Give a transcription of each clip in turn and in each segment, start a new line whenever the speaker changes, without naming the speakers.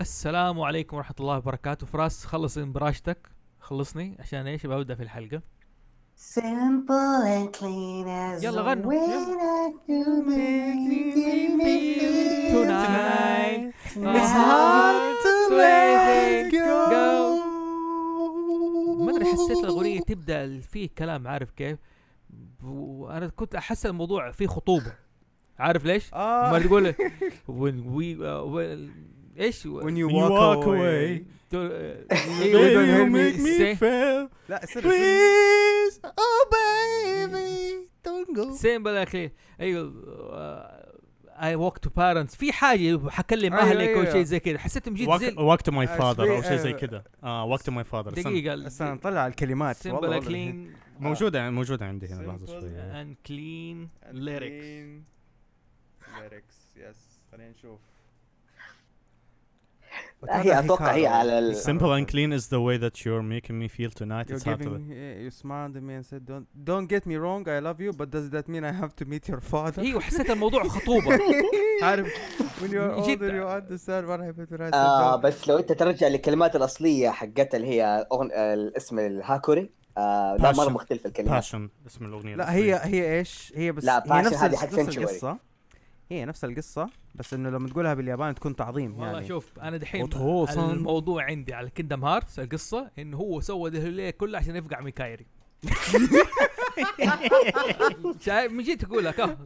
السلام عليكم ورحمة الله وبركاته فراس خلص انبراشتك خلصني عشان ايش ابغى ابدا في الحلقة
Simple and clean as
يلا
a
غنوا.
winner today.
Tonight.
It's hard to let go.
ما ادري حسيت الاغنية تبدا فيه كلام عارف كيف وانا كنت احس الموضوع فيه خطوبة عارف ليش؟
آه.
ما تقول when we uh, when ايش
When you
When you
walk
walk
away.
Baby,
you
you make me fail.
لا سر
Please, oh baby, don't go.
سيم بالاخير ايوه اي ووك تو بارنتس في حاجه حكلم
أيوة،
اهلك او
أيوة.
شيء زي كذا حسيت مجيت
Walk,
زي
walk to my
آه،
father او
sweet-
شيء زي
آه.
كذا. اه walk to my father. استنى.
دقيقه
استنى نطلع الكلمات والله
سيمبل
والله الحين.
كلين
موجودة موجودة عندي هنا لحظة
Simple
شوي.
اند كلين ليركس
ليركس يس خلينا نشوف
هي اتوقع هي على ال...
Simple and clean is the way that you're making me feel tonight.
You're
It's hard to
giving yeah, you smiled at me and said don't don't get me wrong I love you but does that mean I have to meet your father
ايوه حسيت الموضوع خطوبه
يعني
عارف
when you're older
جدا.
you understand what happened when I said
آه
no.
بس لو انت ترجع للكلمات الاصليه حقتها اللي هي أغن... آه، الاسم الهاكوري آه لا مره
Passion.
مختلف الكلمات
passion اسم الأغنية.
لا
الأصلية.
هي هي ايش هي بس
لا،
هي
passion
نفس
هذه
الس-
حق
نفس
sanctuary.
القصه هي نفس القصه بس انه لما تقولها باليابان تكون تعظيم
والله
يعني
شوف انا دحين
وطوصاً.
الموضوع عندي على كيندم هارتس القصه انه هو سوى ده ليه كله عشان يفقع من كايري شايف من جيت اقول لك اه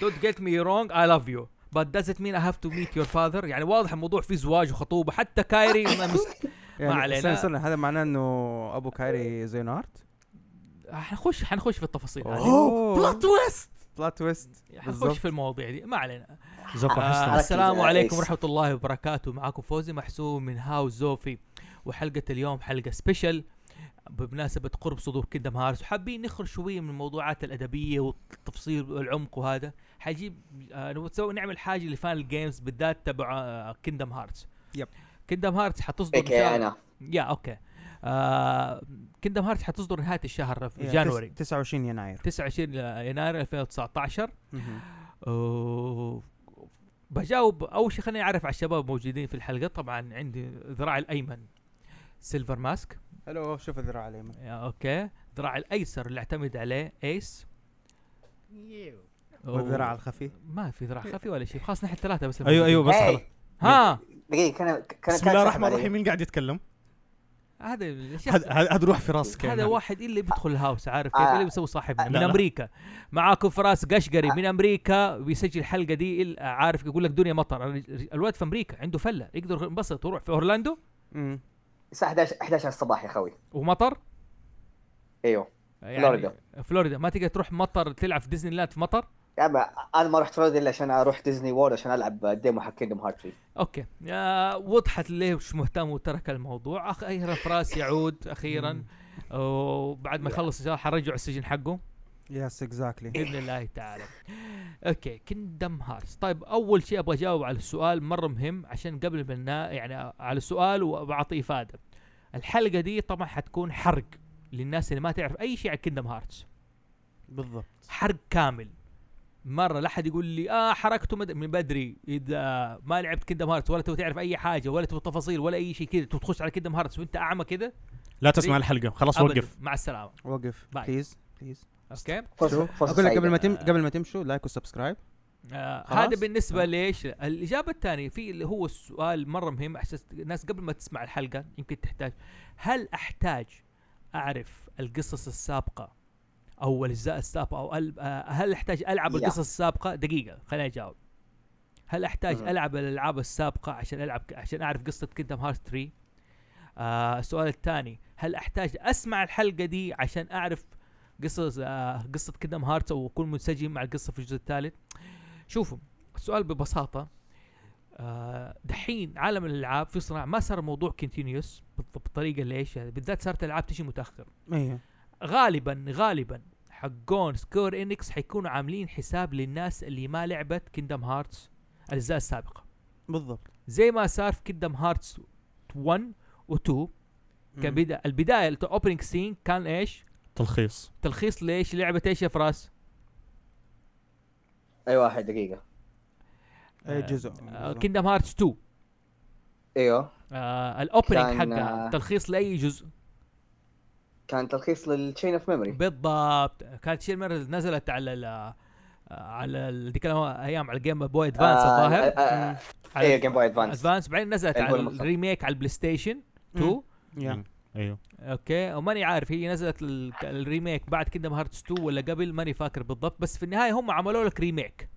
دونت جيت مي رونج اي لاف يو بس دازنت مين اي هاف تو ميت يور فاذر يعني واضح الموضوع فيه زواج وخطوبه حتى كايري ما مس-
يعني
ما علينا.
استنى استنى هذا معناه انه ابو كايري زينارد
حنخش حنخش في التفاصيل هذه
اوه بلوت
تويست
بلوت تويست بالظبط.
حنخش في المواضيع دي ما علينا
زفر
آه
حسن
السلام
يا
عليكم
ريس.
ورحمه الله وبركاته معكم فوزي محسوب من هاوس زوفي وحلقه اليوم حلقه سبيشل بمناسبه قرب صدور كيندم هارس وحابين نخرج شويه من الموضوعات الادبيه والتفصيل والعمق وهذا حجيب آه نسوي نعمل حاجه لفان الجيمز بالذات تبع آه كيندم هارتس
يب.
كيندم هارتس حتصدر إن
هيك
شاء-
انا
يا اوكي آه كيندم هارتس حتصدر نهايه الشهر في جانوري
29 يناير
29 يناير 2019
مهم.
أوه. بجاوب اول شيء خليني اعرف على الشباب الموجودين في الحلقه طبعا عندي ذراع الايمن سيلفر ماسك
الو شوف الذراع عليه
يا اوكي ذراع الايسر اللي اعتمد عليه ايس أوه.
والذراع الخفي
ما في ذراع خفي ولا شيء خلاص نحن ثلاثه بس
ايوه ايوه بس
Hey.
خلاص
ها
دقيقه إيه، كان كان
بسم الله الرحمن الرحيم مين قاعد يتكلم؟
هذا الشخص-
هذا هذا روح في راسك
هذا
يعني.
واحد اللي بيدخل الهاوس عارف كيف
آه.
اللي بيسوي صاحبنا من
لا، آه. لا.
امريكا معاكم فراس قشقري من امريكا بيسجل الحلقه دي ال- عارف يقول لك دنيا مطر الرج- الولد في امريكا عنده فله يقدر ينبسط ويروح في اورلاندو
مم.
الساعه 11 11 الصباح يا خوي
ومطر
ايوه
يعني
فلوريدا.
فلوريدا ما تقدر تروح مطر تلعب في ديزني لاند في مطر
يا أبا، انا ما رحت فلوريدا الا عشان اروح ديزني وورد عشان العب ديمو حق كيندم هارت 3
اوكي آه وضحت ليش مهتم وترك الموضوع اخيرا فراس يعود اخيرا
مم.
وبعد ما يخلص ان شاء الله حرجعه السجن حقه
يس اكزاكتلي
باذن الله تعالى اوكي كندم هارتس طيب اول شيء ابغى اجاوب على السؤال مره مهم عشان قبل ما نا- يعني على السؤال وبعطي افاده الحلقه دي طبعا حتكون حرق للناس اللي ما تعرف اي شيء عن كندم هارتس
بالضبط
حرق كامل مره لا احد يقول لي اه حركته مد... من بدري اذا ما لعبت كيندم هارتس ولا تبغى تعرف اي حاجه ولا تبغى تفاصيل ولا اي شيء كذا تبغى تخش على كيندم هارتس وانت اعمى كذا
لا تسمع الحلقة خلاص
أبداً.
وقف
مع السلامه
وقف
باي.
بليز بليز
اوكي
فرصه
اقول
فرصه
لك قبل ما تم
سعيدة.
قبل ما تمشوا لايك وسبسكرايب
آه
خلاص؟
هذا بالنسبه ليش الاجابه الثانيه في اللي هو السؤال مره مهم عشان الناس قبل ما تسمع الحلقه يمكن تحتاج هل احتاج اعرف القصص السابقه او الاجزاء السابقه او ال- آه، هل احتاج العب
لا.
القصص السابقه دقيقه خليني اجاوب هل احتاج
مم.
العب الالعاب السابقه عشان العب عشان اعرف قصه كيندم هارت 3 آه السؤال الثاني هل احتاج اسمع الحلقه دي عشان اعرف قصص آه قصه كيندم هارت او اكون منسجم مع القصه في الجزء الثالث شوفوا السؤال ببساطه آه دحين عالم الالعاب في صراع ما صار موضوع كونتينيوس بالطريقه اللي ايش يعني بالذات صارت الالعاب تجي متاخر
ايه
إيه. غالبا غالبا حقون سكور انكس حيكونوا عاملين حساب للناس اللي ما لعبت كيندم هارتس الاجزاء السابقه
بالضبط
زي ما صار في كيندم هارتس 1 و2 كان
مم.
بدا البدايه الاوبننج سين كان ايش؟
تلخيص
تلخيص ليش لعبه ايش يا فراس؟
اي إيه، واحد دقيقه
اي جزء
آه، كيندم هارتس 2
ايوه
آه الاوبننج
كان-
حقها تلخيص لاي جزء
كان تلخيص للتشين اوف ميموري
بالضبط كانت شيل مرة نزلت على ال آه، على ال- ديك الأيام- ايام على الجيم بوي ادفانس
آه،
الظاهر
آه.
مم. على
ايوه جيم بوي ادفانس
ادفانس بعدين نزلت
أيوة
على
المصدر.
الريميك على البلاي ستيشن 2
يا
مم. ايوه
اوكي وماني عارف هي نزلت ال- الريميك بعد كيندم هارتس 2 ولا قبل ماني فاكر بالضبط بس في النهايه هم عملوا لك ريميك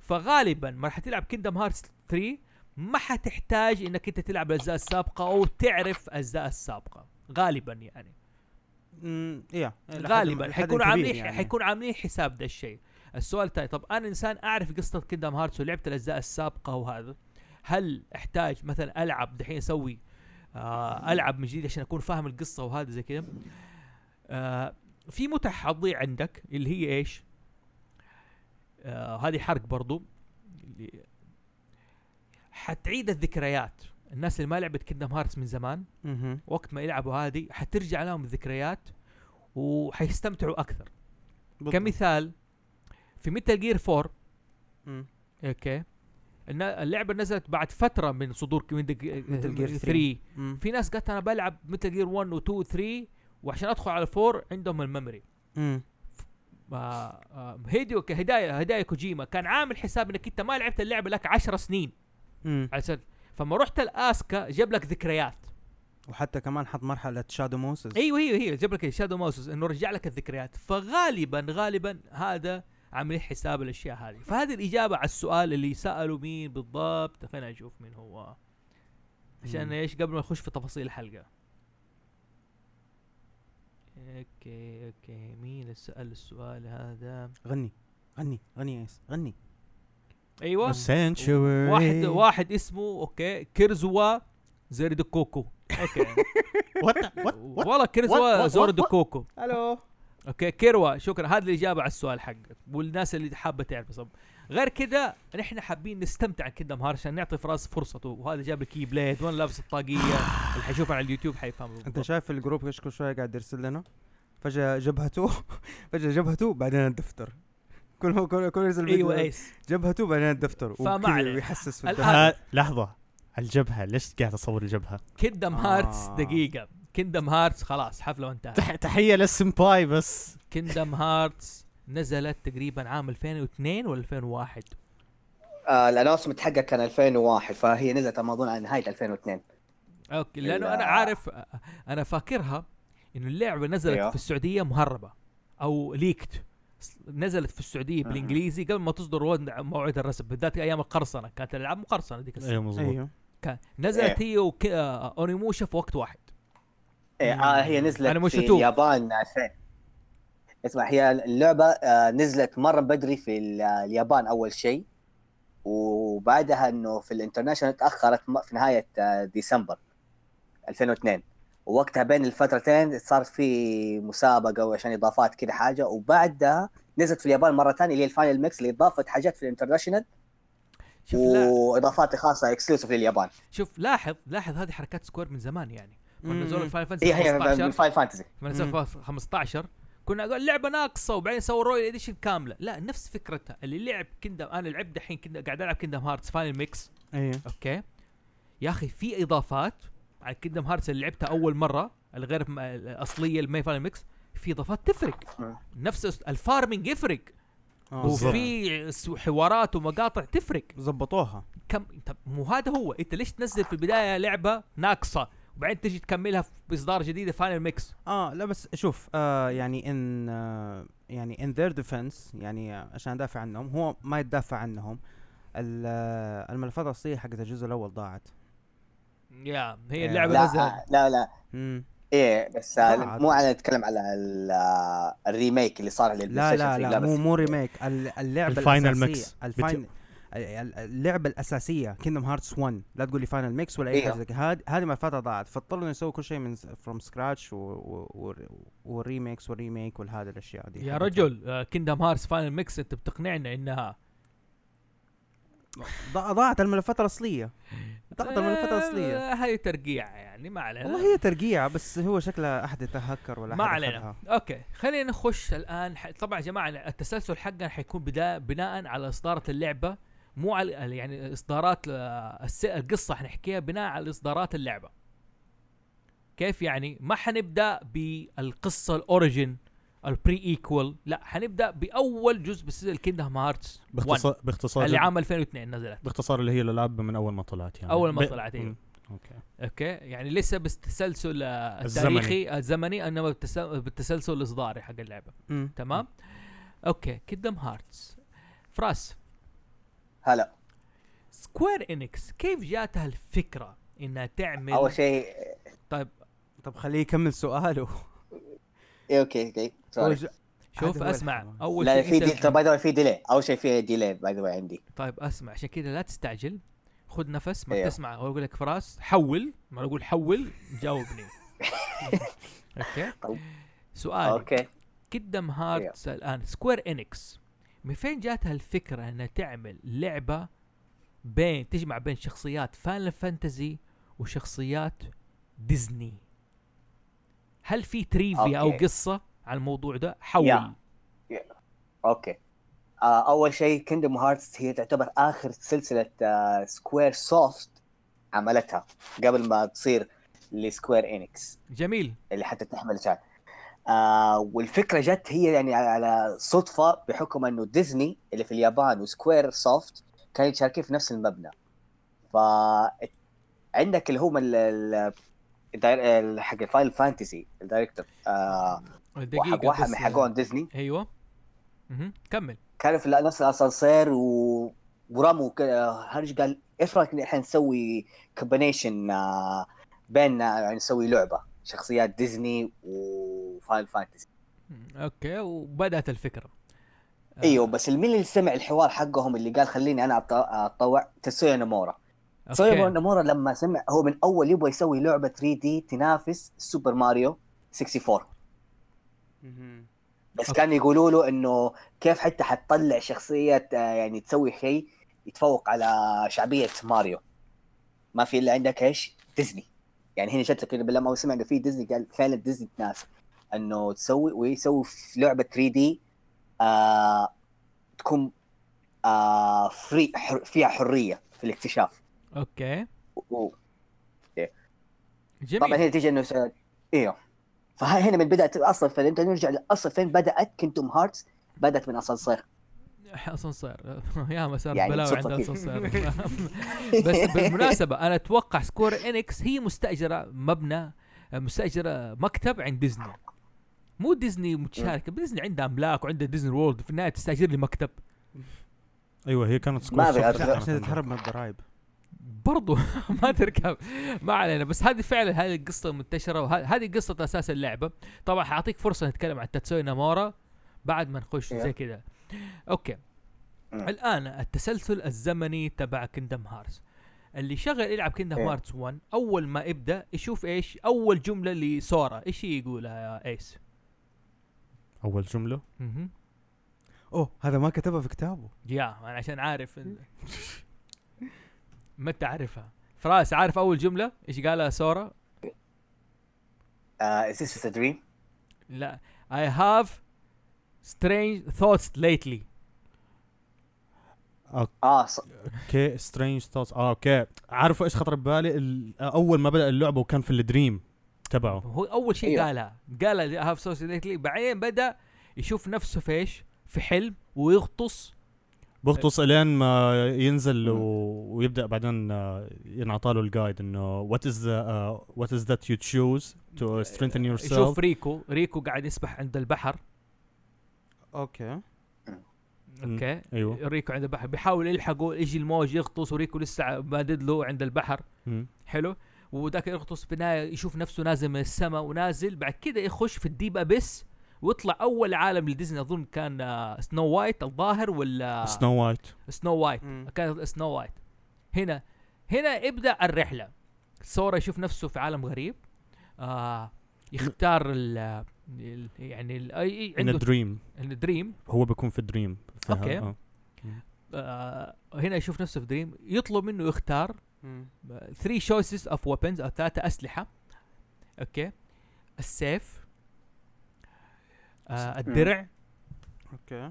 فغالبا ما راح تلعب كيندم هارتس 3 ما حتحتاج انك انت تلعب الاجزاء السابقه او تعرف اجزاء السابقه غالبا يعني
مم، يا
غالبا حيكونوا عاملين
يعني.
حيكون عاملين حساب ده الشيء السؤال الثاني طب انا انسان اعرف قصه كيندم هارتس ولعبت الاجزاء السابقه وهذا هل احتاج مثلا العب دحين اسوي آه العب من جديد عشان اكون فاهم القصه وهذا زي كذا آه في متع حتضيع عندك اللي هي ايش آه هذه حرق برضو اللي- حتعيد الذكريات الناس اللي ما لعبت كيندم هارتس من زمان وقت ما يلعبوا هذه حترجع لهم الذكريات وحيستمتعوا اكثر كمثال في ميتال جير 4 اوكي النا- اللعبه نزلت بعد فتره من صدور ميتال
Gear
3
3. مم.
في ناس قالت انا بلعب ميتال جير 1 و 2 و 3 وعشان ادخل على 4 عندهم الميموري
مم.
ما- آه، هيديو هدايا هدايا كوجيما كان عامل حساب انك انت ما لعبت اللعبه لك 10 سنين
مم.
على سبيل- فما رحت الاسكا جاب لك ذكريات
وحتى كمان حط مرحله شادو موسس
ايوه هي هي جاب لك شادو ماوسز انه رجع لك الذكريات فغالبا غالبا هذا عاملين حساب الاشياء هذه فهذه الاجابه على السؤال اللي سالوا مين بالضبط خلينا نشوف مين هو عشان
مم.
ايش قبل ما نخش في تفاصيل الحلقه اوكي اوكي مين اللي سال السؤال هذا
غني غني غني يا إيس، غني
ايوه
سنشوري
واحد واحد اسمه اوكي كيرزوا زيرد كوكو اوكي والله
what-
كيرزوا
what-
زورد
what-
كوكو
الو
اوكي كيروا شكرا هذه الاجابه على السؤال حقك والناس اللي حابه تعرف صب غير كذا نحن حابين نستمتع كيندم هارت عشان نعطي فراس فرصته وهذا جاب الكي بليد وانا لابس الطاقيه اللي حيشوفها على اليوتيوب حيفهم
انت شايف الجروب ايش كل شويه قاعد يرسل لنا فجاه جبهته فجاه جبهته بعدين الدفتر كل هو كل كل يرسل فيديو،
ايوه ايس
جبهته بعدين الدفتر
فما
وكذا
علينا.
ويحسس في
الآن-
الدفتر.
ها- آه، لحظة الجبهة ليش قاعد اصور الجبهة؟
كيندم هارتس
آه.
دقيقه كيندم هارتس خلاص حفله وانتهت
تح- تحية للسمباي بس
كيندم هارتس نزلت تقريبا عام 2002 ولا 2001
الانونسمنت حقها آه، كان 2001 فهي نزلت ما اظن على نهايه 2002
اوكي لانه انا
لا.
عارف انا فاكرها انه اللعبه نزلت
أيوه.
في السعوديه مهربه او ليكت نزلت في السعوديه
أها.
بالانجليزي قبل ما تصدر وضع- موعد الرسم بالذات ايام القرصنه كانت الالعاب مقرصنه ذيك السنه
ايوه مظبوط
ايوه
كان نزلت هي وك... آه، اونيموشا في وقت واحد
إيه، آه هي نزلت
أنا مش
في
شتوه.
اليابان عشان اسمع هي اللعبة آه نزلت مرة بدري في ال- آه، اليابان أول شيء وبعدها إنه في الانترناشونال تأخرت م- في نهاية آه ديسمبر 2002 ووقتها بين الفترتين صار في مسابقة وعشان إضافات كذا حاجة وبعدها نزلت في اليابان مرة ثانية اللي هي الفاينل ميكس اللي إضافت حاجات في الانترناشونال
شوف لا
وإضافات خاصة اكسكلوسيف لليابان
شوف لاحظ لاحظ هذه حركات سكوير من زمان يعني
مم.
لما نزلوا الفاينل
هي
فانتسي
إيه، هي من
15
فاينل فانتزي
لما نزلوا 15 كنا نقول لعبه ناقصه وبعدين سووا رويال اديشن كامله لا نفس فكرتها اللي لعب كندم انا لعبت دحين كندم قاعد العب كندم هارتس فاينل ميكس
ايوه
اوكي يا اخي في اضافات على كيندم هارتس اللي لعبتها اول مره الغير م- الاصليه الماي فاينل ميكس في اضافات تفرق
مم.
نفس أس- الفارمنج يفرق
آه.
بالضبط.
وفي س- حوارات ومقاطع تفرق
زبطوها
كم طب مو هذا هو انت ليش تنزل في البدايه لعبه ناقصه وبعدين تجي تكملها في باصدار جديد فاينل ميكس
اه لا بس شوف آه يعني ان آه يعني ان ذير ديفنس يعني آه، عشان ادافع عنهم هو ما يدافع عنهم ال- آه، الملفات الاصليه حقت الجزء الاول ضاعت
يا هي
آه.
اللعبه نزلت
لا لا لا
مم.
ايه بس
لا،
آه، مو انا اتكلم على ال- آه، الريميك اللي صار
لا
للبلاي
لا
ستيشن
لا مو
بس
مو ريميك ال- اللعبه
الفاينل
الاساسيه
ميكس.
الفاين ال- ال- اللعبه الاساسيه كيندم هارتس 1 لا تقول لي فاينل ميكس ولا اي
إيه.
حاجه زي كده. هاد- هذه ملفاتها ضاعت فاضطروا يسووا كل شيء من فروم سكراتش والريميكس والريميك والهذه الاشياء دي
يا
حقتها.
رجل آه، كيندم هارتس فاينل ميكس انت بتقنعنا انها
ض- ضاعت الملفات الاصليه ضاعت الملفات الاصليه
آه، هذه ترقيع يعني ما علينا
والله هي ترقيعة بس هو شكله احد يتهكر ولا
ما
أحد
علينا
أخذها.
اوكي خلينا نخش الان ح... طبعا يا جماعه التسلسل حقنا حيكون بدا... بناء على اصدارة اللعبه مو على يعني اصدارات آه، الس- القصه حنحكيها بناء على اصدارات اللعبه كيف يعني ما حنبدا بالقصه الاوريجن البري ايكوال لا حنبدا باول جزء بسلسله كيندم هارتس
باختصار باختصار
اللي
جد-
عام 2002 نزلت
باختصار اللي هي الالعاب من اول ما طلعت يعني
أول ما
ب-
طلعت، أيوة.
مم. اوكي
اوكي يعني ليس بالتسلسل آه،
الزمني.
التاريخي الزمني انما بالتس- بالتسلسل الاصداري حق اللعبه
مم.
تمام اوكي كيندم هارتس فراس
هلا
سكوير انكس كيف جاتها الفكره انها تعمل
اول شيء
طيب
طب خليه يكمل سؤاله
إيه، اوكي اوكي
هو
سوري
ج-
شوف
هذا هو
اسمع
الحيوان.
اول
لا في
شيء
دي...
أنت-
ترى باي ذا واي في ديلي اول شيء في ديلي باي ذا واي عندي
طيب اسمع عشان كذا لا تستعجل خذ نفس ما
أيوه.
تسمع اقول لك فراس حول ما اقول حول جاوبني اوكي
طيب.
سؤال
اوكي
كيدم هارتس الان سكوير انكس من فين جاتها الفكره انها تعمل لعبه بين تجمع بين شخصيات فاينل فانتزي وشخصيات ديزني هل في تريفيا او
أوكي.
قصه على الموضوع ده حول
يا. اوكي آه اول شيء كيندم هارتس هي تعتبر اخر سلسله آه سكوير سوفت عملتها قبل ما تصير لسكوير انكس
جميل
اللي حتى تحمل شات آه والفكره جت هي يعني على صدفه بحكم انه ديزني اللي في اليابان وسكوير سوفت كانوا يتشاركين في نفس المبنى ف عندك اللي هو ال- ال حق فاينل فانتسي الدايركتور آه واحد
دقيقه
واحد
بس
من حقون ديزني
ايوه مهم. كمل
كانوا في نفس الاسانسير و... ورموا ك- هرج قال ايش رايك إن احنا نسوي كومبينيشن بيننا يعني نسوي لعبه شخصيات ديزني وفاينل فانتسي
مم. اوكي وبدات الفكره آه،
ايوه بس المين اللي سمع الحوار حقهم اللي قال خليني انا أط- اتطوع تسويا نامورا تسويا
اوكي
نامورا لما سمع هو من اول يبغى يسوي لعبه 3 دي تنافس سوبر ماريو 64
مهم.
بس
أوكي.
كانوا يقولوا له انه كيف حتى حتطلع شخصيه آه، يعني تسوي شيء يتفوق على شعبيه ماريو ما في الا عندك ايش ديزني يعني هنا شكلك كده لما سمع انه في ديزني قال فعلا ديزني تناسب انه تسوي ويسوي في لعبه 3 دي آه تكون آه فري حر فيها حريه في الاكتشاف
اوكي
و-
جميل
طبعا هنا تيجي انه س- ايوه فهاي هنا من بدات اصلا فانت نرجع لاصل فين بدات كنتم هارتس بدات من اسانسير
اسانسير يا مسار
يعني
بلاوي عند
بصفة كيف.
اسانسير بس بالمناسبه انا اتوقع سكوير انكس هي مستاجره مبنى مستاجره مكتب عند ديزني مو ديزني متشاركه ديزني عندها املاك وعندها ديزني وورلد في النهايه تستاجر لي مكتب
ايوه هي كانت سكوير
ما أبي
سوفت
أدخل.
كانت
عشان
عندها.
تتهرب من الضرايب
برضو ما تركب ما علينا بس هذه فعلا هذه القصه منتشره وهذه قصه اساس اللعبه طبعا حاعطيك فرصه نتكلم عن تاتسوي نامورا بعد ما نخش
إيه.
زي كذا اوكي
مم.
الان التسلسل الزمني تبع كيندم هارتس اللي شغل يلعب كيندم
إيه.
هارتس 1 اول ما يبدا يشوف ايش اول جمله لسورا ايش هي يقولها يا ايس
اول جمله
مهم.
اوه هذا ما كتبها في كتابه
يا انا عشان عارف إن- متى عارفها فراس عارف اول جمله ايش قالها سورا
Uh, is this a dream?
لا I have strange thoughts lately
اه ص...
اوكي سترينج ثوتس اه اوكي عارفوا ايش خطر ببالي ال- اول ما بدا اللعبه وكان في الدريم تبعه
هو اول شيء
أيوه.
قالها قال I have strange thoughts lately بعدين بدا يشوف نفسه في ايش في حلم ويغطس
بغطس الين ما ينزل و... ويبدا بعدين آه، ينعطى له الجايد انه وات از وات از ذات يو تشوز تو سترينثن يور
يشوف
سيلف
ريكو ريكو قاعد يسبح عند البحر
اوكي
اوكي
ايوه
ريكو عند البحر بيحاول يلحقه يجي الموج يغطس وريكو لسه مادد له عند البحر
مم.
حلو وذاك يغطس بناية يشوف نفسه نازل من السماء ونازل بعد كده يخش في الديب ابيس ويطلع اول عالم لديزني اظن كان آه، سنو وايت الظاهر ولا
سنو وايت
سنو وايت
مم.
كانت سنو وايت هنا هنا ابدا الرحله سورا يشوف نفسه في عالم غريب آه يختار ال ال- يعني ال أي-
ان
عنده
دريم
الدريم
هو بيكون في دريم
أوكي. آه هنا يشوف نفسه في دريم يطلب منه يختار
مم.
3 choices اوف ويبنز او ثلاثه اسلحه اوكي السيف آه الدرع
اوكي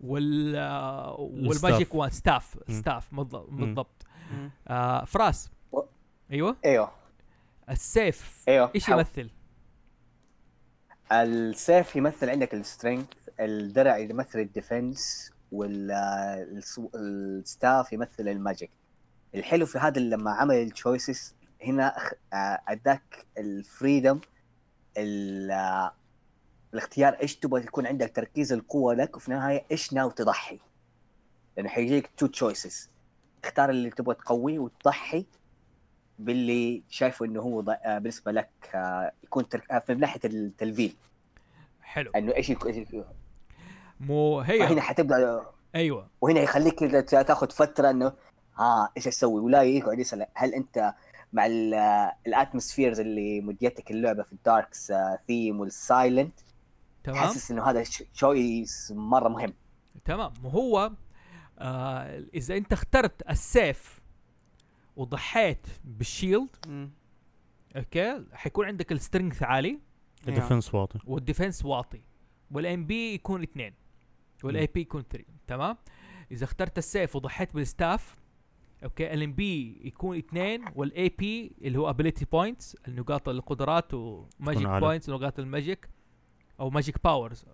وال آه، والماجيك وان ستاف ستاف بالضبط- بالضبط
مم.
آه فراس
و-
ايوه
ايوه
السيف
ايوه
ايش
حاول.
يمثل؟
السيف يمثل عندك السترينث الدرع يمثل الديفنس والستاف يمثل الماجيك الحلو في هذا اللي لما عمل التشويسز هنا أخ- آه، اداك الفريدم ال- آه، الاختيار ايش تبغى يكون عندك تركيز القوه لك وفي النهايه ايش ناوي تضحي لانه حيجيك تو تشويسز اختار اللي تبغى تقويه وتضحي باللي شايفه انه هو ض- آه، بالنسبه لك آه، يكون ترك... آه، من ناحيه التلفيل
حلو
انه ايش يكون- إيش يكون-
أيوه.
مو
فهنا
هي
حتبدا
ايوه
وهنا يخليك إذا تا- تاخذ فتره انه ها ايش اسوي ولا يقعد يسال هل انت مع الاتموسفيرز اللي مديتك اللعبه في آه، الداركس ثيم والسايلنت
تمام
حاسس انه هذا تشويس مره مهم
تمام وهو آه اذا انت اخترت السيف وضحيت بالشيلد
مم.
اوكي حيكون عندك السترينث عالي
أيوة.
الديفنس واطي
والديفنس واطي والام بي يكون اثنين والاي بي يكون 3 تمام اذا اخترت السيف وضحيت بالستاف اوكي الام بي يكون اثنين والاي بي اللي هو ابيليتي بوينتس النقاط القدرات وماجيك
عالي.
بوينتس ونقاط الماجيك او ماجيك باورز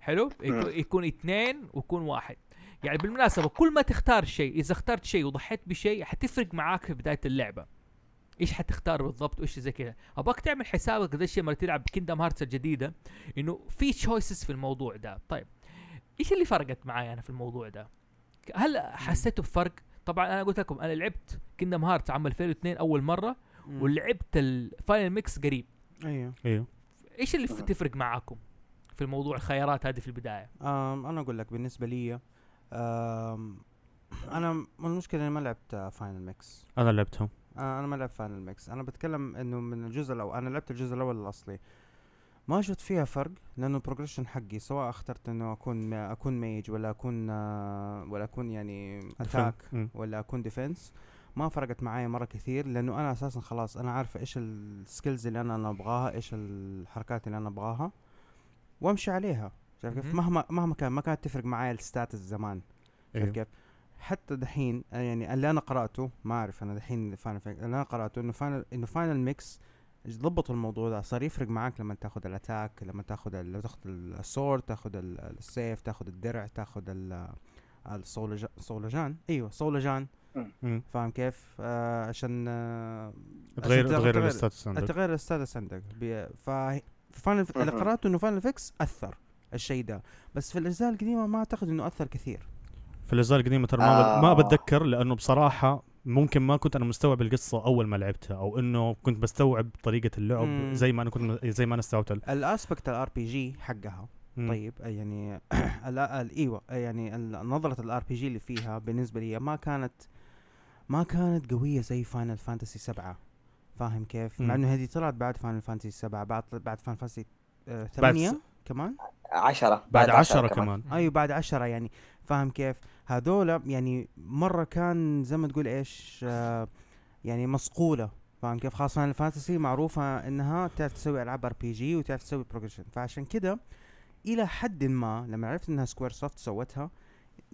حلو يكون- يكون اثنين ويكون واحد يعني بالمناسبه كل ما تختار شيء اذا اخترت شيء وضحيت بشيء حتفرق معاك في بدايه اللعبه ايش حتختار بالضبط وايش زي كذا ابغاك تعمل حسابك ذا الشيء لما تلعب كيندم هارتس الجديده انه في تشويسز في الموضوع ده طيب ايش اللي فرقت معايا انا في الموضوع ده ك- هل حسيتوا بفرق طبعا انا قلت لكم انا لعبت كيندم هارتس عام 2002 اول مره
مم.
ولعبت الفاينل ميكس قريب
ايوه
ايوه
ايش اللي ف- تفرق معاكم في الموضوع الخيارات هذه في البدايه
أم انا اقول لك بالنسبه لي أم انا م- المشكله اني ما لعبت فاينل ميكس
انا لعبتهم
انا آه، ما لعبت فاينل ميكس انا بتكلم انه من الجزء الاول انا لعبت الجزء الاول الاصلي ما شفت فيها فرق لانه البروجريشن حقي سواء اخترت انه اكون م- اكون ميج ولا اكون آه، ولا اكون يعني اتاك
مم.
ولا اكون ديفنس ما فرقت معايا مره كثير لانه انا اساسا خلاص انا عارفه ايش السكيلز اللي انا أنا ابغاها ايش الحركات اللي انا ابغاها وامشي عليها شايف كيف
مهم.
مهما مهما كان ما كانت تفرق معايا الستاتس زمان شايف
ايوه
كيف حتى دحين آه، يعني اللي انا قراته ما اعرف انا دحين فاينل اللي انا قراته انه فاينل انه فاينل ميكس ضبطوا الموضوع ده صار يفرق معاك لما تاخذ الاتاك لما تاخذ ال- لما تاخذ السور تاخذ ال- السيف تاخذ الدرع تاخذ ال- الصولجا- الصولجان ايوه صولجان
مم.
فاهم كيف؟ آه عشان آه
تغير
عشان
تغير الستاتس عندك
تغير الستاتس عندك بي- ف فاينل اللي
مهم.
قراته انه فاينل فيكس اثر الشيء ده بس في الاجزاء القديمه ما اعتقد انه اثر كثير
في الاجزاء القديمه ترى ما, ب... ما
آه.
بتذكر لانه بصراحه ممكن ما كنت انا مستوعب القصه اول ما لعبتها او انه كنت بستوعب طريقه اللعب
مم.
زي ما انا كنت زي ما انا استوعبت ال-
الاسبكت الار بي جي حقها
مم.
طيب آه، يعني ال- ال- ايوه آه، يعني ال- نظره الار بي جي اللي فيها بالنسبه لي ما كانت ما كانت قويه زي فاينل فانتسي 7 فاهم كيف؟ مع
مم.
انه هذه طلعت بعد فاينل فانتسي 7 بعد بعد فاينل فانتسي
بعد
8 كمان
عشرة
بعد عشرة كمان
مم.
ايوه بعد عشرة يعني فاهم كيف هذولا يعني مره كان زي ما تقول ايش آه يعني مصقوله فاهم كيف خاصه الفانتسي معروفه انها تعرف تسوي العاب ار بي جي وتعرف تسوي بروجريشن فعشان كده الى حد ما لما عرفت انها سكوير سوفت سوتها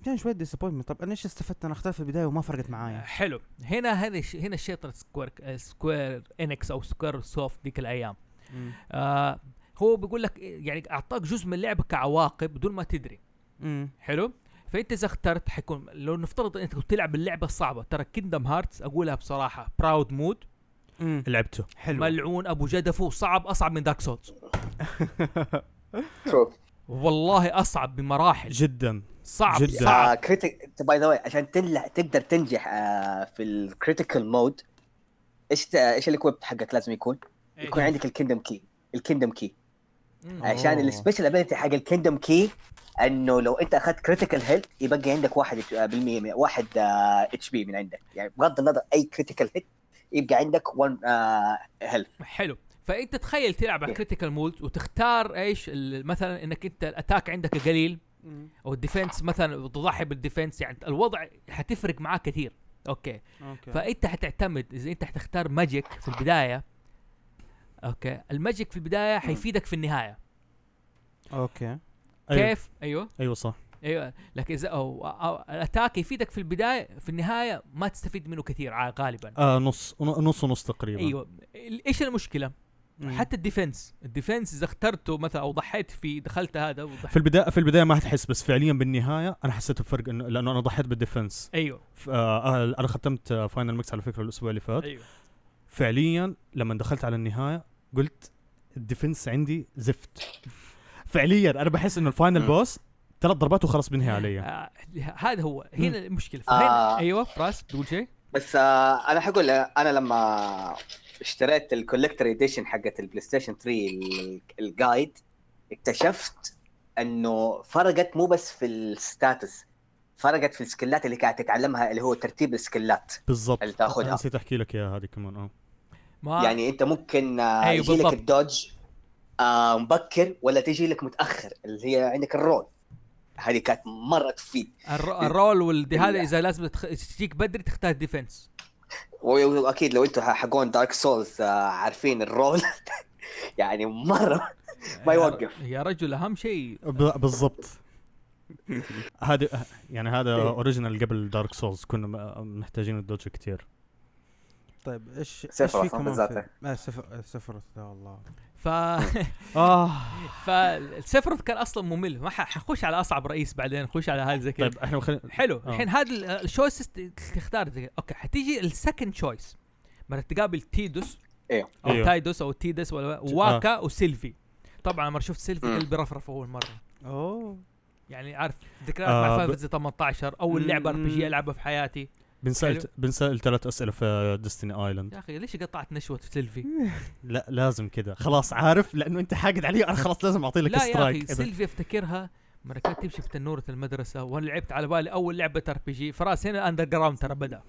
كان شويه ديسابوينتمنت طب انا ايش استفدت انا اخترت في البدايه وما فرقت معايا
حلو هنا هذه الش- هنا آه، الشيطان سكوير سكوير انكس او سكوير سوفت ديك الايام
مم.
آه هو بيقول لك يعني اعطاك جزء من اللعبه كعواقب بدون ما تدري
مم.
حلو فانت اذا اخترت حيكون لو نفترض انت كنت تلعب اللعبه الصعبه ترى كيندم هارتس اقولها بصراحه براود مود
مم.
لعبته
حلو
ملعون ابو جدفه صعب اصعب من دارك سولز
ترو
والله اصعب بمراحل
جدا
صعب
جداً.
آه،
صعب
كريتيك باي ذا واي عشان تنلح تقدر تنجح آه، في الكريتيكال مود ايش ت- ايش الاكويب حقك لازم يكون؟ آه،
إيه.
يكون عندك الكندم كي الكندم كي
إيه. مم.
عشان
أوه.
السبيشال ابيلتي حق الكندم كي انه لو انت اخذت كريتيكال هيت يبقى عندك 1% بالمية- واحد اتش بي من عندك يعني بغض النظر اي كريتيكال هيت يبقى عندك آه، 1 هيلث
حلو فانت تخيل تلعب على
إيه.
كريتيكال مود وتختار ايش ال- مثلا انك انت الاتاك عندك قليل
مم.
او الديفنس مثلا تضحي بالديفنس يعني الوضع حتفرق معاه كثير اوكي
اوكي
فانت حتعتمد اذا انت حتختار ماجيك في البدايه اوكي الماجيك في البدايه حيفيدك في النهايه
اوكي
أيوة.
كيف ايوه
ايوه صح
ايوه لكن اذا أو, أو الاتاك يفيدك في البدايه في النهايه ما تستفيد منه كثير ع- غالبا
آه نص نص ونص تقريبا
ايوه ال- ايش المشكله؟ حتى الديفنس الديفنس اذا اخترته مثلا او ضحيت في دخلت هذا وضحيت
في البدايه في البدايه ما حتحس بس فعليا بالنهايه انا حسيت بفرق انه لانه انا ضحيت بالديفنس
ايوه
ف- آه انا ختمت فاينل ميكس على فكره الاسبوع اللي فات
ايوه
فعليا لما دخلت على النهايه قلت الديفنس عندي زفت فعليا انا بحس انه الفاينل
مم.
بوس ثلاث ضربات وخلاص بنهي علي
آه هذا هو هنا المشكله
آه.
هنا ايوه فراس تقول شيء
بس آه انا حقول انا لما اشتريت الكوليكتر اديشن حقت البلاي ستيشن 3 ال- الجايد اكتشفت انه فرقت مو بس في الستاتس فرقت في السكلات اللي قاعد تتعلمها اللي هو ترتيب السكلات
بالضبط
اللي تاخذها.
أنا نسيت احكي لك يا هذه كمان اه
ما
يعني انت ممكن آه
آه. أيوة
يجي لك
بالضبط.
الدوج آه مبكر ولا تجي لك متاخر اللي هي عندك الرول هذه كانت مره تفيد
الر- الرول والدي هذا اذا لازم تخ... تجيك بدري تختار ديفنس
و- واكيد لو انتم حقون دارك سولز آه عارفين الرول يعني مره
آه،
ما يوقف.
يا رجل اهم شيء
ب- بالضبط هذا يعني هذا
إيه.
اوريجينال قبل دارك سولز كنا م- محتاجين الدوج كتير
طيب ايش
صفر
ايش في
أصلاً
كمان
بالذات.
في- آه صفر آه، صفر لا والله
ف
اه
آه. فالسفرث كان اصلا ممل ما ح- حنخش على اصعب رئيس بعدين نخش على هذا زي كذا
طيب احنا خلينا
حلو
آه.
الحين هذا الشويس تختار زي- اوكي حتيجي السكند شويس مرة تقابل تيدوس
ايوه.
او
أيوه.
تايدوس او تيدس ولا واكا وسيلفي طبعا مرة شفت سيلفي
مم.
قلبي رفرف اول مرة
اوه
يعني عارف ذكريات
آه،
مع
ب-
فاينل فانتسي 18 اول لعبة ار بي
مم.
جي العبها في حياتي
بنسال
حلو.
بنسال ثلاث اسئله في ديستني ايلاند
يا اخي ليش قطعت نشوة سيلفي؟
لا لازم كده خلاص عارف لانه انت حاقد علي انا خلاص لازم اعطي لك
لا يا اخي
سترايك إذا-
سيلفي افتكرها مرة كانت تمشي في تنورة المدرسة وانا لعبت على بالي اول لعبة ار بي جي فراس هنا الاندر جراوند ترى بدأ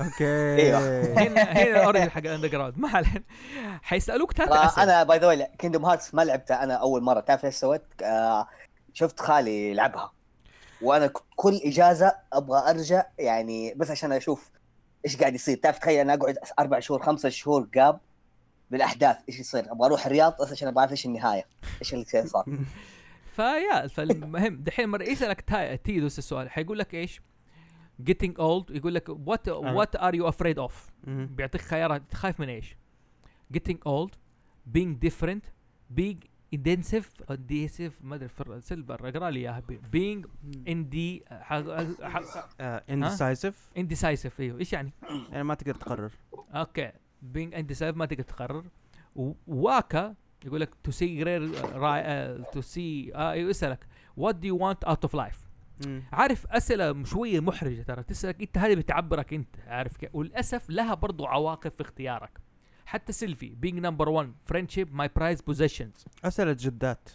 اوكي
أيوة.
هنا هنا الاوريجن حق الاندر جراوند ما علينا حيسالوك ثلاث
آه،
اسئله
انا باي ذا واي كيندوم هارتس ما لعبتها انا اول مره تعرف ايش سويت آه شفت خالي يلعبها وانا ك- كل اجازه ابغى ارجع يعني بس عشان اشوف ايش قاعد يصير تعرف تخيل انا اقعد اربع شهور خمسة شهور قاب بالاحداث ايش يصير ابغى اروح الرياض بس عشان ابغى اعرف ايش النهايه ايش اللي صار
فيا فالمهم دحين مره يسالك تا- تيدوس السؤال حيقول لك ايش؟ getting old يقول لك what what are you afraid of؟
مم.
بيعطيك خيارات خايف من ايش؟ getting old being different being intensive adhesive ما ادري فر- سيلفر اقرا لي اياها بي- being indie uh, حق- حق-
انديسايسيف
indecisive ايوه ايش يعني؟
آه، يعني ما تقدر تقرر
اوكي بينج انت سايف ما تقدر تقرر و- واكا يقول لك تو سي غير تو سي يسالك وات دو يو وانت اوت اوف لايف
مم.
عارف اسئله شويه محرجه ترى تسالك انت هذه بتعبرك انت عارف كيف وللاسف لها برضو عواقب في اختيارك حتى سيلفي بينج نمبر 1 فريندشيب ماي برايز بوزيشنز
اسئله جدات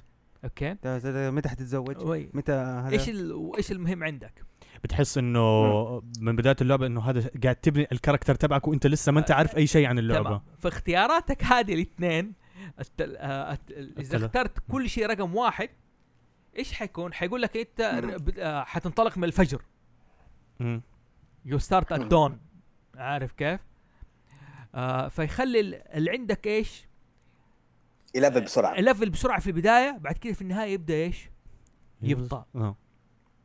اوكي
تا- تا- تا- متى حتتزوج؟
وي-
متى هذا؟
ايش ال- ايش المهم عندك
بتحس انه من بدايه اللعبه انه هذا قاعد تبني الكاركتر تبعك وانت لسه ما انت عارف اي شيء عن اللعبه
تمام فاختياراتك هذه الاثنين التل... آه، الت- اذا
التل-
اخترت كل شيء رقم واحد ايش حيكون؟ حيقول لك انت ر- بت- آه، حتنطلق من الفجر
مم.
يو ستارت ات دون عارف كيف؟ آه فيخلي ال- اللي عندك ايش؟
يلعب بسرعه
الليفل بسرعه في البدايه بعد كده في النهايه يبدا ايش؟ يبطأ
آه.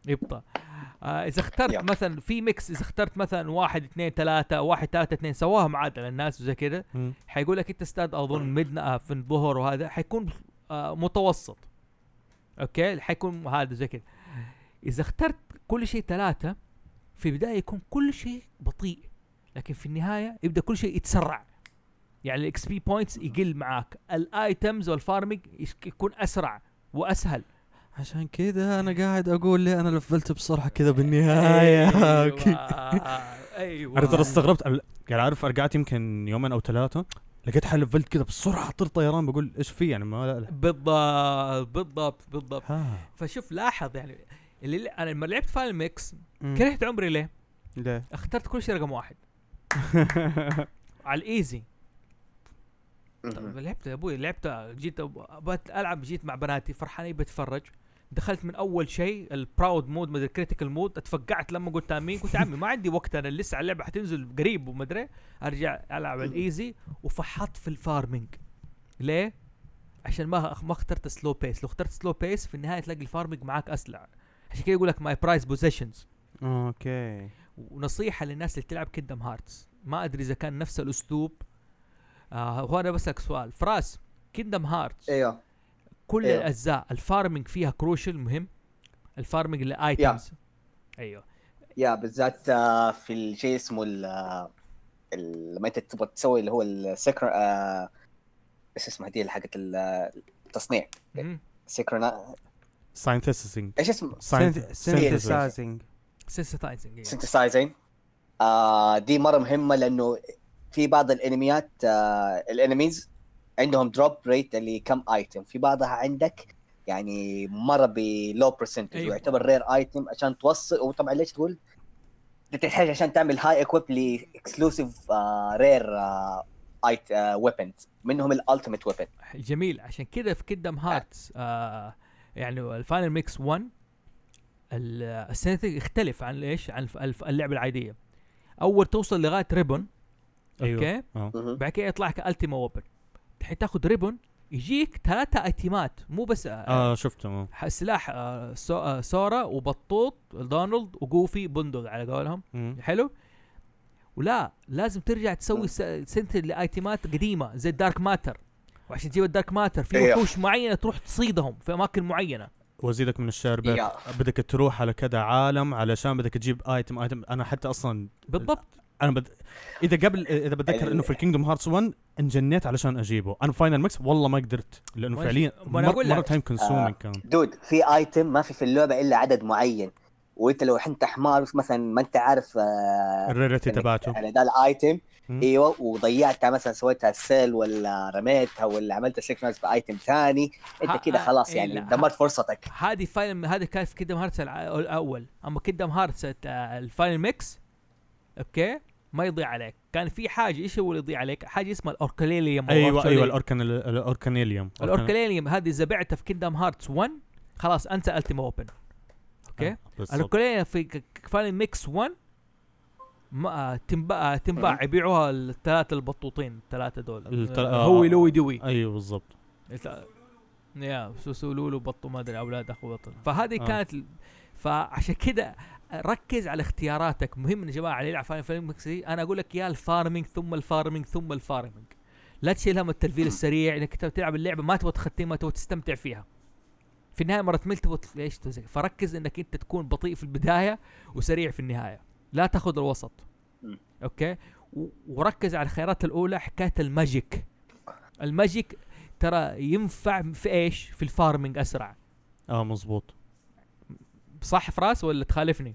يبطأ آه اذا اخترت
يب.
مثلا في ميكس اذا اخترت مثلا واحد اثنين ثلاثه واحد ثلاثه اثنين سواها معادله الناس وزي كده
مم.
حيقول لك انت استاد اظن ميد آه، في الظهر وهذا حيكون آه، متوسط اوكي حيكون هذا زي كذا اذا اخترت كل شيء ثلاثه في البدايه يكون كل شيء بطيء لكن في النهايه يبدا كل شيء يتسرع يعني الاكس بي بوينتس يقل معاك الايتمز والفارمنج يكون اسرع واسهل
عشان كذا انا قاعد اقول لي انا لفلت بسرعه كذا بالنهايه
ايوه ايوه
انا ترى استغربت أيوة. أنا- يعني عارف رجعت يمكن يومين او ثلاثه لقيت حالي لفلت كذا بسرعه طير طيران بقول ايش في يعني ما لا لا.
بالضبط بالضبط بالضبط
ها.
فشوف لاحظ يعني اللي انا لما لعبت فاينل ميكس
مم.
كرهت عمري ليه؟
ليه؟
اخترت كل شيء رقم واحد على الايزي طب
مهم.
لعبت يا ابوي لعبت جيت أب- بت- العب جيت مع بناتي فرحانين بتفرج دخلت من اول شيء البراود مود مدري الكريتيكال مود اتفقعت لما قلت امين قلت يا عمي ما عندي وقت انا لسه على اللعبه حتنزل قريب ومدري ارجع العب على الايزي وفحطت في الفارمنج ليه؟ عشان ما ما اخترت سلو بيس لو اخترت سلو بيس في النهايه تلاقي الفارمنج معاك اسلع عشان كذا يقول لك ماي برايز بوزيشنز
اوكي
ونصيحه للناس اللي تلعب كيندم هارتس ما ادري اذا كان نفس الاسلوب آه هو انا بسالك سؤال فراس كيندم هارتس
ايوه
كل
أيوه.
الاجزاء الفارمنج فيها كروشل مهم الفارمنج لايتمز ايوه
يا بالذات آه، في الشيء اسمه ال آه، ال- لما انت تبغى تسوي اللي هو السكر آه، ايش اسمها دي اللي حقت ال- آه، التصنيع
مهم.
سكرنا
ساينثيسيسنج
ايش اسمه
سينثسايزنج
sensitizing أيوه.
سنتسايزين آه دي مره مهمه لانه في بعض الانميات آه الانميز عندهم دروب ريت اللي كم ايتم في بعضها عندك يعني مره بلو برسنتج
أيوة.
ويعتبر رير ايتم عشان توصل وطبعا ليش تقول انت تحتاج عشان تعمل هاي اكويب لاكسكلوسيف رير ايت ويبنز آه، منهم الالتيميت ويبن
جميل عشان كذا في كيندم هارتس آه يعني الفاينل ميكس 1 ال- السينثيك يختلف عن ايش عن الف- الف- اللعبه العاديه اول توصل لغايه ريبون
أيوه.
اوكي بعد كده يطلع لك التيما اوبن الحين تاخذ ريبون يجيك ثلاثة ايتمات مو بس آه
اه شفته آه.
آه سلاح آه سو آه سورا وبطوط دونالد وجوفي بندق على قولهم
مم.
حلو ولا لازم ترجع تسوي س- سنتر لايتمات قديمه زي الدارك ماتر وعشان تجيب الدارك ماتر في
إيه.
وحوش معينه تروح تصيدهم في اماكن معينه
وازيدك من الشعر بيت
يا.
بدك تروح على كذا عالم علشان بدك تجيب ايتم ايتم انا حتى اصلا
بالضبط
انا بد... اذا قبل اذا بتذكر
ال-
انه في كينجدوم هارتس 1 انجنيت علشان اجيبه انا فاينل ميكس والله ما قدرت لانه
وإيش-
فعليا
ما أنا
مر...
أقول لك.
مره تايم كونسومينج كان
دود في ايتم ما في في اللعبه الا عدد معين وانت لو انت حمار مثلا ما انت عارف آه،
الريرتي
إنك
تبعته
على ده الايتم
مم.
ايوه وضيعتها مثلا سويتها سيل ولا رميتها ولا عملت سيكونس بايتم ثاني
ها-
انت كده خلاص
آه،
يعني
لا،
دمرت فرصتك
هذه فاينل هذه كانت في كيدم هارتس الع- الاول اما كيدم هارتس آه، الفاينل ميكس اوكي ما يضيع عليك كان في حاجه ايش هو اللي يضيع عليك حاجه اسمها الاوركليليوم أو
ايوه ايوه
أوركليليوم.
الاوركان الاوركانيليوم
الاوركليليوم هذه اذا بعتها في كيدم هارتس 1 خلاص انت التيم اوبن اوكي
آه، اوكي
الكولية في فاينل ميكس 1 ما تنباع تنباع يبيعوها الثلاثة البطوطين الثلاثة دول
الت-
آه هو
آه.
لوي دوي
ايوه بالضبط
الت- يا سوسو لولو بطو ما ادري اولاد اخو بطو فهذه
آه.
كانت ال- فعشان كذا ركز على اختياراتك مهم يا جماعه اللي يلعب فاينل ميكس دي انا اقول لك يا الفارمينج ثم الفارمينج ثم الفارمينج لا تشيل هم التلفيل السريع انك تبغى تلعب اللعبه ما تبغى تختمها تبغى تستمتع فيها في النهايه مره تمل تبغى تل- ايش تزق. فركز انك انت تكون بطيء في البدايه وسريع في النهايه لا تاخذ الوسط
مم.
اوكي و- وركز على الخيارات الاولى حكايه الماجيك الماجيك ترى ينفع في ايش في الفارمنج اسرع
اه مزبوط
صح فراس ولا تخالفني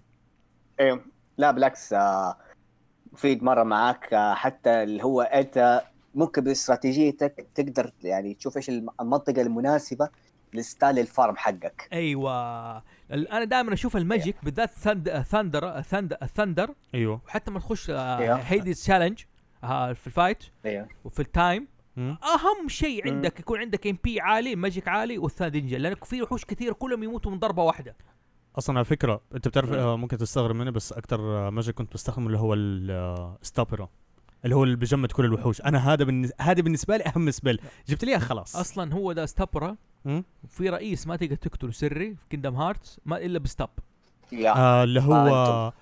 ايوه لا بالعكس آه، مفيد مره معاك آه، حتى اللي هو انت ممكن باستراتيجيتك تقدر يعني تشوف ايش الم- المنطقه المناسبه لستايل الفارم حقك
أيوة.
ايوه ال- انا دائما اشوف الماجيك بالذات ثند- ثندر ثندر ثندر
ايوه
وحتى ما تخش آه،
إيه.
هيديز تشالنج آه، في الفايت
ايوه
وفي التايم
مم.
اهم
Mm.
شيء
مم.
عندك يكون عندك ام بي عالي ماجيك عالي والثاندنجا لان في وحوش كثير كلهم يموتوا من ضربه واحده
اصلا على فكره انت بتعرف آه، ممكن تستغرب مني بس اكثر ماجيك كنت بستخدمه اللي هو الستابرا اللي هو اللي بيجمد كل الوحوش انا هذا بالنس... هذا بالنسبه لي اهم سبيل جبت لي إياه خلاص
اصلا هو ده ستابرا
مم.
في رئيس ما تقدر تقتله سري في كيندم هارتس ما الا بستاب
يا
آه اللي هو
فانتوم.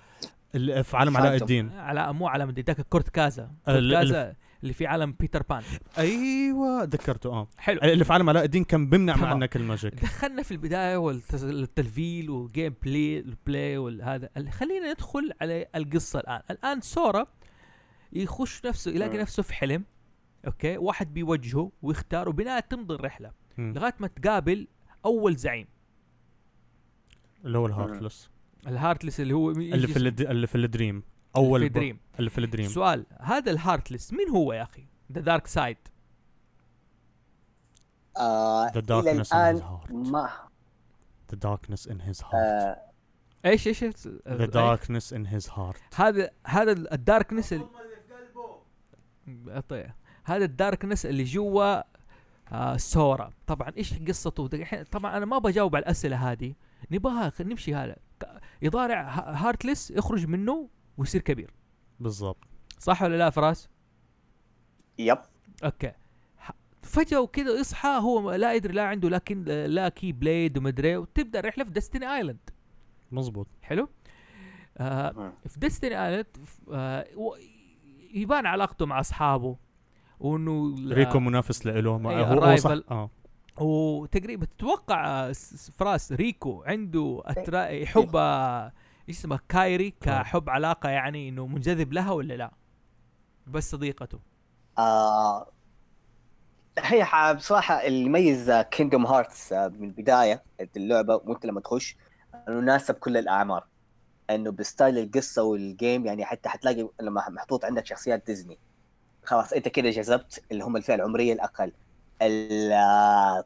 اللي في عالم علاء
فانتوم.
الدين
على مو على مدري ذاك كورت كازا
ال-
كورت كازا اللي في عالم بيتر بان
ايوه ذكرته اه
حلو
اللي في عالم علاء الدين كان بيمنع
تمام.
عنك الماجيك
دخلنا في البدايه والتلفيل والجيم بلاي البلاي والهذا ال- خلينا ندخل على القصه الان الان سورا يخش نفسه يلاقي
آه.
مم.
نفسه في حلم اوكي واحد بيوجهه ويختار وبناء تمضي الرحله
مم.
لغايه ما تقابل اول زعيم
اللي هو الهارتلس
الهارتلس اللي هو
اللي في الد... اللي في الدريم اول
في
ب-
دريم.
اللي في الدريم
سؤال هذا الهارتلس مين هو يا اخي ذا دارك سايد
آه
The
الى
darkness in his
الان
heart.
ما
The darkness in his heart.
آه
ايش ايش إيش؟
The darkness in his heart.
هذا هذا ال- الداركنس ال... أطيع. هذا الداركنس اللي جوا آه سورا طبعا ايش قصته دحين- طبعا انا ما بجاوب على الاسئله هذه نبغاها خ- نمشي هذا ك- يضارع ه- هارتلس يخرج منه ويصير كبير
بالضبط
صح ولا لا فراس
يب
اوكي ح- فجاه وكذا إيه، يصحى هو لا يدري لا عنده لكن لا كي بليد ومدري وتبدا الرحله في ديستني ايلاند
مزبوط
حلو آه
مم.
في ديستني ايلاند آه و- يبان علاقته مع اصحابه وانه ال-
ريكو منافس لإله ما
إيه،
هو, هو صح
Arrival.
اه
وتقريبا تتوقع آه، س- س- فراس ريكو عنده
إيه.
أترا... يحب آه، ايش اسمه كايري
نعم.
كحب علاقه يعني انه منجذب لها ولا لا؟ بس صديقته
آه هي ح- بصراحه اللي يميز كينجدوم هارتس من البدايه اللعبه وانت لما تخش انه يناسب كل الاعمار انه بستايل القصه والجيم يعني حتى حتلاقي لما محطوط عندك شخصيات ديزني خلاص انت كده جذبت اللي هم الفئه العمريه الاقل ال آه،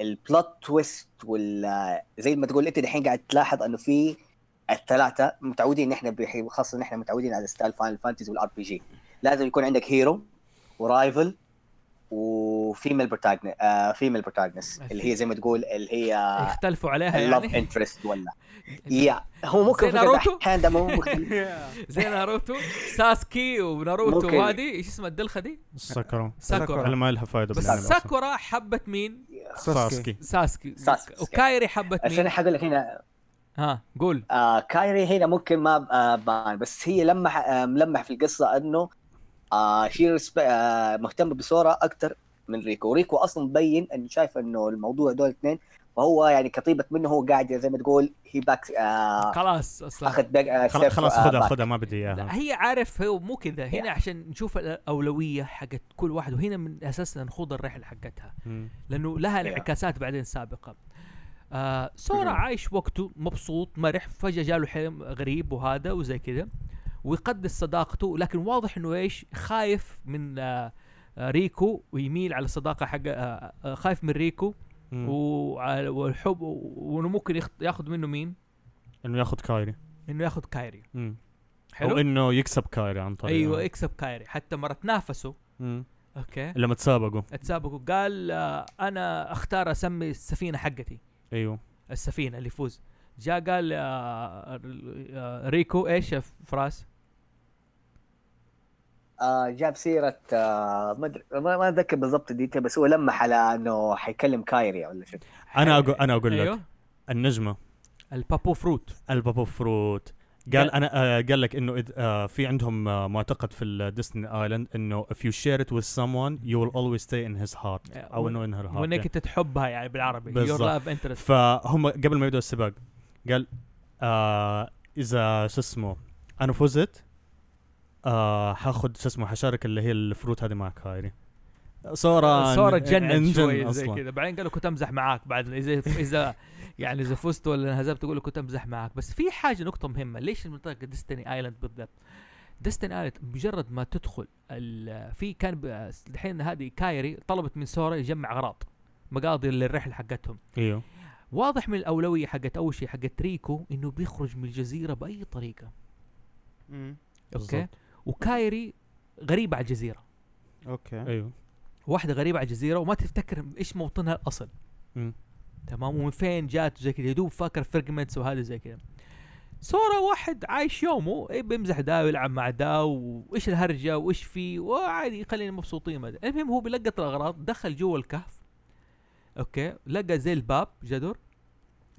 البلوت تويست وال آه، زي ما تقول انت دحين قاعد تلاحظ انه في الثلاثه متعودين ان احنا بح- خاصه ان احنا متعودين على ستايل فاينل فانتسي والار بي جي لازم يكون عندك هيرو ورايفل وفيميل بروتاغنس آه فيميل بروتاغنس اللي هي زي ما تقول اللي هي
يختلفوا عليها
اللاف
يعني
انترست ولا يا هو ممكن
زي
في
ناروتو؟
احيانا دم- هو ممكن
زي ناروتو ساسكي وناروتو
ممكن.
وهذه ايش اسمها الدلخه دي؟
ساكورا
ساكورا.
انا ما لها فايده
بس
بالأنمي أصلاً.
ساكورا حبت مين؟
ساسكي
ساسكي
ساسكي.
وكايري حبت
عشان
مين؟
حقول لك هنا
ها قول
آه كايري هنا ممكن ما آه بان بس هي لمح آه ملمح في القصه انه آه شي رسب- آه مهتم بسورا اكثر من ريكو ريكو اصلا مبين انه شايف انه الموضوع دول اثنين فهو يعني كطيبه منه هو قاعد زي ما تقول هي باك آه
خلاص اصلا
اخذ باك آه
خلا-
step،
خلاص
آه،
خذها
back.
خذها ما بدي
لا
اياها
هي عارف هو مو كذا هنا عشان نشوف الاولويه حقت كل واحد وهنا من اساسنا نخوض الرحله حقتها
مم.
لانه لها
Yeah.
انعكاسات بعدين سابقه آه سورا
Mhm.
عايش وقته مبسوط مرح فجاه جاله حلم غريب وهذا وزي كذا ويقدس صداقته لكن واضح انه ايش خايف من آه آه، ريكو ويميل على الصداقه حق آه، آه، خايف من ريكو
مم.
وعلى- والحب و- وانه ممكن يخت- ياخذ منه مين؟
انه ياخذ كايري
انه ياخذ كايري
مم. او
حلو؟
انه يكسب كايري آه. عن طريق
ايوه اكسب كايري حتى مره تنافسوا
مم.
اوكي
لما تسابقوا
اتسابقوا قال آه، انا اختار اسمي السفينه حقتي
ايوه
السفينه اللي يفوز جاء قال آه، آه، ريكو ايش يا فراس
آه جاب سيرة آه ما أدري- ما ما اتذكر بالضبط الديتيل بس هو لمح على انه حيكلم كايري ولا شيء
انا اقول انا اقول لك
ايوه
النجمه
البابو فروت
البابو فروت
قال-
قال انا آه قال لك انه إذ- آه في عندهم آه معتقد في ديستني ايلاند انه if you share it with someone you will always stay in his heart او انه in her heart
وانك
يعني.
انت تحبها يعني بالعربي
بالضبط.
يور لاف انترست
فهم قبل ما يبدأوا السباق قال آه اذا شو اسمه انا فزت آه حاخد شو اسمه حشارك اللي هي الفروت هذه معك هايري سورا
سورا
إن-
تجنن
إنجن
شوي زي
أصلاً.
كذا بعدين قال له كنت امزح معاك بعد اذا اذا يعني اذا فزت ولا انهزمت اقول له كنت امزح معاك بس في حاجه نقطه مهمه ليش المنطقه ديستني ايلاند بالذات ديستني ايلاند مجرد ما تدخل ال- في كان ب- الحين هذه كايري طلبت من سورا يجمع اغراض مقاضي للرحله حقتهم
ايوه
واضح من الاولويه حقت اول شيء حقت ريكو انه بيخرج من الجزيره باي طريقه
مم.
اوكي
بالضبط.
وكايري غريبه على الجزيره
اوكي
ايوه
واحده غريبه على الجزيره وما تفتكر ايش موطنها الاصل
مم.
تمام ومن فين جات وزي كذا يدوب فاكر فيرجمنتس وهذا زي كذا سورا واحد عايش يومه إيه بيمزح دا ويلعب مع دا وايش الهرجه وايش في وعادي خلينا مبسوطين مدى. المهم هو بيلقط الاغراض دخل جوا الكهف اوكي لقى زي الباب جدر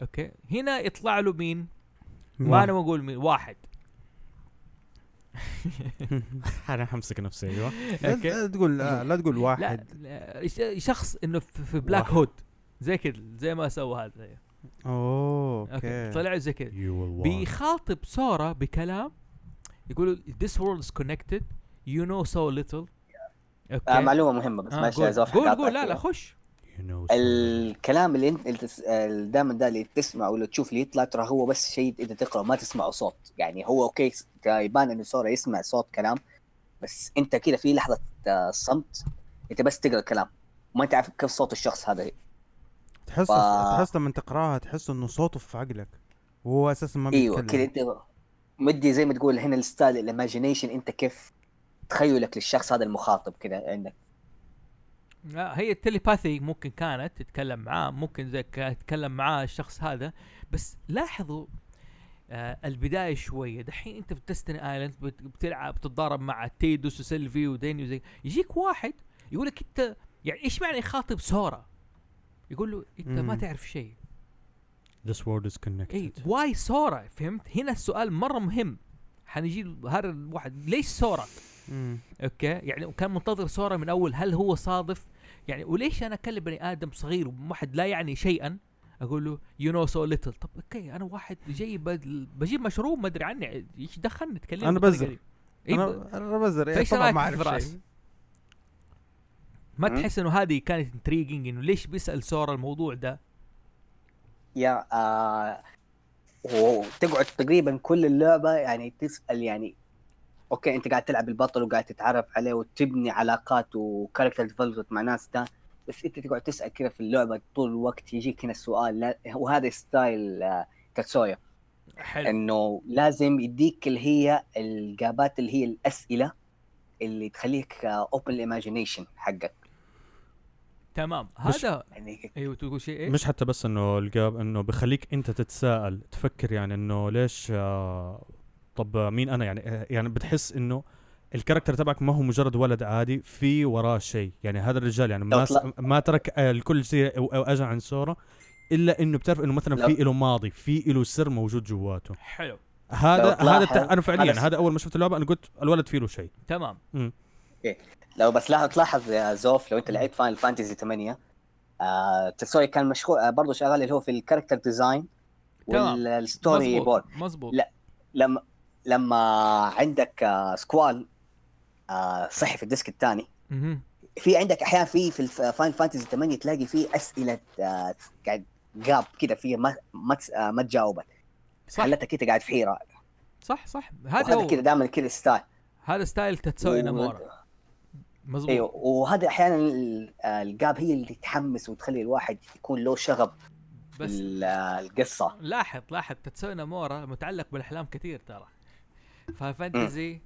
اوكي هنا يطلع له مين؟ ما انا بقول مين واحد
انا حمسك نفسي ايوه
لا-
أوكي.
لا تقول آه، لا, لا تقول
لا,
واحد
لا ش- شخص انه في في بلاك
واحد.
هود زي كذا زي ما سوى هذا
اوه
اوكي
اوكي
طلع زي كذا
يو
بيخاطب سورا بكلام يقول this world is connected you know so little
آه
اوكي
معلومه مهمه بس
آه،
معلش
قول-
يا زوف
قول
حقاطعك
قول لا لا
فيها.
خش
الكلام اللي انت اللي تس- اللي دائما ده اللي تسمعه ولا تشوف اللي يطلع ترى هو بس شيء اذا تقرا ما تسمعه صوت يعني هو اوكي س- يبان انه سورا يسمع صوت كلام بس انت كده في لحظه آه، صمت انت بس تقرا الكلام ما انت عارف كيف صوت الشخص هذا
تحس
ف-
تحس لما تقراها تحس انه صوته في عقلك وهو اساسا ما
ايوه
بيتكلم
كده انت مدي زي ما تقول هنا الستايل الايماجينيشن انت كيف تخيلك للشخص هذا المخاطب كده يعني عندك
آه، هي التليباثي ممكن كانت تتكلم معاه ممكن زي كانت تتكلم معاه الشخص هذا بس لاحظوا آه البدايه شويه دحين انت في ديستني ايلاند بت- بتلعب بتتضارب مع تيدوس وسيلفي وديني وزي يجيك واحد يقول لك انت يعني ايش معنى يخاطب سورا؟ يقول له انت ما
مم.
تعرف شيء
This world is connected.
اي إيه، واي سورا فهمت هنا السؤال مره مهم حنجي هذا الواحد ليش سورا
مم.
اوكي يعني كان منتظر سورا من اول هل هو صادف يعني وليش انا اكلم بني ادم صغير واحد لا يعني شيئا اقول له يو نو سو ليتل طب اوكي انا واحد جاي بد- بجيب مشروب ما ادري عني ايش دخلني تكلمني
أنا
بطريقة
بزر.
دي. إيه، ب-
انا انا بزر يعني
فإيش
طبعا
رأيك
ما
في
اعرف
الفراس؟
شيء
ما
مم.
تحس انه هذه كانت انتريجنج انه ليش بيسال سورا الموضوع ده
يا آه وتقعد تقريبا كل اللعبه يعني تسال يعني اوكي انت قاعد تلعب البطل وقاعد تتعرف عليه وتبني علاقات وكاركتر ديفلوبمنت مع ناس ده بس انت تقعد تسال كده في اللعبه طول الوقت يجيك هنا السؤال لا وهذا ستايل آه، كاتسويا يعني
حلو
انه لازم يديك اللي هي الاجابات اللي هي الاسئله اللي تخليك اوبن الايماجينيشن حقك
تمام
مش-
هذا
يعني
ايوه تقول شيء ايه
مش حتى بس انه الجاب انه بخليك انت تتساءل تفكر يعني انه ليش آه طب مين انا يعني آه، يعني بتحس انه الكاركتر تبعك ما هو مجرد ولد عادي في وراه شيء يعني هذا الرجال يعني ما
لو
س-
طلع-
ما ترك آه، الكل شيء أو- أو اجى عن سورة الا انه بتعرف انه مثلا
لو-
في له ماضي في له سر موجود جواته
حلو
هذا هذا
تلاحظ-
الت- انا فعليا
هذا-
هذا اول ما شفت اللعبه انا قلت الولد في له شيء
تمام
لو بس لا تلاحظ يا زوف لو انت لعبت فاينل فانتزي 8 آه تسوي كان مشغول آه برضه شغال اللي هو في الكاركتر ديزاين
تمام.
والستوري
مزبوط،
بورد
مزبوط
لا. لما لما عندك آه سكوال آه صحي في الديسك الثاني
مهم.
في عندك احيان في في فاين فانتزي 8 تلاقي في اسئله آه، قاعد جاب كده في ما ما, تس- آه، ما تجاوبت
صح
خلتك انت قاعد في حيره
صح صح هذا
وهذا
هو
كده دائما كده ستايل
هذا ستايل تتسوي
و-
نامورا مزبوط
ايوه وهذا احيانا ال- آه، الجاب هي اللي تحمس وتخلي الواحد يكون له شغف
بس
بال- آه، القصه
لاحظ لاحظ تتسوي نامورا متعلق بالاحلام كثير ترى ففانتزي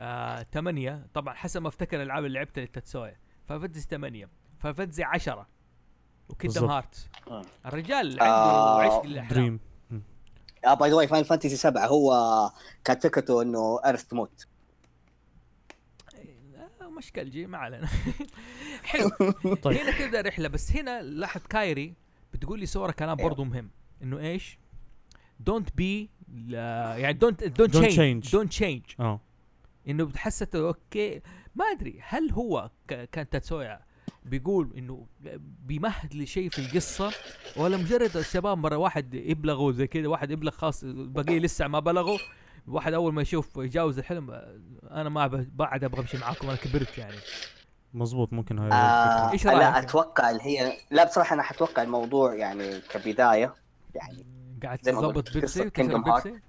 آه 8 طبعا حسب ما افتكر الالعاب اللي لعبتها للتتسوية ففانتزي 8 ففانتزي 10 وكيندم
بالضبط.
هارت
آه.
الرجال عنده
آه،
عشق للاحلام
دريم
آه باي ذا واي فاين فانتسي 7 هو كانت فكرته انه ايرث تموت
آه، مشكل جي ما علينا حلو
طيب.
هنا تبدا الرحله بس هنا لاحظ كايري بتقول لي سورا كلام
أيوه.
أيوة.
برضو مهم انه ايش دونت بي يعني دونت دونت
Don't
تشينج
change.
دونت تشينج
اه
انه بتحسس اوكي ما ادري هل هو ك- كان تاتسويا بيقول انه بيمهد لشيء في القصه ولا مجرد الشباب مره واحد يبلغوا زي كذا واحد يبلغ خاص البقيه لسه ما بلغوا واحد اول ما يشوف يجاوز الحلم انا ما ب- بعد ابغى امشي معاكم انا كبرت يعني
مزبوط ممكن هاي
آه
إيش
لا
رأيك؟
اتوقع اللي هي لا بصراحه انا حتوقع الموضوع يعني كبدايه يعني
قاعد
زي ما قلت،
تظبط بيبسي
قصة
وتشرب
Kingdom Hearts.
بيبسي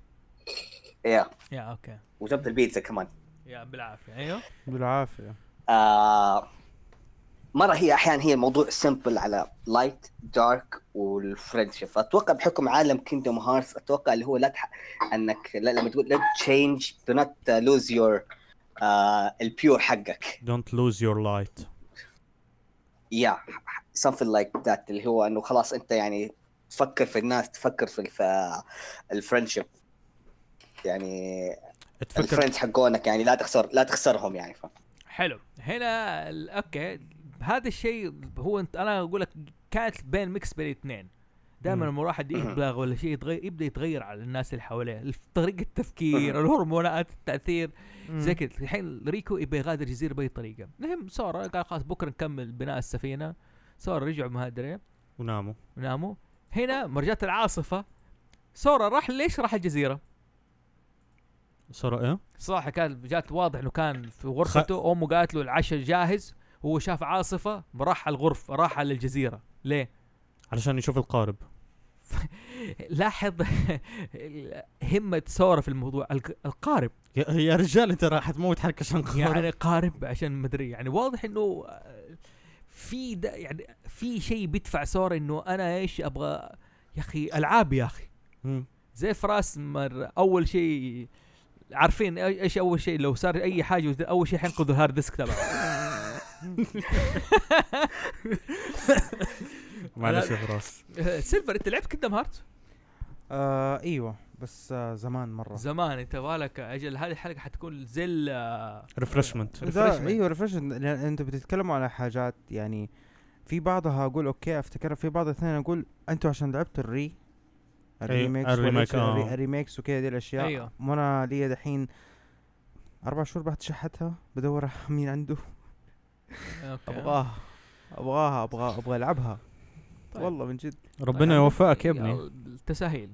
يا
يا اوكي
وجبت البيتزا كمان
يا بالعافيه ايوه
بالعافيه
آه مره هي احيانا هي موضوع سمبل على لايت دارك والفرنشيب فاتوقع بحكم عالم كيندوم هارتس اتوقع اللي هو لا تح... انك لا لما تقول لا تشينج دو نوت لوز يور البيور آه، حقك
دونت لوز يور لايت
يا something like that اللي هو انه خلاص انت يعني تفكر في الناس تفكر في الف... الفرنشيب يعني
تفكر
الفريندز حقونك يعني لا تخسر لا تخسرهم يعني ف...
حلو هنا ال- اوكي هذا الشيء هو انت انا اقول لك كانت بين ميكس بين الاثنين دائما
مم.
لما الواحد يبلغ ولا شيء يتغير يبدا يتغير على الناس اللي حواليه الف- طريقه التفكير الهرمونات التاثير زي كذا الحين ريكو يبغى يغادر الجزيره باي طريقه المهم سارة قال خلاص بكره نكمل بناء السفينه سارة رجعوا ما ادري
وناموا
وناموا هنا مرجات العاصفه سورا راح ليش راح الجزيره؟
صار ايه؟
صراحه كان جات واضح انه كان في غرفته امه قالت له العشاء جاهز هو شاف عاصفه راح على الغرفه راح على الجزيره ليه؟
علشان يشوف القارب
لاحظ ال- همه سورا في الموضوع الق- القارب
يا, يا رجال انت راح تموت حالك عشان قارب
يعني قارب عشان مدري يعني واضح انه آه، في ده يعني في شيء بيدفع سورا انه انا ايش ابغى يا اخي العاب يا اخي
مم.
زي فراس مر اول شيء عارفين أي- ايش اول شيء لو صار اي حاجه وز- اول شيء حينقذوا الهارد ديسك تبعه
معلش يا فراس
آه، سيلفر انت لعبت كيندم هارت
آه ايوه بس آه زمان مره
زمان انت بالك اجل هذه الحلقه حتكون زل آه،
ريفرشمنت
refreshment.
ذا- ايوه ريفرشمنت لان انتم بتتكلموا على حاجات يعني في بعضها اقول اوكي افتكرها في بعض الثانيه اقول انتوا عشان لعبتوا الري الريميكس
الريميك،
والإتش-
آه.
الريميكس وكذا دي الاشياء
أيوه.
وانا لي دحين اربع شهور بعد شحتها بدور مين عنده
أوكي.
ابغاها ابغاها ابغى ابغى العبها
طيب.
والله من جد
ربنا
يعني
يوفقك يا ابني
يلا، التساهيل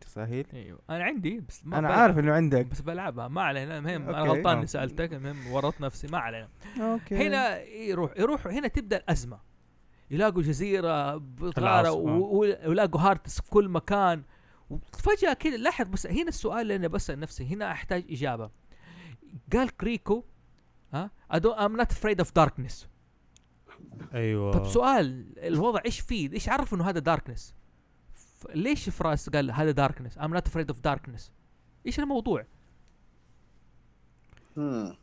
تساهيل
ايوه انا عندي بس ما
انا
بلعب.
عارف انه عندك
بس بلعبها ما علينا المهم انا
أوكي.
غلطان اني
آه.
سالتك المهم ورطت نفسي ما علينا
اوكي
هنا يروح يروح هنا تبدا الازمه يلاقوا جزيره بطاره
العاصمة.
و- و- ويلاقوا هارتس في كل مكان فجاه كده لاحظ بس هنا السؤال اللي انا بسال نفسي هنا احتاج اجابه قال كريكو ها ام نوت افريد اوف داركنس
ايوه
طب سؤال الوضع ايش فيه؟ ايش عرف انه هذا داركنس؟ ليش فراس قال هذا داركنس؟ ام نوت افريد اوف داركنس. ايش الموضوع؟
مم.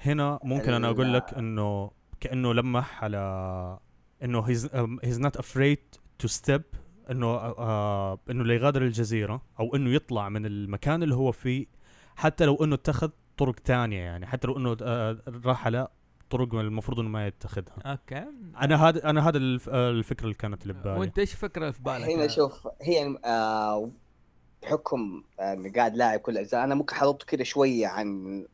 هنا ممكن انا اقول لك
ال-
انه كانه لمح على um, انه هيز هيز نوت افريد تو ستيب انه آه انه لا يغادر الجزيره او انه يطلع من المكان اللي هو فيه حتى لو انه اتخذ طرق تانية يعني حتى لو انه آه راح على طرق المفروض انه ما يتخذها
اوكي
انا هذا انا هذا الف- آه، الفكره اللي كانت اللي ببالي
وانت ايش فكره في بالك؟
هنا شوف هي آه بحكم آه، اني قاعد لاعب كل الاجزاء انا ممكن حضرته كده شويه عن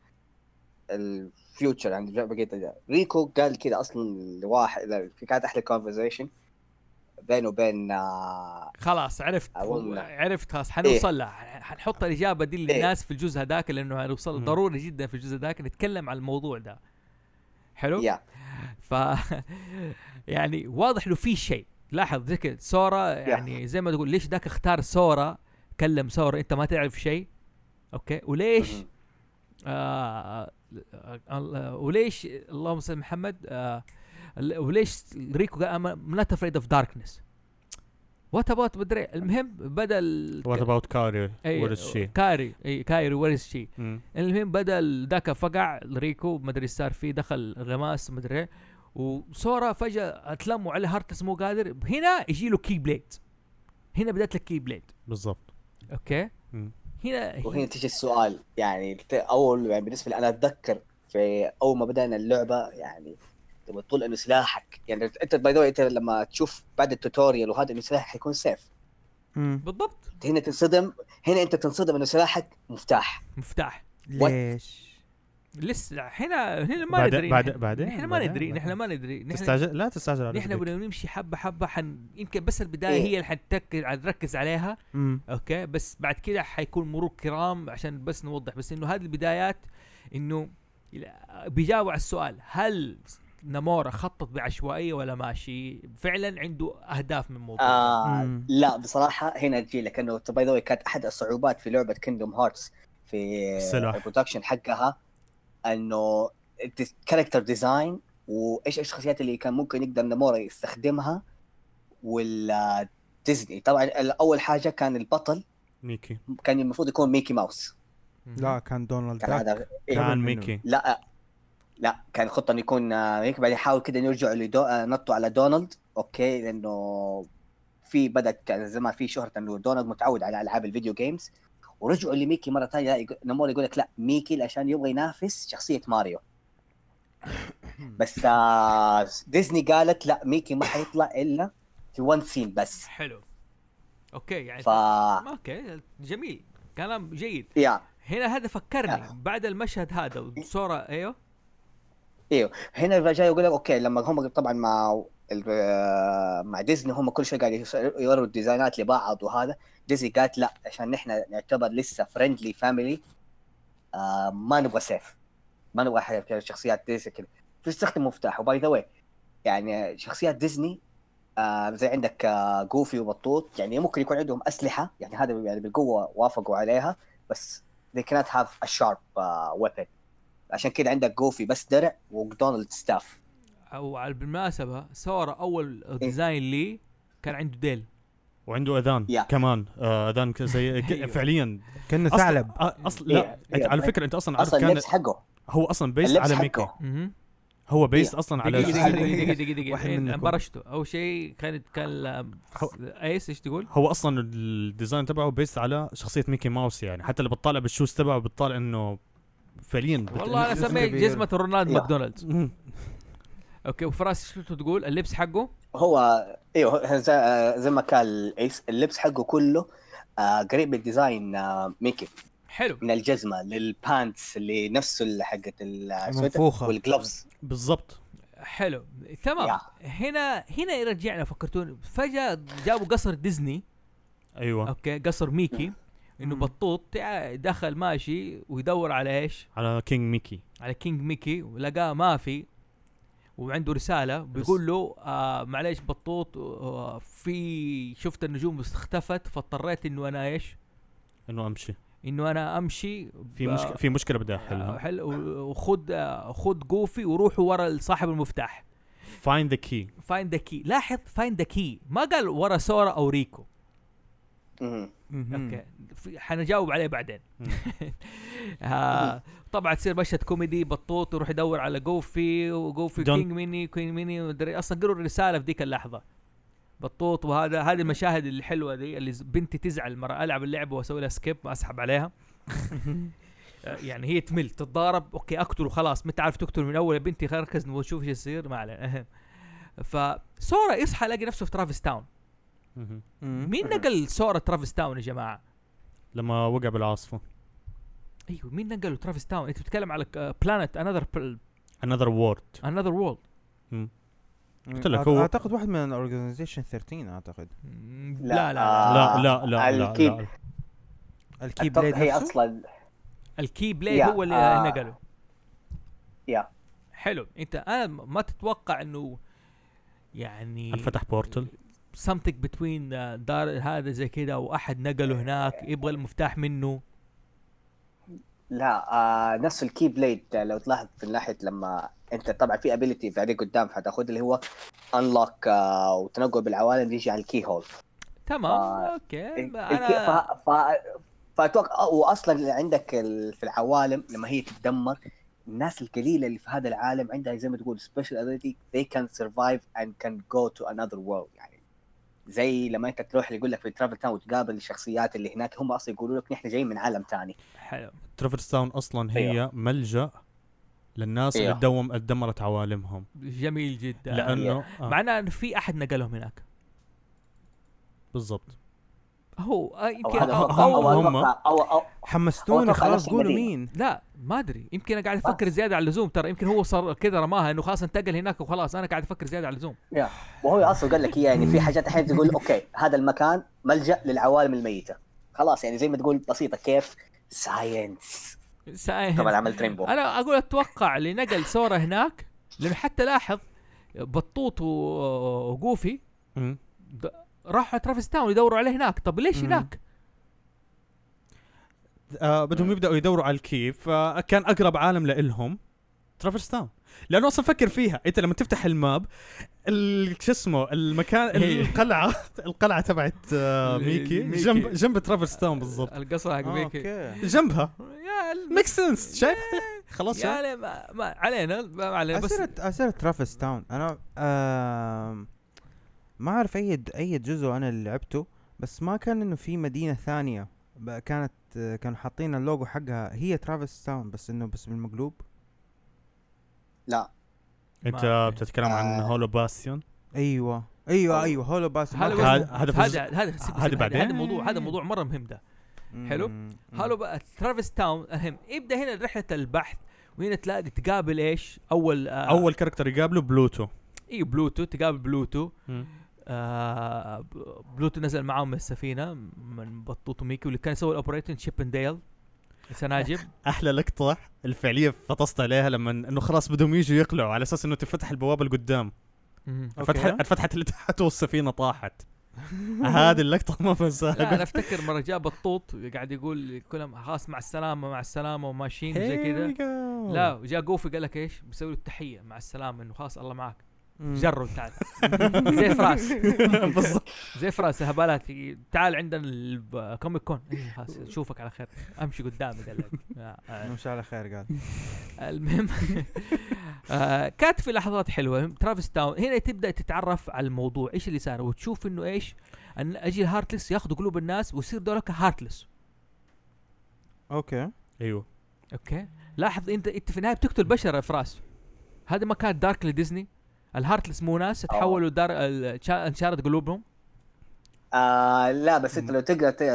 الفيوتشر عن بقيه الأجزاء. ريكو قال كده اصلا لواحد في كانت احلى كونفرزيشن بينه وبين آه
خلاص عرفت
أظن.
عرفت خلاص حنوصل لها حنحط الاجابه دي للناس في الجزء هذاك لانه حنوصل
مم.
ضروري جدا في الجزء هذاك نتكلم عن الموضوع ده حلو؟
يا
ف يعني واضح انه في شيء لاحظ ذكر سورا يعني زي ما تقول ليش ذاك اختار سورا كلم سورا انت ما تعرف شيء اوكي وليش
مهم.
آه آه، آه، وليش اللهم صل على محمد آه ال- وليش ريكو قال نوت افريد اوف داركنس وات اباوت مدري المهم بدا ال-
وات اباوت كاري
أي-
وات شي
كاري اي كايري ويرز شي
Mm.
المهم بدا ذاك فقع ريكو مدري ايش صار فيه دخل غماس مدري إيه، وسورا فجاه اتلموا على هارتس مو قادر هنا يجي له كي بليد هنا بدات لك كي بليد
بالضبط
اوكي
مم.
هنا
وهنا تيجي السؤال يعني ت- اول يعني بالنسبه لي انا اتذكر في اول ما بدانا اللعبه يعني لما تقول انه سلاحك يعني انت باي ذا انت لما تشوف بعد التوتوريال وهذا انه سلاحك حيكون سيف
مم.
بالضبط
هنا تنصدم هنا انت تنصدم انه سلاحك مفتاح
مفتاح
ليش؟
لسه هنا هنا ما
بعد-
ندري
بعد-
نحن-
بعدين-
نحن ما
بعدين-
ندري نحن
بعدين.
ما ندري نحن
تستعجل لا تستعجل على
نحن
رجليك.
بدنا نمشي حبه حبه حن يمكن بس البدايه
إيه.
هي اللي حنتكر حنركز عليها
مم.
اوكي بس بعد كده حيكون مرور كرام عشان بس نوضح بس انه هذه البدايات انه لا- بيجاوب على السؤال هل نامورا خطط بعشوائيه ولا ماشي فعلا عنده اهداف من الموضوع
آه
مم.
لا بصراحه هنا تجي لك انه باي ذا كانت احد الصعوبات في لعبه كيندوم هارتس في
السلاح.
البرودكشن حقها انه الكاركتر ديزاين وايش ايش الشخصيات اللي كان ممكن يقدر نامورا يستخدمها ولا ديزني طبعا اول حاجه كان البطل
ميكي
كان المفروض يكون ميكي ماوس
مهم.
لا كان دونالد
كان
داك
هذا
كان
كان
منه.
ميكي
لا لا كان الخطه انه يكون آه، هيك بعدين يحاول كده يرجعوا لدو... آه، نطوا على دونالد اوكي لانه في بدات كان زمان في شهره انه دونالد متعود على العاب الفيديو جيمز ورجعوا لميكي مره ثانيه لا يق- نمور يقول لك لا ميكي عشان يبغى ينافس شخصيه ماريو بس آه، ديزني قالت لا ميكي ما حيطلع الا في وان سين بس
حلو اوكي يعني
ف
اوكي جميل كلام جيد
يا
هنا هذا
آه.
فكرني بعد المشهد هذا وسورا ايوه
هنا الرجال يقول لك اوكي لما هم طبعا مع ال- مع ديزني هم كل شيء قاعد يس- يوروا الديزاينات لبعض وهذا ديزني قالت لا عشان نحن نعتبر لسه فريندلي فاميلي آه ما نبغى سيف ما نبغى حاجة كده، شخصيات ديزني كده تستخدم مفتاح وباي ذا يعني شخصيات ديزني آه زي عندك آه جوفي وبطوط يعني ممكن يكون عندهم اسلحه يعني هذا يعني بالقوه وافقوا عليها بس they cannot have a sharp uh, weapon عشان كده عندك جوفي بس درع ودونالد ستاف
او على- بالمناسبه سورا
إيه.
اول ديزاين لي كان عنده ديل
وعنده اذان
يا.
كمان آه، اذان ك- زي ك-
أيوه.
فعليا
كنا
أصلاً-
ثعلب
آه، اصلا لا
إيه،
أنت
إيه.
على فكره انت اصلا عارف
اصلا
كان
اللبس حقه
هو اصلا بيست
اللبس
على ميكي
حقه
مهم.
هو بيست اصلا على
دقيقة
على-
دقيقة دقيقة دقيقة دقيقة
واحد
إيه،
منكم.
برشته أول شيء خلينا نتكلم ايس ايش تقول؟
هو اصلا الديزاين تبعه بيست على شخصيه ميكي ماوس يعني حتى اللي بتطالع بالشوز تبعه بتطالع انه فعليا بت-
والله أنا
جزء
سميت
كبير.
جزمة رونالد
يا.
ماكدونالدز
مم.
أوكي وفراس شو تقول اللبس حقه؟
هو ايوه زي, آه، زي ما كان الايس اللبس حقه كله آه، قريب من ديزاين آه، ميكي
حلو
من الجزمه للبانتس اللي نفسه اللي حقت إيه السويتر
منفوخة.
والجلوفز
بالضبط
حلو تمام هنا هنا يرجعنا فكرتوني فجاه جابوا قصر ديزني
ايوه
اوكي قصر ميكي انه
مم.
بطوط تع- دخل ماشي ويدور على ايش؟
على كينج ميكي
على كينج ميكي ولقاه ما في وعنده رساله بيقول له آه معلش بطوط آه في شفت النجوم اختفت فاضطريت انه انا ايش؟
انه امشي
انه انا امشي
في
ب-
مشكله في مشكله بدي
آه،
احلها
حل و- وخد آه، خد جوفي وروحوا ورا صاحب المفتاح
فايند ذا كي
فاين ذا كي لاحظ فاين ذا كي ما قال ورا سورا او ريكو
مهم.
اوكي في- حنجاوب عليه بعدين
مم.
آه طبعا تصير مشهد كوميدي بطوط يروح يدور على جوفي وجوفي
جون.
كينج ميني كوين ميني ومدري اصلا قروا الرساله في ذيك اللحظه بطوط وهذا هذه المشاهد الحلوه دي اللي ز- بنتي تزعل مرة العب اللعبه واسوي لها سكيب اسحب عليها آه، يعني هي تمل تتضارب اوكي اقتله خلاص متى عارف تقتل من اول يا بنتي خلينا نركز ونشوف ايش يصير ما علينا فسورا يصحى يلاقي نفسه في ترافيس تاون
مهم.
مين نقل سورا ترافيس تاون يا جماعه
لما وقع بالعاصفه
ايوه مين نقله ترافيس تاون انت بتتكلم على بلانت انذر
انذر وورد
انذر وورلد
قلت لك هو-
اعتقد واحد من اورجنايزيشن 13 اعتقد
لا لا, لا.
لا
آه،
لا لا لا,
الكيب.
لا.
الكي
أتوقع
بليد
هي
نفسه؟
اصلا
الكي بلاي
يا،
هو اللي
آه.
نقله
يا.
حلو انت انا م- ما تتوقع انه يعني
انفتح بورتل
something between آه، دار هذا زي كذا واحد نقله هناك يبغى المفتاح منه
لا آه نفس الكي بليد آه، لو تلاحظ في ناحيه لما انت طبعا في ابيلتي في عليك قدام حتاخذ اللي هو انلوك آه وتنقل بالعوالم يجي على الكي هول
تمام
آه،
اوكي
الك-
ما
الكي-
انا
ف... ف... فاتوقع واصلا عندك ال... في العوالم لما هي تتدمر الناس القليله اللي في هذا العالم عندها زي ما تقول سبيشال ability they can survive and can go to another world يعني زي لما انت تروح يقول لك في ترافل تاون وتقابل الشخصيات اللي هناك هم اصلا يقولوا لك نحن جايين من عالم ثاني
حلو
ترافرس تاون اصلا هي ملجا للناس اللي
أيوه.
تدوم اتدمرت عوالمهم
جميل جدا
لانه آه
معناه انه في احد نقلهم هناك
بالضبط
هو آه،
او
يمكن
هذا
أو
هو-
أتوقع-
أو
هو-
او
هم-
أتوقع- او او
حمستوني
أتوقع
خلاص
نفس
قولوا
المدينة.
مين
لا ما ادري يمكن انا قاعد افكر زياده على اللزوم ترى يمكن هو صار كذا رماها انه خلاص انتقل هناك وخلاص انا قاعد افكر زياده على اللزوم
يا وهو اصلا قال لك إياه، يعني في حاجات احيانا تقول اوكي هذا المكان ملجا للعوالم الميته خلاص يعني زي ما تقول بسيطه كيف ساينس
إيه.
ساينس.
طبعا عملت رينبو
انا اقول اتوقع اللي نقل سورا هناك لانه حتى لاحظ بطوط و- وجوفي
مم.
د- راحوا ترافيس تاون يدوروا عليه هناك طب ليش
مم.
هناك؟
آه بدهم يبداوا يدوروا على الكي فكان اقرب عالم لإلهم ترافرس تاون لانه اصلا فكر فيها انت لما تفتح الماب ال- شو اسمه المكان
إيه.
القلعه القلعه تبعت آه
ال-
ميكي
ميكي.
جنب جنب ترافرس تاون بالضبط
القصر حق
آه،
ميكي
اوكي
جنبها
يا الم-
ميك سنس شايف إيه، خلاص
يا
شايف؟
علي ما, ما علينا ما علينا بس
اسيرة اسيرة ترافيس تاون انا آم، ما اعرف اي د- اي جزء انا اللي لعبته بس ما كان انه في مدينة ثانية ب- كانت آه، كانوا حاطين اللوجو حقها هي ترافيس تاون بس انه بس بالمقلوب
لا
ما-
انت بتتكلم عن
آه.
هولو باستيون
ايوه ايوه
أو-
ايوه هولو باس
هذا
هذا-
بس-
هذا بس-
هذا هذا سيب- سيب- هذا
بعدين.
هذا موضوع هذا موضوع مره مهم ده حلو. هالو بقى ترافيس تاون اهم يبدا هنا رحله البحث وهنا تلاقي تقابل ايش اول آه
اول كاركتر يقابله بلوتو
اي بلوتو تقابل بلوتو
مم.
آه ب- بلوتو نزل معاهم من السفينه من بطوط وميكي واللي كان يسوي الاوبريتنج شيبنديل سناجب
احلى لقطه الفعليه فطست عليها لما انه خلاص بدهم يجوا يقلعوا على اساس انه تفتح البوابه اللي قدام
مهم.
أوكي.
فتحت فتحت اللي تحت والسفينه طاحت هذه اللقطه ما
لا انا
بنساها
افتكر مره جاء بطوط قاعد يقول كلهم خلاص مع السلامه مع السلامه وماشيين وزي كذا لا وجاء جوفي قال لك ايش؟ بيسوي له التحيه مع السلامه انه خلاص الله معك جروا تعال زي فراس
بالضبط
زي فراس هبالات تعال عندنا الكوميك كون إيه، خلاص اشوفك على خير امشي قدامي قال لك آه، آه.
مش على خير قال
المهم آه، كانت في لحظات حلوه ترافيس تاون هنا تبدا تتعرف على الموضوع ايش اللي صار وتشوف انه ايش ان اجي الهارتلس ياخذوا قلوب الناس ويصير دولك هارتلس
اوكي
ايوه
اوكي لاحظ انت انت في النهايه بتقتل بشر يا فراس هذا ما كان دارك لديزني الهارتلس مو ناس تحولوا دار ال- شا- انشارت قلوبهم
آه لا بس انت لو تقرا ت- آه،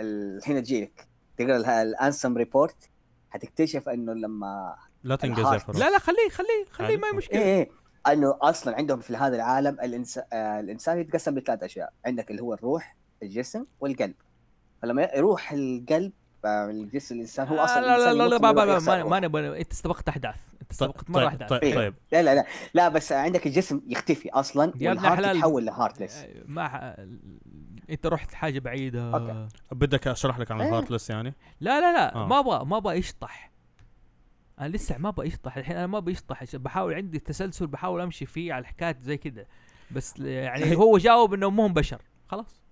ال- هنا تجيلك تقرا الانسم ريبورت حتكتشف انه لما
لا تنقز يا
الحارة.
فراس
لا لا خليه خليه خليه ما هي
عادي.
مشكله
ايه ايه انه اصلا عندهم في هذا العالم الانس... آه الانسان يتقسم لثلاث اشياء عندك اللي هو الروح الجسم والقلب فلما يروح القلب آه، الجسم الانسان هو اصلا
آه، لا لا
الإنسان
لا لا
يموت
ما
من
ما- ما-
يخسر
ما-
روح.
ما نبغى انت استبقت احداث انت
طيب
استبقت مره
طيب
احداث
طيب
إيه.
طيب
لا لا لا لا بس عندك الجسم يختفي اصلا
يا ابن
والهارت
الحلال.
يتحول لهارتلس
آه، ما ح... انت رحت حاجه بعيده
أوكي.
بدك اشرح لك عن
إيه.
الهارتلس يعني
لا لا لا
آه.
ما ابغى ما ابغى اشطح انا لسه ما ابغى اشطح الحين انا ما ابغى اشطح عشان بحاول عندي تسلسل بحاول امشي فيه على حكايات زي كذا بس ل- يعني هو جاوب انه مو هم بشر خلاص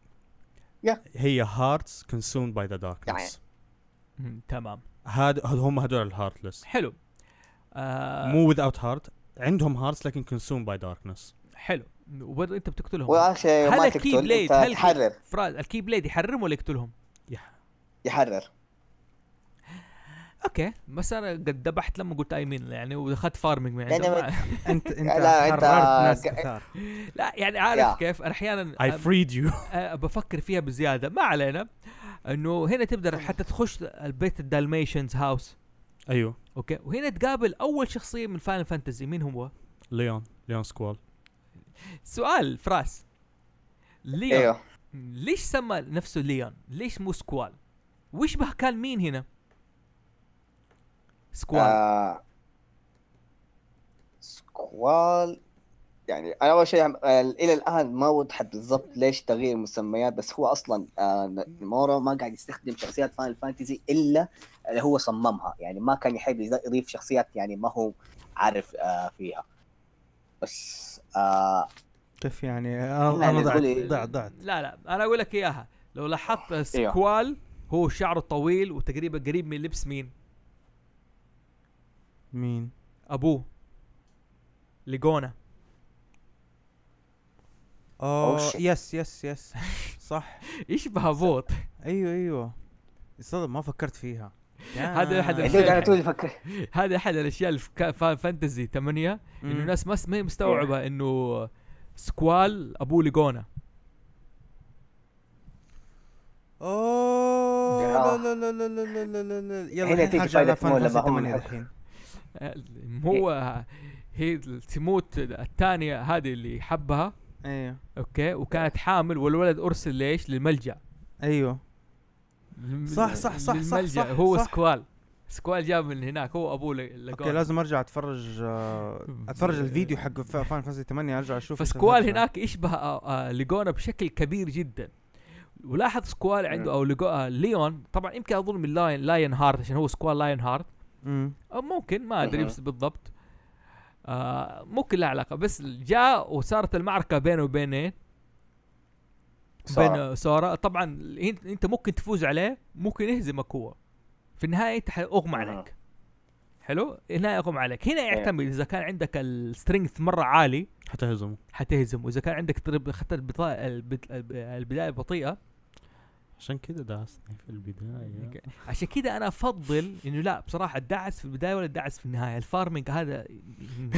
هي هارتس كونسومد باي ذا داركنس
مم، تمام
هاد هاد- هم هدول الهارتلس
حلو آه
مو وذاوت هارت عندهم هارتس لكن كونسوم باي داركنس
حلو وبرضه انت بتقتلهم
واخي
هل
ما
الكي
تقتل
بليد
انت
هل
تحرر
فراز الكي بليد يحرم ولا يقتلهم؟
يحرر
اوكي بس انا قد ذبحت لما قلت اي مين يعني ودخلت فارمنج من
يعني
عندهم
ما-
ما-
انت انت
لا، أنت
حررت ناس
ق-
كثار
لا يعني
يا.
عارف كيف انا احيانا
اي فريد يو
أه، بفكر فيها بزياده ما علينا انه هنا تقدر حتى تخش البيت الدالميشنز هاوس
ايوه
اوكي وهنا تقابل اول شخصيه من فاينل فانتزي مين هو؟
ليون ليون سكوال
سؤال فراس ليون
ايوه
ليش سمى نفسه ليون؟ ليش مو سكوال؟ ويشبه كان مين هنا؟ سكوال آه.
آه، سكوال يعني انا اول شيء آه، الى الان ما وضحت بالضبط ليش تغيير المسميات بس هو اصلا آه، نيمورو ما قاعد يستخدم شخصيات فاينل فانتزي الا اللي هو صممها يعني ما كان يحب يز- يضيف شخصيات يعني ما هو عارف آه، فيها بس آه
كيف يعني
لا،
انا انا
تقولي-
ضعت ضعت ضعت
لا لا انا اقول لك اياها لو لاحظت سكوال هو شعره طويل وتقريبا قريب من لبس مين؟
مين؟
ابوه ليجونا
اوه
shit.
آه، يس يس يس صح
يشبه ابوه
ايوه ايوه صدق ما فكرت فيها
هذا أحد
دام.
يا
الشيء
دود انا
الحين.
طول فكر
هذا احد الاشياء اللي في كا- فا- فانتزي 8 انه
مم.
الناس ما ما هي مستوعبه انه سكوال ابوه ليجونا
اوه
يا.
لا لا لا لا لا لا لا لا يلا
آه. هنا
الحين
تيجي
حرجع على
فايدة
فان
مول لما هم
ثمانية
يحبوا.
الحين
آه، هو هي تموت الثانيه هذه اللي حبها
ايوه
اوكي وكانت حامل والولد ارسل ليش؟ للملجا
ايوه
للم-
صح- صح- صح- صح-
للملجأ.
صح-
هو
صح.
سكوال سكوال جاب من هناك هو ابوه ل-
اوكي
ليجونا
لازم ارجع اتفرج آه، اتفرج الفيديو حق فان فانتسي 8 ارجع اشوف إيش
فسكوال
الهرجة.
هناك يشبه آه، آه، ليجونا بشكل كبير جدا ولاحظ سكوال عنده او ليجو- آه، ليون طبعا يمكن اظن من لاين لاين هارت عشان هو سكوال لاين هارت
أمم.
او ممكن ما ادري
مهم.
بس بالضبط آه ممكن لا علاقه بس جاء وصارت المعركه بينه وبين إيه؟
سورا.
بين سورا طبعا انت انت ممكن تفوز عليه ممكن يهزمك هو في النهايه انت اغمى
أها.
عليك حلو هنا اغمى عليك هنا يعتمد اذا كان عندك السترينث مره عالي
حتهزمه
حتهزم واذا كان عندك ترب خطة البطا- البت- الب- البدايه بطيئه
عشان كذا دعسني في البدايه
عشان كذا انا افضل انه لا بصراحه الدعس في البدايه ولا الدعس في النهايه الفارمنج هذا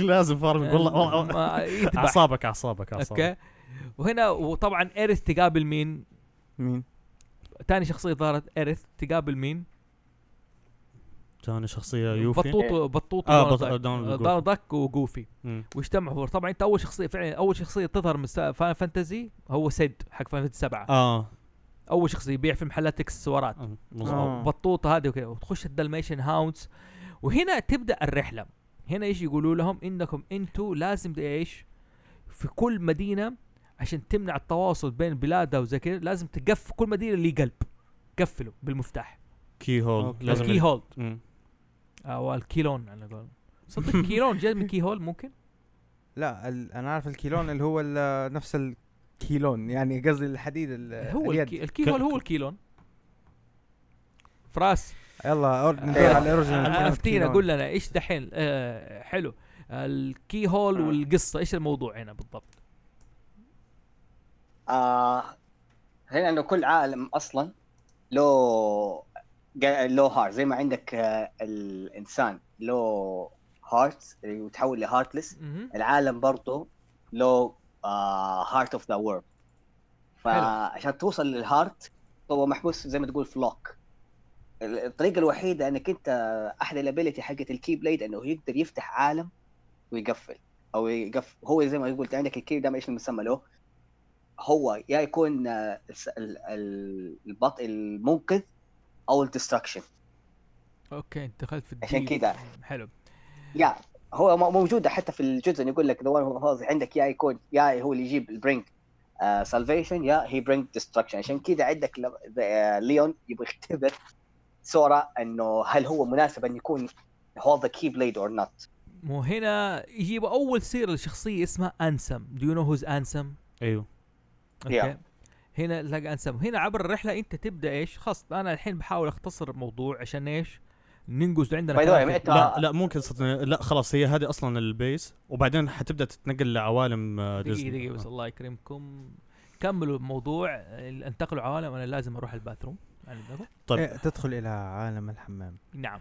لازم فارمنج والله والله
ما- يذبح.
اعصابك اعصابك اعصابك
اوكي وهنا وطبعا ايرث تقابل مين؟
مين؟
تاني شخصيه ظهرت ايرث تقابل مين؟
ثاني شخصيه يوفي
بطوط بطوط
آه،
دونالد
بط-
داك. آه،
دونالد وجوفي.
دونالد داك وجوفي
مم.
واجتمعوا هو طبعا انت اول شخصيه فعلا اول شخصيه تظهر من فان فانتزي هو سيد حق فان فانتزي سبعه
اه
اول شخصيه يبيع في محلات اكسسوارات
آه،
آه.
مظبوط
بطوطه هذه وكذا وتخش الدلميشن هاوندز وهنا تبدا الرحله هنا ايش يقولوا لهم انكم انتوا لازم ايش في كل مدينه عشان تمنع التواصل بين بلادها وزي كذا لازم تقف كل مدينه اللي قلب قفله بالمفتاح
كي هول
أوكي.
لازم
الكي هول
مم.
او آه، الكيلون على قولهم صدق كيلون جاي من كي هول ممكن
لا ال... انا عارف الكيلون اللي هو ال... نفس الكيلون يعني قصدي الحديد ال...
هو
آه، اليد
الكي الكي هول هو الكيلون فراس
يلا أور... ندور
إيه.
على الاوريجنال
أنا
كلمة
افتينا
كيلون.
قول لنا ايش دحين آه حلو الكي هول
آه.
والقصه ايش الموضوع هنا بالضبط
آه هنا انه كل عالم اصلا له جا- له هار زي ما عندك آه الانسان له هارتس اللي يتحول لهارتلس
مهم.
العالم آه، برضه له هارت اوف ذا وورم فعشان توصل للهارت هو محبوس زي ما تقول في لوك الطريقه الوحيده انك انت احد الابيلتي حقت الكي بليد انه يقدر يفتح عالم ويقفل او يقفل هو زي ما قلت عندك الكي دائما ايش المسمى له هو يا يكون آه، الس- ال- ال- البطء المنقذ او الدستركشن
اوكي انت دخلت في
عشان
الديب.
كده.
حلو
يا هو مو- موجوده حتى في الجزء يقول لك دوان هو عندك يا يكون يا هو اللي يجيب البرينج سالفيشن يا هي برينج ديستركشن عشان كذا عندك ل- آه، ليون يبغى يختبر سورا انه هل هو مناسب ان يكون هو ذا كي بليد اور نوت
مو هنا يجيب اول سيره لشخصيه اسمها انسم دو يو نو هوز انسم
ايوه
اوكي هنا تلاقي انسم هنا عبر الرحله انت تبدا ايش خاص انا الحين بحاول اختصر الموضوع عشان ايش ننجز عندنا
باي ذا
كلام
واي
كثير.
انت
لا لا ممكن صدقني لا خلاص هي هذه اصلا البيس وبعدين حتبدا تتنقل لعوالم آه، ديزني
دقيقه دقيقه بس الله يكرمكم كملوا الموضوع آه، انتقلوا عوالم انا لازم اروح الباثروم يعني
طيب.
إيه، تدخل الى عالم الحمام
نعم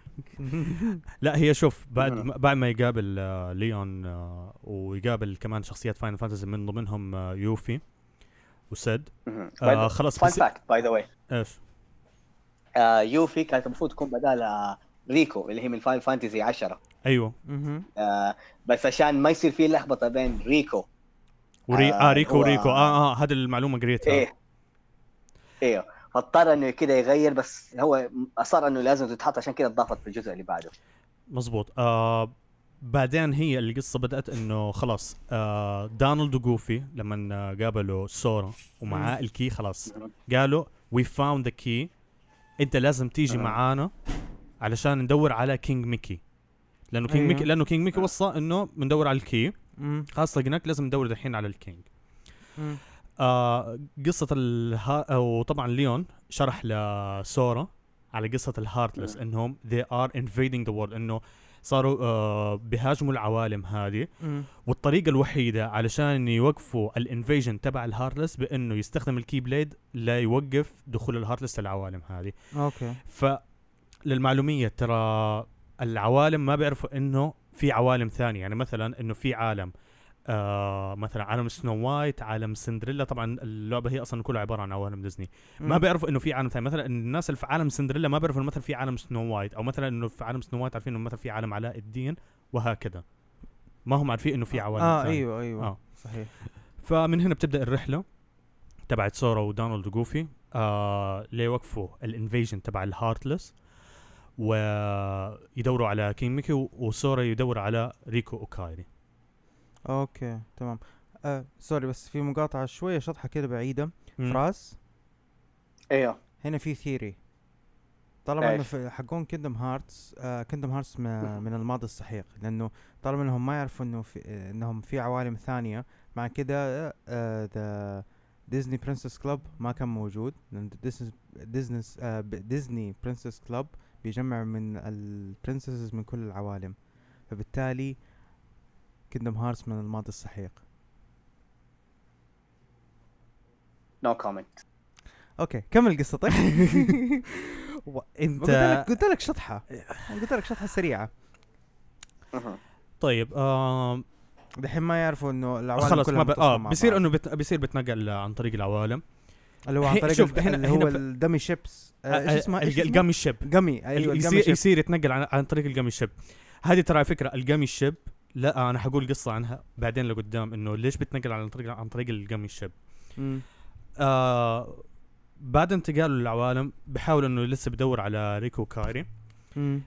لا هي شوف بعد
مم.
ما- بعد ما يقابل آه، ليون آه، ويقابل كمان شخصيات فاينل فانتسي من ضمنهم آه، يوفي وسيد آه خلاص
فان
بس-
فاكت باي ذا واي
ايش
آه، يوفي كانت المفروض تكون بدالها ريكو اللي هي من فاين فانتزي 10
ايوه
مهم.
آه، بس عشان ما يصير في لخبطه بين ريكو
وري
آه،
آه ريكو
هو-
ريكو اه اه هذه المعلومه قريتها
ايه ايوه فاضطر انه كده يغير بس هو اصر انه لازم تتحط عشان كده اتضافت في الجزء اللي بعده
مزبوط آه بعدين هي القصه بدات انه خلاص آه دونالد وجوفي لما آه، قابلوا سورا ومعاه الكي خلاص قالوا وي فاوند ذا كي انت لازم تيجي
آه.
معانا علشان ندور على كينج ميكي لانه كينج
أيوه.
ميكي لانه كينج ميكي وصى انه بندور على الكي
مم.
خلاص لقيناك لازم ندور دحين على الكينج
مم.
آه قصة الها أو طبعا ليون شرح لسورا على قصة الهارتلس
آه.
نعم.
انهم they are invading the world انه صاروا آه بيهاجموا العوالم هذه
مم.
والطريقة الوحيدة علشان يوقفوا الانفيجن تبع الهارتلس بانه يستخدم الكي بليد ليوقف دخول الهارتلس للعوالم هذه
اوكي
ف للمعلومية ترى العوالم ما بيعرفوا انه في عوالم ثانية يعني مثلا انه في عالم آه مثلا عالم سنو وايت عالم سندريلا طبعا اللعبة هي اصلا كلها عبارة عن عوالم ديزني ما
مم.
بيعرفوا انه في عالم ثاني مثلا الناس اللي في عالم سندريلا ما بيعرفوا انه مثلا في عالم سنو وايت او مثلا انه في عالم سنو وايت عارفين انه مثلا في عالم علاء الدين وهكذا ما هم عارفين انه في عوالم
اه
ثانية.
ايوه ايوه
آه.
صحيح
فمن هنا بتبدا الرحله تبعت سورا ودونالد وجوفي آه ليوقفوا الانفيجن تبع الهارتلس ويدوروا على كينج ميكي و- وسورا يدور على ريكو اوكايري
اوكي تمام آه سوري بس في مقاطعه شويه شطحه كده بعيده
مم.
فراس
ايوه
هنا في ثيري طالما انه
إيش؟
في- حقون كيندم هارتس آه كيندم هارتس من الماضي السحيق لانه طالما انهم ما يعرفوا انه في آه، انهم في عوالم ثانيه مع كده ذا آه the ديزني برنسس كلوب ما كان موجود لان ديزني ديزني آه ب- ديزني برنسس كلوب بيجمع من البرنسسز من كل العوالم فبالتالي كيندم هارتس من الماضي السحيق
نو كومنت
اوكي كمل قصتك
انت
قلت لك قلت لك شطحه قلت لك شطحه سريعه
طيب آه
دحين ما يعرفوا انه العوالم
خلاص
كلها
ما ب...
متصلة
آه
مع
بيصير
بعض.
انه بت... بيصير بيتنقل عن طريق العوالم
اللي هو عن
هي-
طريق
شوف،
شوف
هنا-
اللي
هنا
هو
ف-
الدمي شيبس آه، ايش اسمها ايش اسمها؟
الجامي شيب
جمي ايوه الجمي
يصير
شيبس
يصير يتنقل عن, عن طريق الجامي شيب هذه ترى على فكره الجامي شيب لا انا حقول قصه عنها بعدين لقدام انه ليش بتنقل عن طريق عن طريق الجامي شيب
مم.
آه بعد انتقاله للعوالم بحاول انه لسه بدور على ريكو كايري
مم.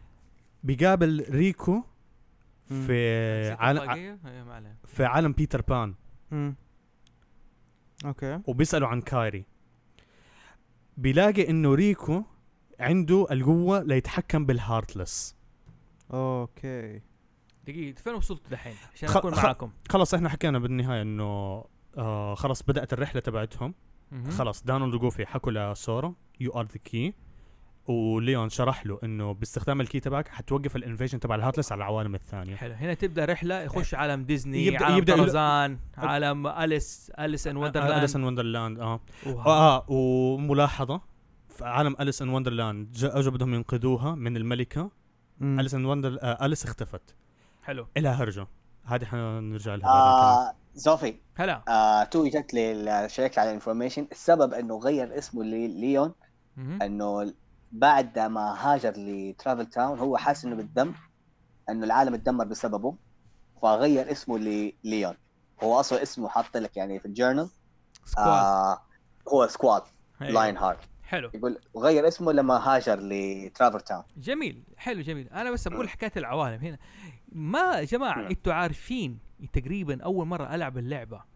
بيقابل ريكو
مم.
في
نسيت
عالم
الطاقية؟ إيه، ما عليه.
في عالم بيتر بان
مم. اوكي
وبيسأله عن كايري بيلاقي انه ريكو عنده القوة ليتحكم بالهارتلس
اوكي
دقيقه فين وصلت دحين عشان
خل-
اكون
خل-
معاكم
خلاص احنا حكينا بالنهاية انه آه خلاص بدأت الرحلة تبعتهم
مهم.
خلاص دانالد وجوفي حكوا لسورا يو ار ذا كي وليون شرح له انه باستخدام الكي تبعك حتوقف الانفيجن تبع الهارتلس على العوالم الثانية
حلو هنا تبدا رحله يخش عالم ديزني
يبدأ-
يبدأ عالم
يبدأ-
يبدأ طرزان عالم اليس اليس ان وندرلاند
اليس ان وندرلاند اه
وها-
اه وملاحظه في عالم اليس ان وندرلاند جا- اجوا بدهم ينقذوها من الملكه
مم.
اليس ان وندر آه اليس اختفت
حلو
الها هرجه هذه حنرجع لها بعدين كمان.
آه زوفي
هلا
آه تو جت للشركه على الانفورميشن السبب انه غير اسمه لليون
مهم.
انه بعد ما هاجر لترافل تاون هو حاسس انه بالذنب انه العالم اتدمر بسببه فغير اسمه لليون هو اصلا اسمه حاط لك يعني في الجورنال
سكواد
آه هو سكواد
أيوة.
لاين هارت
حلو
يقول غير اسمه لما هاجر لترافر تاون
جميل حلو جميل انا بس اقول حكايه العوالم هنا ما يا جماعه انتوا عارفين تقريبا اول مره العب اللعبه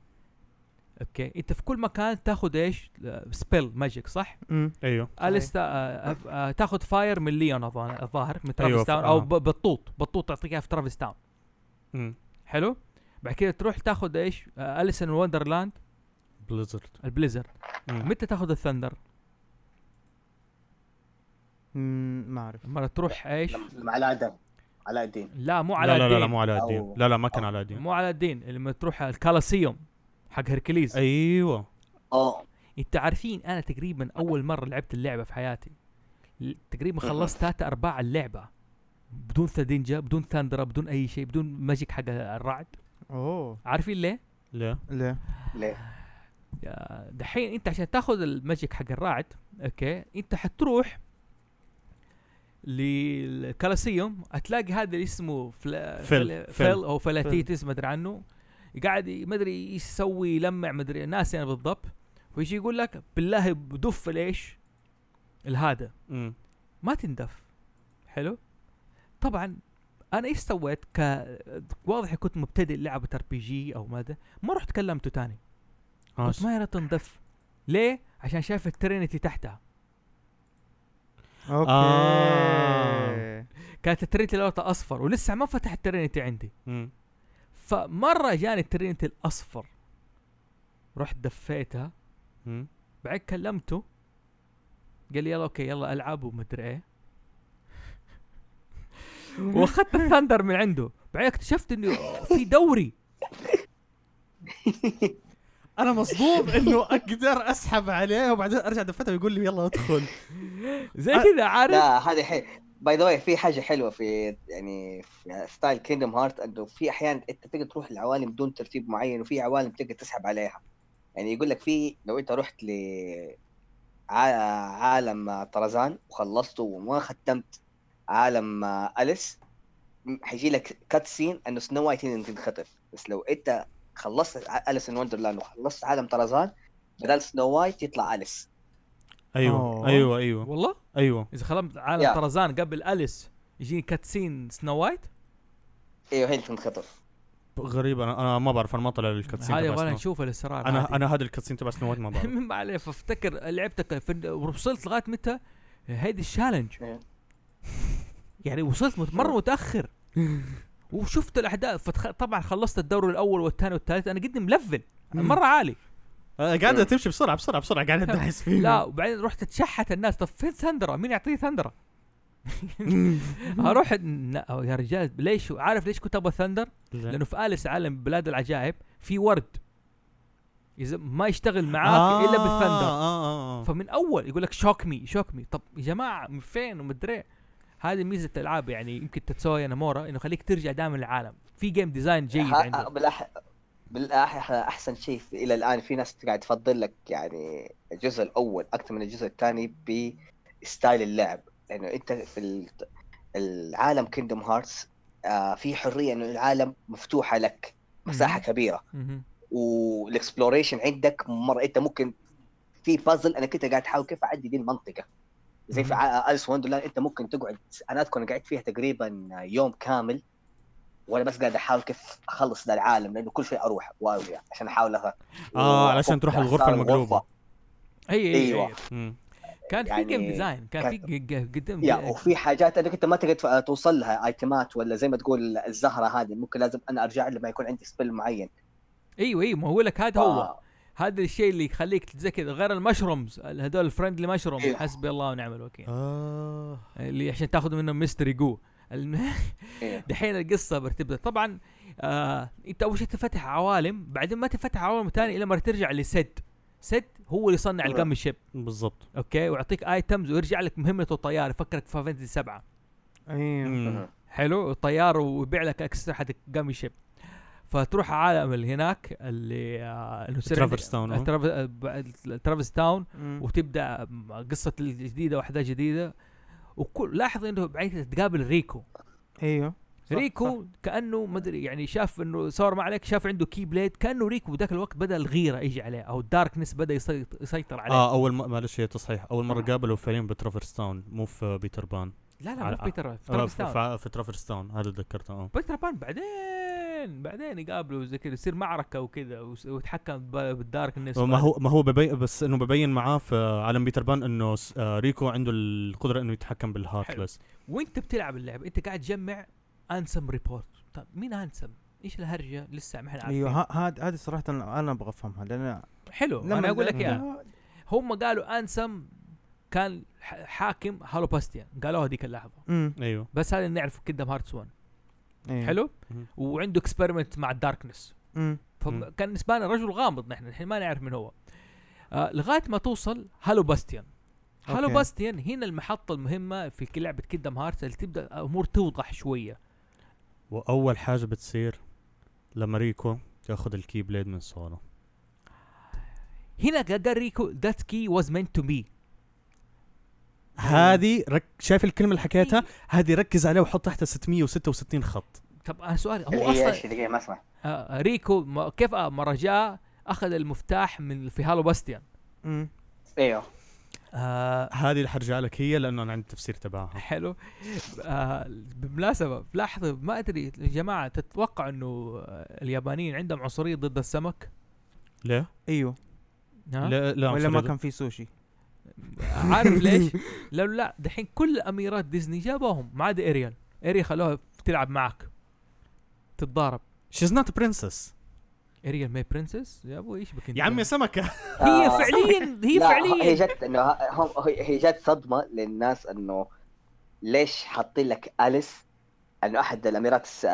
اوكي انت في كل مكان تاخذ ايش سبيل ماجيك صح
مم.
ايوه
الستا آه، آه، آه، تاخذ فاير من ليون أظن- الظاهر من ترافيس
أيوة،
تاون
آه.
او ب- بطوط بطوط تعطيك اياها في ترافيس تاون
مم.
حلو بعد كده تروح تاخذ ايش آه، اليسن وندرلاند
بليزرد
البليزر
مم.
متى تاخذ الثندر
مم، ما اعرف
لما تروح ايش
لما علاء الدين علاء الدين
لا مو على
لا لا لا, لا
الدين
مو على الدين
أو-
لا لا ما كان
أو-
على الدين
مو على الدين لما تروح الكالاسيوم حق هركليز
ايوه
اوه
انت عارفين انا تقريبا اول مره لعبت اللعبه في حياتي ل- تقريبا خلصت ثلاثة ارباع اللعبه بدون ثدينجا بدون ثاندرا بدون اي شيء بدون ماجيك حق الرعد
اوه
عارفين ليه؟
لا
ليه؟
ليه؟
آه، دحين انت عشان تاخذ الماجيك حق الرعد اوكي انت حتروح للكالاسيوم هتلاقي هذا اللي اسمه فلا
فل-
فل,
فل.
فل او فلاتيتس ما ادري عنه قاعد ي- ما ادري يسوي يلمع ما ادري ناسي انا بالضبط ويجي يقول لك بالله بدف ليش الهذا
مم.
ما تندف حلو طبعا انا ايش سويت ك واضح كنت مبتدئ لعبه ار بي جي او ماذا ما رحت كلمته تاني
آه،
كنت ما يرى تنضف ليه؟ عشان شاف الترينيتي تحتها
اوكي
آه.
كانت الترينيتي لونها اصفر ولسه ما فتح الترينيتي عندي
مم.
فمره جاني الترينيتي الاصفر رحت دفيتها
مم.
بعد كلمته قال لي يلا اوكي يلا العب ومدري ايه واخذت الثاندر من عنده بعدين اكتشفت انه في دوري
انا مصدوم انه اقدر اسحب عليه وبعدين ارجع دفتها ويقول لي يلا ادخل
زي كذا عارف
لا هذه حلو باي ذا واي في حاجه حلوه في يعني في ستايل كيندم هارت انه في احيان انت تقدر تروح لعوالم بدون ترتيب معين وفي عوالم تقدر تسحب عليها يعني يقول لك في لو انت رحت ل عا- عالم طرزان وخلصته وما ختمت عالم اليس م- حيجي لك كات سين انه سنو وايت هي اللي تنخطف بس لو انت خلصت ع- اليس ان وندرلاند وخلصت عالم طرزان بدل سنو وايت يطلع اليس
ايوه
أوه.
ايوه ايوه
والله
ايوه
اذا خلمت عالم
يا.
طرزان قبل اليس يجيني كاتسين سنو وايت
ايوه هي اللي تنخطف
غريب انا انا ما بعرف انا ما طلع لي الكاتسين
هذا يبغى
تبع
لنا
سنو.
نشوف الاسرار هذه.
انا انا هذا الكاتسين تبع سنو وايت ما بعرف
المهم ما عليه فافتكر لعبتك في وصلت لغايه متى هيدي الشالنج
إيه.
يعني وصلت مت- مره متاخر وشفت الاحداث فتخ... طبعا خلصت الدور الاول والثاني والثالث انا قد ملفل مره عالي
آه، قاعده تمشي بسرعه بسرعه بسرعه قاعده تدعس فيه
لا وبعدين رحت اتشحت الناس طب فين ثندرة مين يعطيه ثندرة هروح لا يا رجال ليش عارف ليش كنت ابغى ثندر
إيه.
لانه في اليس عالم بلاد العجائب في ورد اذا ما يشتغل
آه،
معاك الا بالثندر
آه.
بالثندر
فمن اول يقول لك شوك مي شوك مي طب يا جماعه من فين ومدري إيه؟ هذه ميزه الالعاب يعني يمكن تتسوي نامورا انه خليك ترجع دائما للعالم في جيم ديزاين جيد
ها-
عنده
بالأح... بالأح... احسن شيء في- الى الان في ناس قاعد تفضل لك يعني الجزء الاول اكثر من الجزء الثاني بستايل اللعب لانه انت في ال- العالم كيندم هارتس آه في حريه انه العالم مفتوحه لك مساحه
مهم.
كبيره
مهم.
والاكسبلوريشن عندك مره انت ممكن في بازل انا كنت قاعد احاول كيف اعدي دي المنطقه زي في
مهم.
ع- اليس وندرلاند انت ممكن تقعد انا اذكر قعدت فيها تقريبا يوم كامل وانا بس قاعد احاول كيف اخلص ذا العالم لانه كل شيء اروح وارجع عشان احاول أخ...
آه، علشان تروح
وأفك
الغرفة
أسرار
المقلوبة.
الغرفة.
اي اي أيوة.
أيوة.
أيوة. كان في جيم
يعني
ديزاين كان في
كان-
ج- ج- قدام
يا وفي حاجات انك انت ما تقدر تف- توصل لها ايتمات ولا زي ما تقول الزهره هذه ممكن لازم انا ارجع لما يكون عندي سبيل معين
ايوه ايوه ما هو لك هذا هو
آه،
هذا الشيء اللي يخليك زي كذا غير المشرومز ال- هذول الفرندلي مشروم
أيوة. آه.
حسبي الله ونعم الوكيل
اه
اللي عشان تاخذ منهم ميستري جو الم-
إيه.
دحين القصه بتبدا طبعا آه انت اول شيء تفتح عوالم بعدين ما تفتح عوالم ثانيه الا ما ترجع لسد سد هو اللي يصنع
تمام.
الجم شيب
بالضبط
اوكي ويعطيك ايتمز ويرجع لك مهمته طيار يفكرك في فانتسي سبعه
ايوه
مم.
مهم.
حلو طيار ويبيع لك اكسترا حق جامي شيب فتروح عالم اللي هناك اللي آه، اللي هو سرقة-
ترافرس تاون، آه.
ترافر- آه، ب- ترافرس تاون
مم.
وتبدا قصه الجديده واحداث جديده وكل لاحظ انه بعيد تقابل ريكو
ايوه صح،
ريكو كانه ما ادري يعني شاف انه صار ما عليك شاف عنده كي بليد كانه ريكو ذاك الوقت بدا الغيره يجي عليه او الداركنس بدا يسيط- يسيطر عليه
اه اول ما معلش هي تصحيح اول
آه.
مره قابله فعليا بترافرس تاون مو في بيتر بان
لا لا
على-
مو في بيتر في
آه،
ترافيس تاون.
في, في, في ترافرس تاون هذا تذكرته اه
بيتر بان بعدين بعدين يقابله وزي كذا يصير معركه وكذا وس- ويتحكم ب- بالداركنس
ما هو ما هو ببي بس انه ببين معاه في عالم بيتر بان انه س- آه، ريكو عنده القدره انه يتحكم بالهارتلس
وانت بتلعب اللعبه انت قاعد تجمع انسم ريبورت طب مين انسم؟ ايش الهرجه لسه ما احنا عارفين
ايوه ه- هاد هذه صراحه انا ابغى افهمها لان
حلو
لما
انا اقول لك اياها
لعبتها-
هم قالوا انسم كان ح- حاكم هالوباستيا قالوها هذيك اللحظه
مم.
ايوه
بس هذا اللي نعرفه كيندم هارتس 1
ايوه
حلو
مم.
وعنده اكسبيرمنت مع الداركنس
مم.
مم.
فكان بالنسبه لنا رجل غامض نحن الحين ما نعرف من هو آه لغايه ما توصل هالو باستيان هالو
أوكي.
باستيان هنا المحطه المهمه في ك- لعبه كيندم هارتس اللي تبدا الامور توضح شويه
واول حاجه بتصير لما ريكو ياخذ الكي بليد من سولو
هنا قال قال ريكو ذات كي واز مينت تو بي
هذه رك... شايف الكلمه اللي حكيتها
أيوه.
هذه ركز عليها وحط تحتها 666 خط
طب انا سؤال
اللي
هو
هي
اصلا
ايش دقيقه ما اسمع
آه ريكو ما- كيف آه مره جاء اخذ المفتاح من في هالو باستيان
مم.
ايوه
آه
هذه اللي حرجع لك هي لانه انا عندي تفسير تبعها
حلو آه بالمناسبه لاحظوا ما ادري يا جماعه تتوقع انه آه، اليابانيين عندهم عنصريه ضد السمك؟
ليه؟
ايوه
ها؟
لا لا
ولا ما
عنصرية.
كان في سوشي
عارف ليش؟ لو لا دحين كل اميرات ديزني جابوهم ما عدا اريال اريال خلوها تلعب معك تتضارب
She's not a princess
اريال ماي برنسس يا ابوي ايش بك انت؟
يا عمي سمكة
هي
آه.
فعليا هي
لا، هي
فعليا
جت انه ه- هم هي هي جت صدمه للناس انه ليش حاطين لك اليس انه احد الاميرات آه،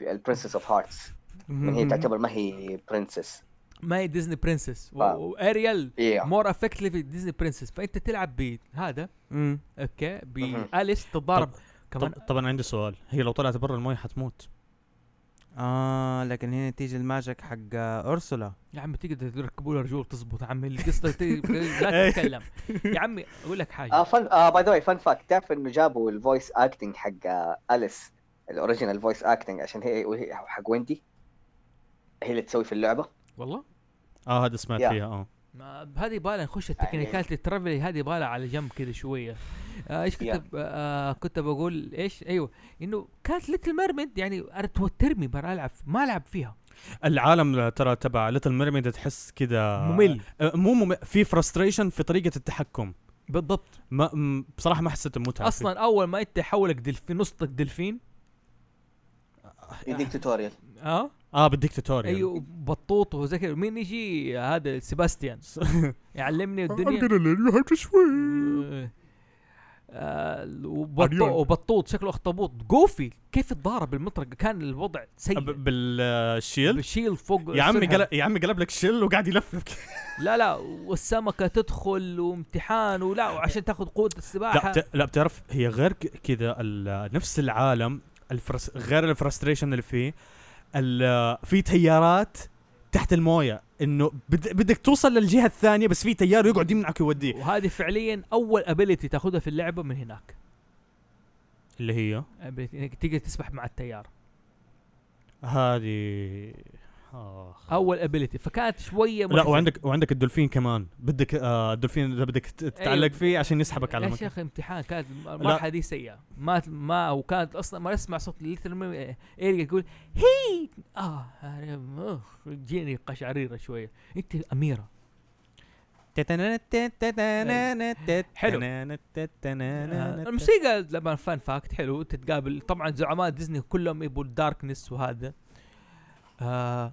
البرنسس اوف هارتس يعني هي تعتبر ما هي برنسس
ما هي ديزني برنسس
آه.
واريال
ايوه
مور افكتلي ديزني برنسس فانت تلعب ب هذا
مم.
اوكي
مهم.
باليس تتضارب كمان
طب- طبعا عندي سؤال هي لو طلعت برا المي حتموت
اه لكن هنا تيجي الماجيك حق آه، اورسولا
يا عمي تقدر تركبوا له رجول تزبط يا عمي القصه ت- لا تتكلم يا عمي اقول لك
اه
حاجه
فن اه باي ذا فن فاكت تعرف انه جابوا الفويس اكتنج حق آه، اليس الاوريجينال فويس اكتنج عشان هي وهي- حق ويندي هي اللي تسوي في اللعبه
والله
اه هذا سمعت
يا.
فيها اه
ما هذه بالا نخش التكنيكات الترافل هذه بالا على جنب كذا شويه آه، ايش كنت
Yeah.
ب- آه كنت بقول ايش ايوه انه كانت ليتل ميرميد يعني انا توترني برا العب ما العب فيها
العالم ترى تبع ليتل ميرميد تحس كذا
ممل
آه، مو ممل في فرستريشن في طريقة التحكم
بالضبط
ما م- بصراحة ما حسيت بمتعة
اصلا اول ما انت حولك دلفين نصتك دلفين
يديك توتوريال
اه
فيه. اه بدك توتوريال
ايوه بطوط وزي كذا مين يجي هذا سيباستيان يعلمني الدنيا آه، وبطو-
عريان.
وبطوط شكله اخطبوط جوفي كيف اتضارب المطرق كان الوضع سيء
أه، بالشيل
بالشيل فوق
يا عمي
السرحة.
قلب يا عمي قلب لك شيل وقاعد يلفلف كده.
لا لا والسمكه تدخل وامتحان ولا وعشان تاخذ قوه
لا
السباحه
بت- لا بتعرف هي غير ك- كذا ال- نفس العالم الفرس غير الفرستريشن اللي فيه ال- في تيارات تحت المويه انه بد- بدك توصل للجهه الثانيه بس في تيار يقعد يمنعك ويوديك
وهذه فعليا اول ابيلتي تاخذها في اللعبه من هناك
اللي هي
ability انك تقدر تسبح مع التيار
هذه آخ.
اول ابيلتي فكانت شويه
لا وعندك وعندك الدولفين كمان بدك آه الدولفين اذا بدك ت- تتعلق
أيوة.
فيه عشان يسحبك على
يا
مكان
شيخ امتحان كانت المرحله دي سيئه ما ما وكانت اصلا ما اسمع صوت الليتل ميم- ايريا يقول هي اه أنا- أوف، جيني قشعريره شويه انت اميره حلو. آه، الموسيقى لما فان فاكت حلو تتقابل طبعا زعماء ديزني كلهم يبوا الداركنس وهذا آه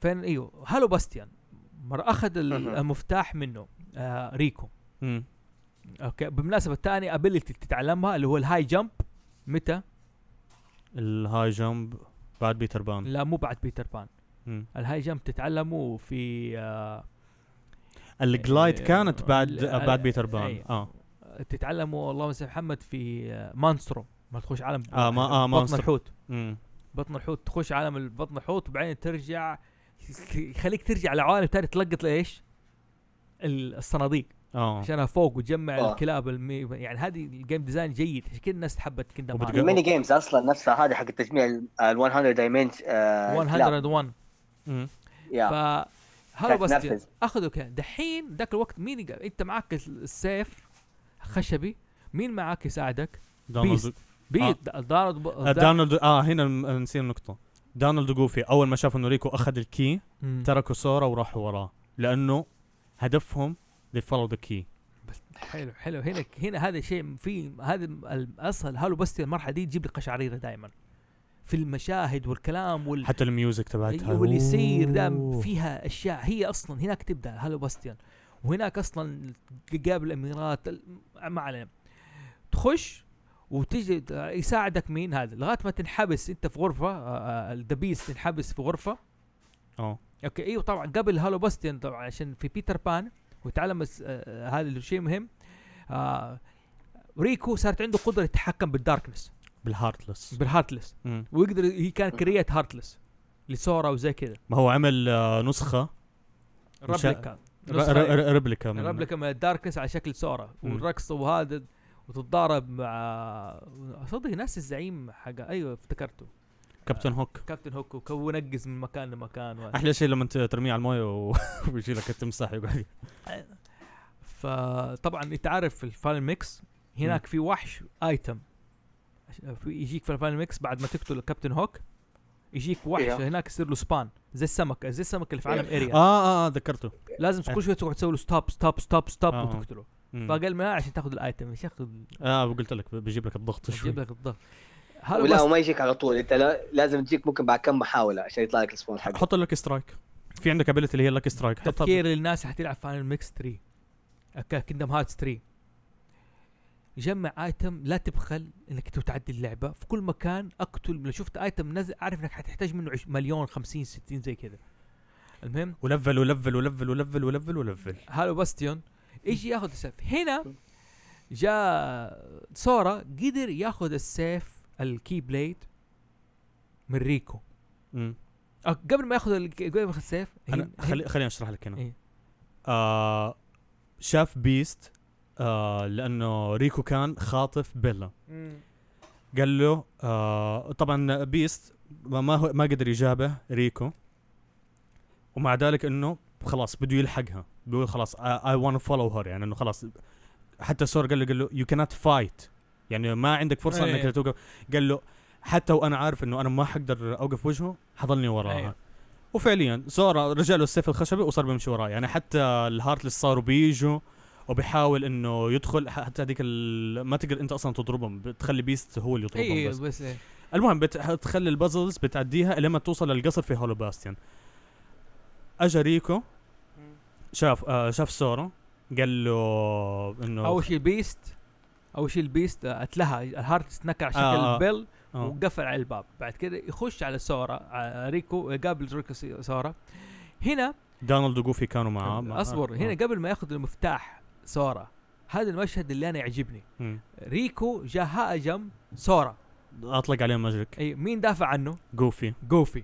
فين ايوه هالو باستيان مره اخذ ال-
أها.
المفتاح منه آه ريكو
مم.
اوكي بالمناسبه ثاني ابيلتي تتعلمها اللي هو الهاي جمب متى؟
الهاي جمب بعد بيتر بان
لا مو بعد بيتر بان
مم.
الهاي جمب تتعلموا في آه
الجلايد
إيه،
كانت آه، بعد
ال-
بعد بيتر بان
أي.
اه
تتعلموا اللهم صل على محمد في آه مانسترو ما تخش عالم
آه، ما- آه، ما
بطن
مستق-
الحوت
مم.
بطن الحوت تخش عالم ال- بطن الحوت وبعدين ترجع يخليك ترجع لعوالم تاني تلقط ايش؟ ال- الصناديق
اه
عشانها فوق وتجمع
آه.
الكلاب المي... يعني هذه الجيم ديزاين جيد عشان كذا الناس حبت كندم
وبتق-
هارت
الميني جيمز اصلا نفسها هذه حق تجميع ال 100 دايمنشن
101
مم.
يا
ف هارو باستيون
تنفذ.
اخذوا كده دحين ذاك الوقت مين يق- انت معك السيف خشبي مين معك يساعدك؟
دونالد
بيت دارد ب...
آه، دونالد اه هنا م- نسينا النقطة دونالد جوفي اول ما شاف انه ريكو اخذ الكي
مم.
تركوا سورا وراحوا وراه لانه هدفهم they follow the key
بس حلو حلو هنا هنا هذا الشيء في هذا ال- اصلا هالو بس المرحله دي تجيب لي قشعريره دائما في المشاهد والكلام وال...
حتى الميوزك تبعتها
أيوة، واللي يصير ده
أوه.
فيها اشياء هي اصلا هناك تبدا هالو باستيان وهناك اصلا قابل الاميرات ال- ما علينا تخش وتجي ت- يساعدك مين هذا لغايه ما تنحبس انت في آه، غرفه الدبيس تنحبس في غرفه
اه
اوكي ايوه طبعا قبل هالو باستيان طبعا عشان في بيتر بان وتعلم الس- آه، هذا الشيء مهم آه ريكو صارت عنده قدره يتحكم بالداركنس
بالهارتلس
بالهارتلس
مم.
ويقدر هي كان كريت هارتلس لسورا وزي كذا
ما هو عمل آه، نسخة مشا-
ربليكا
ر-
إيه؟
ر-
أيوه.
ر- ريبليكا من
ربليكا من الداركنس على شكل سورا
مم.
والرقص وهذا وتتضارب مع صدق ناس الزعيم حق ايوه افتكرته
كابتن هوك
كابتن هوك وك- ونقز من مكان لمكان و...
احلى شيء لما ت- ترميه على المويه و- ويجي لك التمساح يقعد
فطبعا انت عارف في الفاينل ميكس هناك في وحش ايتم عش- في يجيك في الفاينل ميكس بعد ما تقتل كابتن هوك يجيك وحش
إيه.
هناك يصير له سبان زي السمك زي السمك اللي في
إيه.
عالم اريا
اه اه ذكرته
لازم كل شويه تقعد تسوي له ستوب ستوب ستوب ستوب
آه.
وتقتله
مم.
فقال ما عشان تاخذ الايتم يا شيخ
اه قلت لك بيجيب لك الضغط شوي
يجيب لك الضغط
ولا
هلا
وما يجيك على طول انت لا- لازم تجيك ممكن بعد كم محاوله عشان يطلع لك السبون حقه
حط لك سترايك في عندك ابيلتي اللي هي لك سترايك حطها
تفكير الناس اللي حتلعب فاينل ميكس 3 كيندم هارتس 3 جمع ايتم لا تبخل انك تو- تعدي اللعبه في كل مكان اقتل لو شفت ايتم نزل اعرف انك حتحتاج منه عش- مليون 50 60 زي كذا المهم
ولفل ولفل ولفل ولفل ولفل ولفل
هالو باستيون يجي ياخذ السيف هنا جاء سورا قدر ياخذ السيف الكي بليد من ريكو
مم.
أه، قبل ما ياخذ ال- قبل ما ياخذ السيف
انا
هن-
خلي خليني اشرح لك هنا
إيه.
آه شاف بيست آه لانه ريكو كان خاطف بيلا
مم.
قال له آه طبعا بيست ما ما هو ما قدر يجابه ريكو ومع ذلك انه خلاص بده يلحقها بيقول خلاص اي ونت فولو هير يعني انه خلاص حتى سور قال له قال له يو كانت فايت يعني ما عندك فرصه
أيوة.
انك توقف قال له حتى وانا عارف انه انا ما حقدر اوقف وجهه حضلني وراها
أيوة.
وفعليا سورا رجع له السيف الخشبي وصار بيمشي وراه يعني حتى الهارتلس صاروا بيجوا وبيحاول انه يدخل حتى هذيك ال- ما تقدر انت اصلا تضربهم بتخلي بيست هو اللي يضربهم
اي
بس
بس إيه.
المهم بتخلي البازلز بتعديها لما توصل للقصر في هولو باستيان اجا ريكو شاف آه شاف سورا قال له انه
اول شيء البيست اول شيء البيست آه، اتلهى الهارت سنكع شكل
آه.
آه بيل
آه.
وقفل على الباب بعد كده يخش على سورا على ريكو قابل ريكو سي- سورا هنا
دونالد وجوفي كانوا معاه مع-
اصبر
آه.
هنا قبل ما ياخذ المفتاح سورا هذا المشهد اللي انا يعجبني
مم.
ريكو جاء هاجم سورا
اطلق عليهم مجرك
اي مين دافع عنه؟
جوفي
جوفي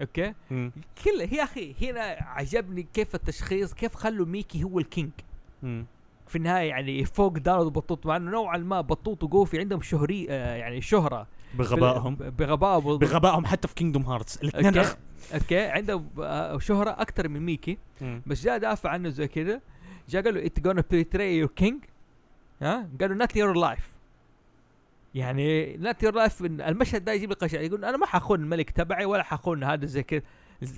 اوكي
مم.
كل يا اخي هنا عجبني كيف التشخيص كيف خلوا ميكي هو الكينج
مم.
في النهايه يعني فوق دارد وبطوط مع انه نوعا ما بطوط وجوفي عندهم شهري آه يعني شهره في ال-
بغبائهم
بغبائهم وب-
بغبائهم حتى في كينجدوم هارتس الاثنين
اوكي
أخ...
اوكي عنده آه، شهره اكثر من ميكي
مم.
بس جاء دافع عنه زي كذا جاء قال له انت جونا بيتري يور كينج ها قال له نات يور لايف يعني نات يور لايف المشهد ده يجيب لي قشعر يقول انا ما حخون الملك تبعي ولا حخون هذا زي كذا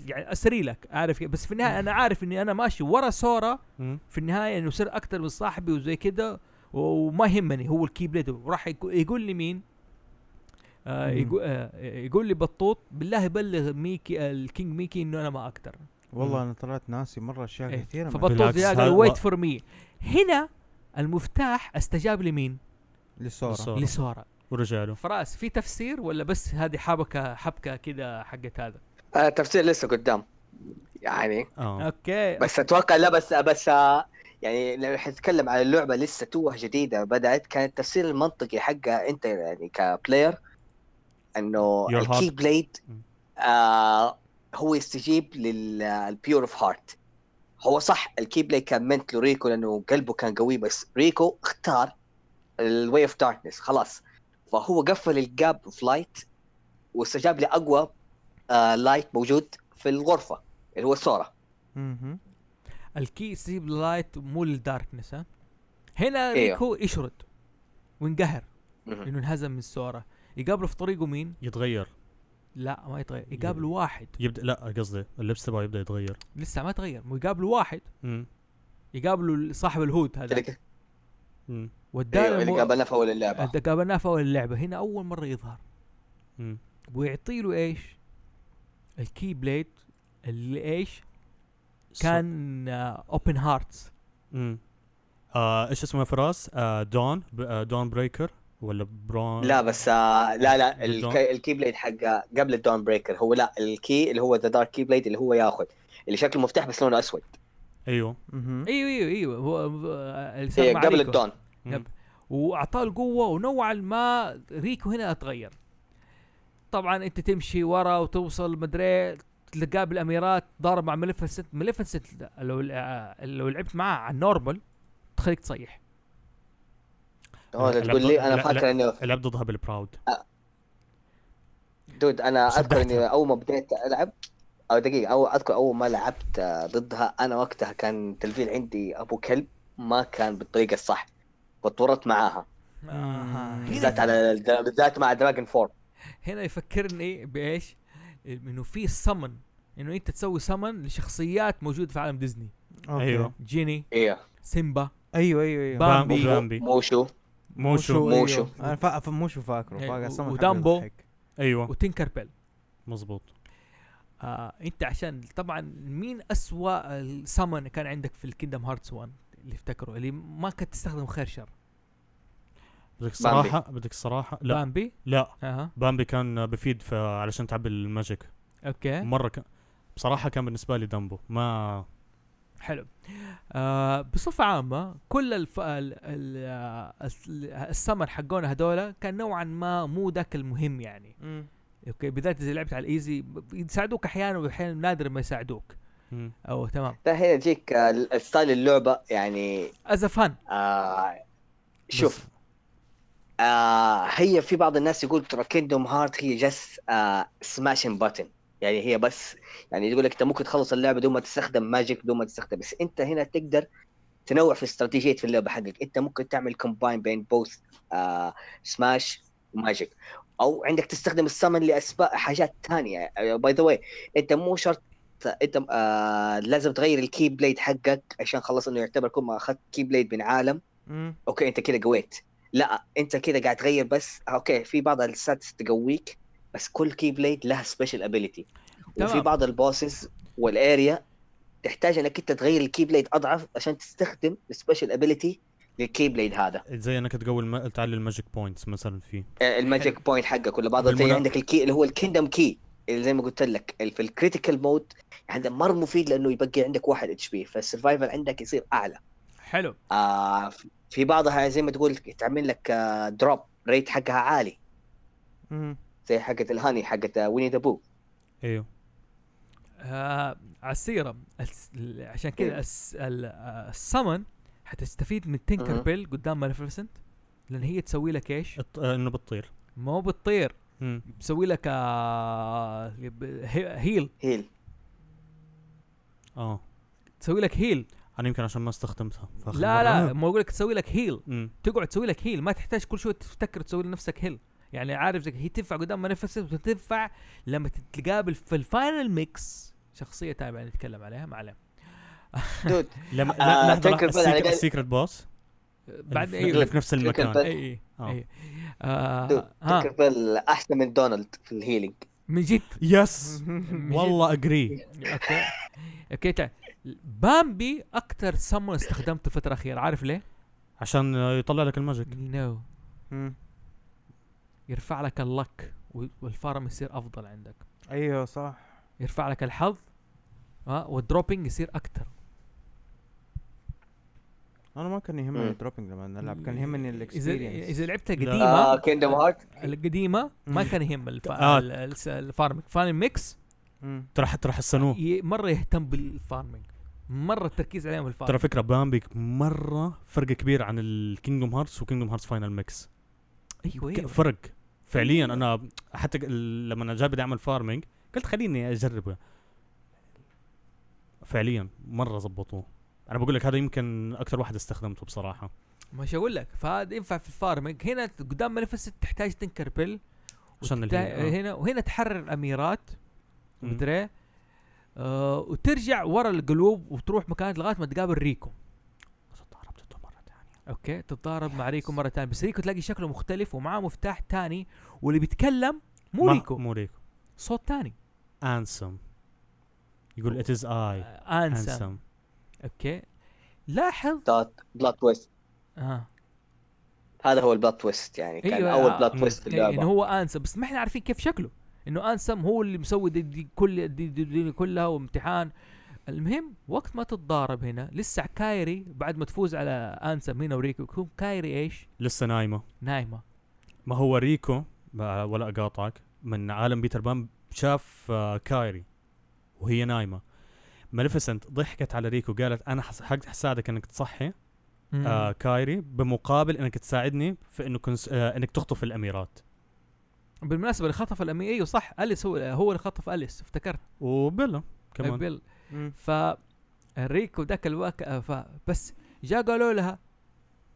يعني اسري لك عارف كيف؟ بس في النهايه انا عارف اني انا ماشي ورا سورا
مم.
في النهايه انه صار اكثر من صاحبي وزي كده و- وما يهمني هو الكي بليد وراح يقو- يقول لي مين آه
مم.
يقول, آه يقول لي بطوط بالله بلغ ميكي آه، الكينج ميكي انه انا ما اقدر
والله انا طلعت ناسي مره اشياء
إيه.
كثيره من-
فبطوط
بالعكس،
جاء قال
هذا-
ويت فور مي هنا المفتاح استجاب لمين؟
للسورة
للسورة. سورا.
لسورا
ورجع له
فراس في تفسير ولا بس هذه حبكه حبكه كده حقت هذا؟
آه، تفسير لسه قدام يعني
اه
اوكي
بس اتوقع لا بس بس آه، يعني لو حنتكلم على اللعبه لسه توه جديده بدات كان التفسير المنطقي حقها انت يعني كبلاير انه
Your heart.
الكي بليد
مم.
آه هو يستجيب للبيور اوف هارت هو صح الكي بليد كان منت لريكو لانه قلبه كان قوي بس ريكو اختار الواي اوف داركنس خلاص فهو قفل الجاب اوف لايت واستجاب لاقوى آه لايت موجود في الغرفه اللي هو سورا
مهم.
الكي سيب لايت مو للداركنس ها هنا
أيوه.
ريكو يشرد وينقهر انه انهزم من سورا يقابله في طريقه مين؟
يتغير
لا ما يتغير يقابله واحد
يبدا لا قصدي اللبس تبعه يبدا يتغير
لسه ما تغير مو يقابله واحد
امم
يقابله صاحب الهود هذا
يعني
اللي-
امم
ايوه
وداه
اللي
لمو-
قابلنا في اول اللعبه
يعني
هذا قابلناه في اول اللعبه هنا اول مره يظهر
امم
ويعطي له ايش؟ الكي بليد اللي ايش؟ كان آه، اوبن هارتس
امم آه ايش اسمها فراس؟ آه دون ب... آه دون بريكر ولا برون
لا بس آه لا لا
الدون-
الكي, الكي بليد حق قبل الدون بريكر هو لا الكي اللي هو ذا دارك كي بليد اللي هو ياخذ اللي شكله مفتاح بس لونه اسود
ايوه
مهم.
ايوه ايوه ايوه هو آه، اللي
إيه
صار مع
قبل
ريكو.
الدون
يب. واعطاه القوه ونوعا ما ريكو هنا اتغير طبعا انت تمشي ورا وتوصل مدري تلقاه بالاميرات ضارب مع ملفنسنت ملفنسنت لو آه، لو لعبت معاه على النورمال تخليك تصيح
هو
لا،
تقول لي
لا،
انا
لا،
فاكر
لا.
انه
لعب ضدها بالبراود
دود انا اذكر
صدقتها.
اني اول ما بديت العب او دقيقه او اذكر اول ما لعبت آه، ضدها انا وقتها كان تلفيل عندي ابو كلب ما كان بالطريقه الصح فطورت معاها
آه
بالذات
هنا,
على بالذات مع دراجون فور
هنا يفكرني بايش؟ انه في سمن انه انت تسوي سمن لشخصيات موجوده في عالم ديزني أيوة.
أوكي.
أيوه.
جيني
ايوه
سيمبا
ايوه ايوه ايوه
بام. بامبي.
بامبي
موشو
موشو
أيوه.
موشو.
انا فا... فا- موشو فاكره
إيه،
فاكر
و-
أصلاً
ودامبو.
حق الضحك.
ايوه
وتينكر بيل
مزبوط
آه انت عشان طبعا مين اسوا السمن كان عندك في الكيندم هارتس 1 اللي افتكره اللي ما كنت تستخدم خير شر
بدك الصراحه بدك الصراحه لا
بامبي
لا
اها
بامبي كان بفيد ف- علشان تعبي الماجيك
اوكي
مره كان بصراحه كان بالنسبه لي دامبو ما
حلو آه بصفه عامه كل الف... ال... ال... آه، الس- السمن حقونا هذولا كان نوعا ما مو ذاك المهم يعني اوكي بالذات اذا لعبت على الايزي ب- يساعدوك احيانا واحيانا نادر ما يساعدوك
مم.
او تمام
لا هنا يجيك آه، ستايل اللعبه يعني
از فن
آه شوف
بس-
آه هي في بعض الناس يقول ترى كيندوم هارت هي جس آه سماشن باتن يعني هي بس يعني يقول لك انت ممكن تخلص اللعبه بدون ما تستخدم ماجيك بدون ما تستخدم بس انت هنا تقدر تنوع في استراتيجيه في اللعبه حقك انت ممكن تعمل كومباين بين بوث آه سماش وماجيك او عندك تستخدم السمن لاسباب حاجات آه، ثانيه باي ذا واي انت مو شرط انت آه لازم تغير الكي بليد حقك عشان خلاص انه يعتبر كل ما اخذت كي بليد من عالم
مم.
اوكي انت كده قويت لا انت كده قاعد تغير بس اوكي في بعض الستاتس تقويك بس كل كي بليد لها سبيشال ابيلتي وفي
تمام.
بعض البوسز والاريا تحتاج انك انت تغير الكي بليد اضعف عشان تستخدم السبيشال ابيلتي للكي بليد هذا
زي انك تقوي الم... تعلي الماجيك بوينتس مثلا فيه
آه، الماجيك بوينت حقك ولا بعض زي
بالمنا-
عندك الكي اللي هو الكيندم كي اللي زي ما قلت لك ال- في الكريتيكال مود هذا مره مفيد لانه يبقي عندك واحد اتش بي فالسرفايفل عندك يصير اعلى
حلو
آه في بعضها زي ما تقول تعمل لك آه دروب ريت حقها عالي
مم.
زي حقت الهاني حقت آه، ويني ذا بو
ايوه
آه على السيرة الس- ال- عشان كذا الس- ال- آه، السمن حتستفيد من تينكر
مهم.
بيل قدام مالفيسنت لان هي تسوي لك ايش؟
الط... آه، انه بتطير
مو بتطير
مم.
تسوي لك آه ب- هي- هيل
هيل
اه
تسوي لك هيل
انا يمكن عشان ما استخدمتها فآخر
لا لا
مرة.
ما اقول لك تسوي لك هيل
مم.
تقعد تسوي لك هيل ما تحتاج كل شوي تفتكر تسوي لنفسك هيل يعني عارف زي هي تنفع قدام مالفيسنت وتنفع لما تتقابل في الفاينل ميكس شخصية تابعة نتكلم عليها ما عليه
دود
لما
آه،
لا لحظه
تذكر
لحظه
بقى على
السيك-
قال-
السيكرت بوس
بعد
اللي في- اللي
ايوه
في نفس
تذكر
المكان
بقى-
اي اي
آه.
اي آه،
دود
ها
تذكر بيل احسن من دونالد في الهيلينج
من جد
يس
من جد.
والله اجري
اوكي اوكي تعال بامبي اكثر سمون استخدمته الفتره الاخيره عارف ليه؟
عشان آه، يطلع لك الماجيك
نو
مم.
يرفع لك اللك و- والفارم يصير افضل عندك
ايوه صح
يرفع آه، لك الحظ ها والدروبينج يصير اكثر
انا ما كان يهمني
مم.
الدروبينج لما نلعب
إيه،
كان يهمني
اذا
الاكسبيرينس
اذا لعبتها
لا.
اه
قديمه
كيندم هارت
القديمه ما
مم.
كان يهم الف...
آه.
ال- الس- الفارمينج فارمينج ميكس
ترى حتى راح يحسنوه
ي- مره يهتم بالفارمينج مره التركيز عليهم في
ترى
الفارمينج
فكره بامبي مره فرق كبير عن الكينجدوم هارتس وكينجدوم هارتس فاينل ميكس
ايوه
ك-
ايوه
فرق فعليا انا حتى ق- لما انا جاي بدي اعمل فارمنج قلت خليني اجربه فعليا مره زبطوه انا بقول لك هذا يمكن اكثر واحد استخدمته بصراحه
مش اقول لك فهذا ينفع في الفارمينج هنا قدام منافسة تحتاج تنكربل
عشان
وتحتاج-
الهيل، آه.
هنا وهنا تحرر الاميرات
مم.
مدري إيه. آه وترجع ورا القلوب وتروح مكان لغايه ما تقابل ريكو
ضربته مره ثانيه
اوكي تتضارب مع ريكو مره ثانيه بس ريكو تلاقي شكله مختلف ومعاه مفتاح ثاني واللي بيتكلم مو ريكو
مو ريكو
صوت ثاني
انسم يقول ات از اي
انسم
انسم
اوكي آه، لاحظ
دوت بلوت تويست
اه
هذا هو البلوت تويست يعني كان
أيوة،
اول
آه.
بلوت تويست في
إيه، انه
اللعبه
هو انسم بس ما احنا عارفين كيف شكله انه انسم هو اللي مسوي دي, دي كل دي, دي, دي كلها وامتحان المهم وقت ما تتضارب هنا لسه كايري بعد ما تفوز على انسم هنا وريكو يكون كايري ايش؟
لسه نايمه
نايمه
ما هو ريكو ما- ولا اقاطعك من عالم بيتر بان شاف آه، كايري وهي نايمه ماليفيسنت ضحكت على ريكو قالت انا حس- حق- حساعدك انك تصحي آه كايري بمقابل انك تساعدني في انه كنس... آه انك تخطف الاميرات
بالمناسبه اللي خطف الامير ايوه صح اليس هو هو اللي خطف اليس افتكرت
وبلا كمان
بيل ف ريكو ذاك الوقت آه، ف بس جا قالوا لها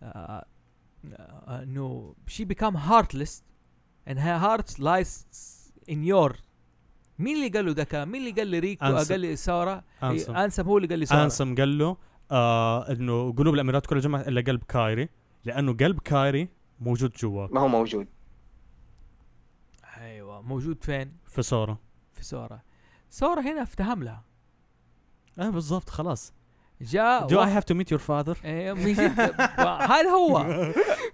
آه، آه، انه شي بيكام هارتلس and her heart lies in your مين اللي قال له ذاك مين اللي قال لي ريكو آه،
أنسم.
قال لي ساره
انسم
إيه، انسم هو اللي قال لي ساره
انسم قال له آه انه قلوب الاميرات كلها جمعت الا قلب كايري لانه قلب كايري موجود جواك
ما هو موجود
ايوه موجود فين
في سورا
في ساره ساره هنا افتهم لها
اه بالضبط خلاص
جاء
Do I
واحد-
have to meet your father؟
إيه، مش- هذا هو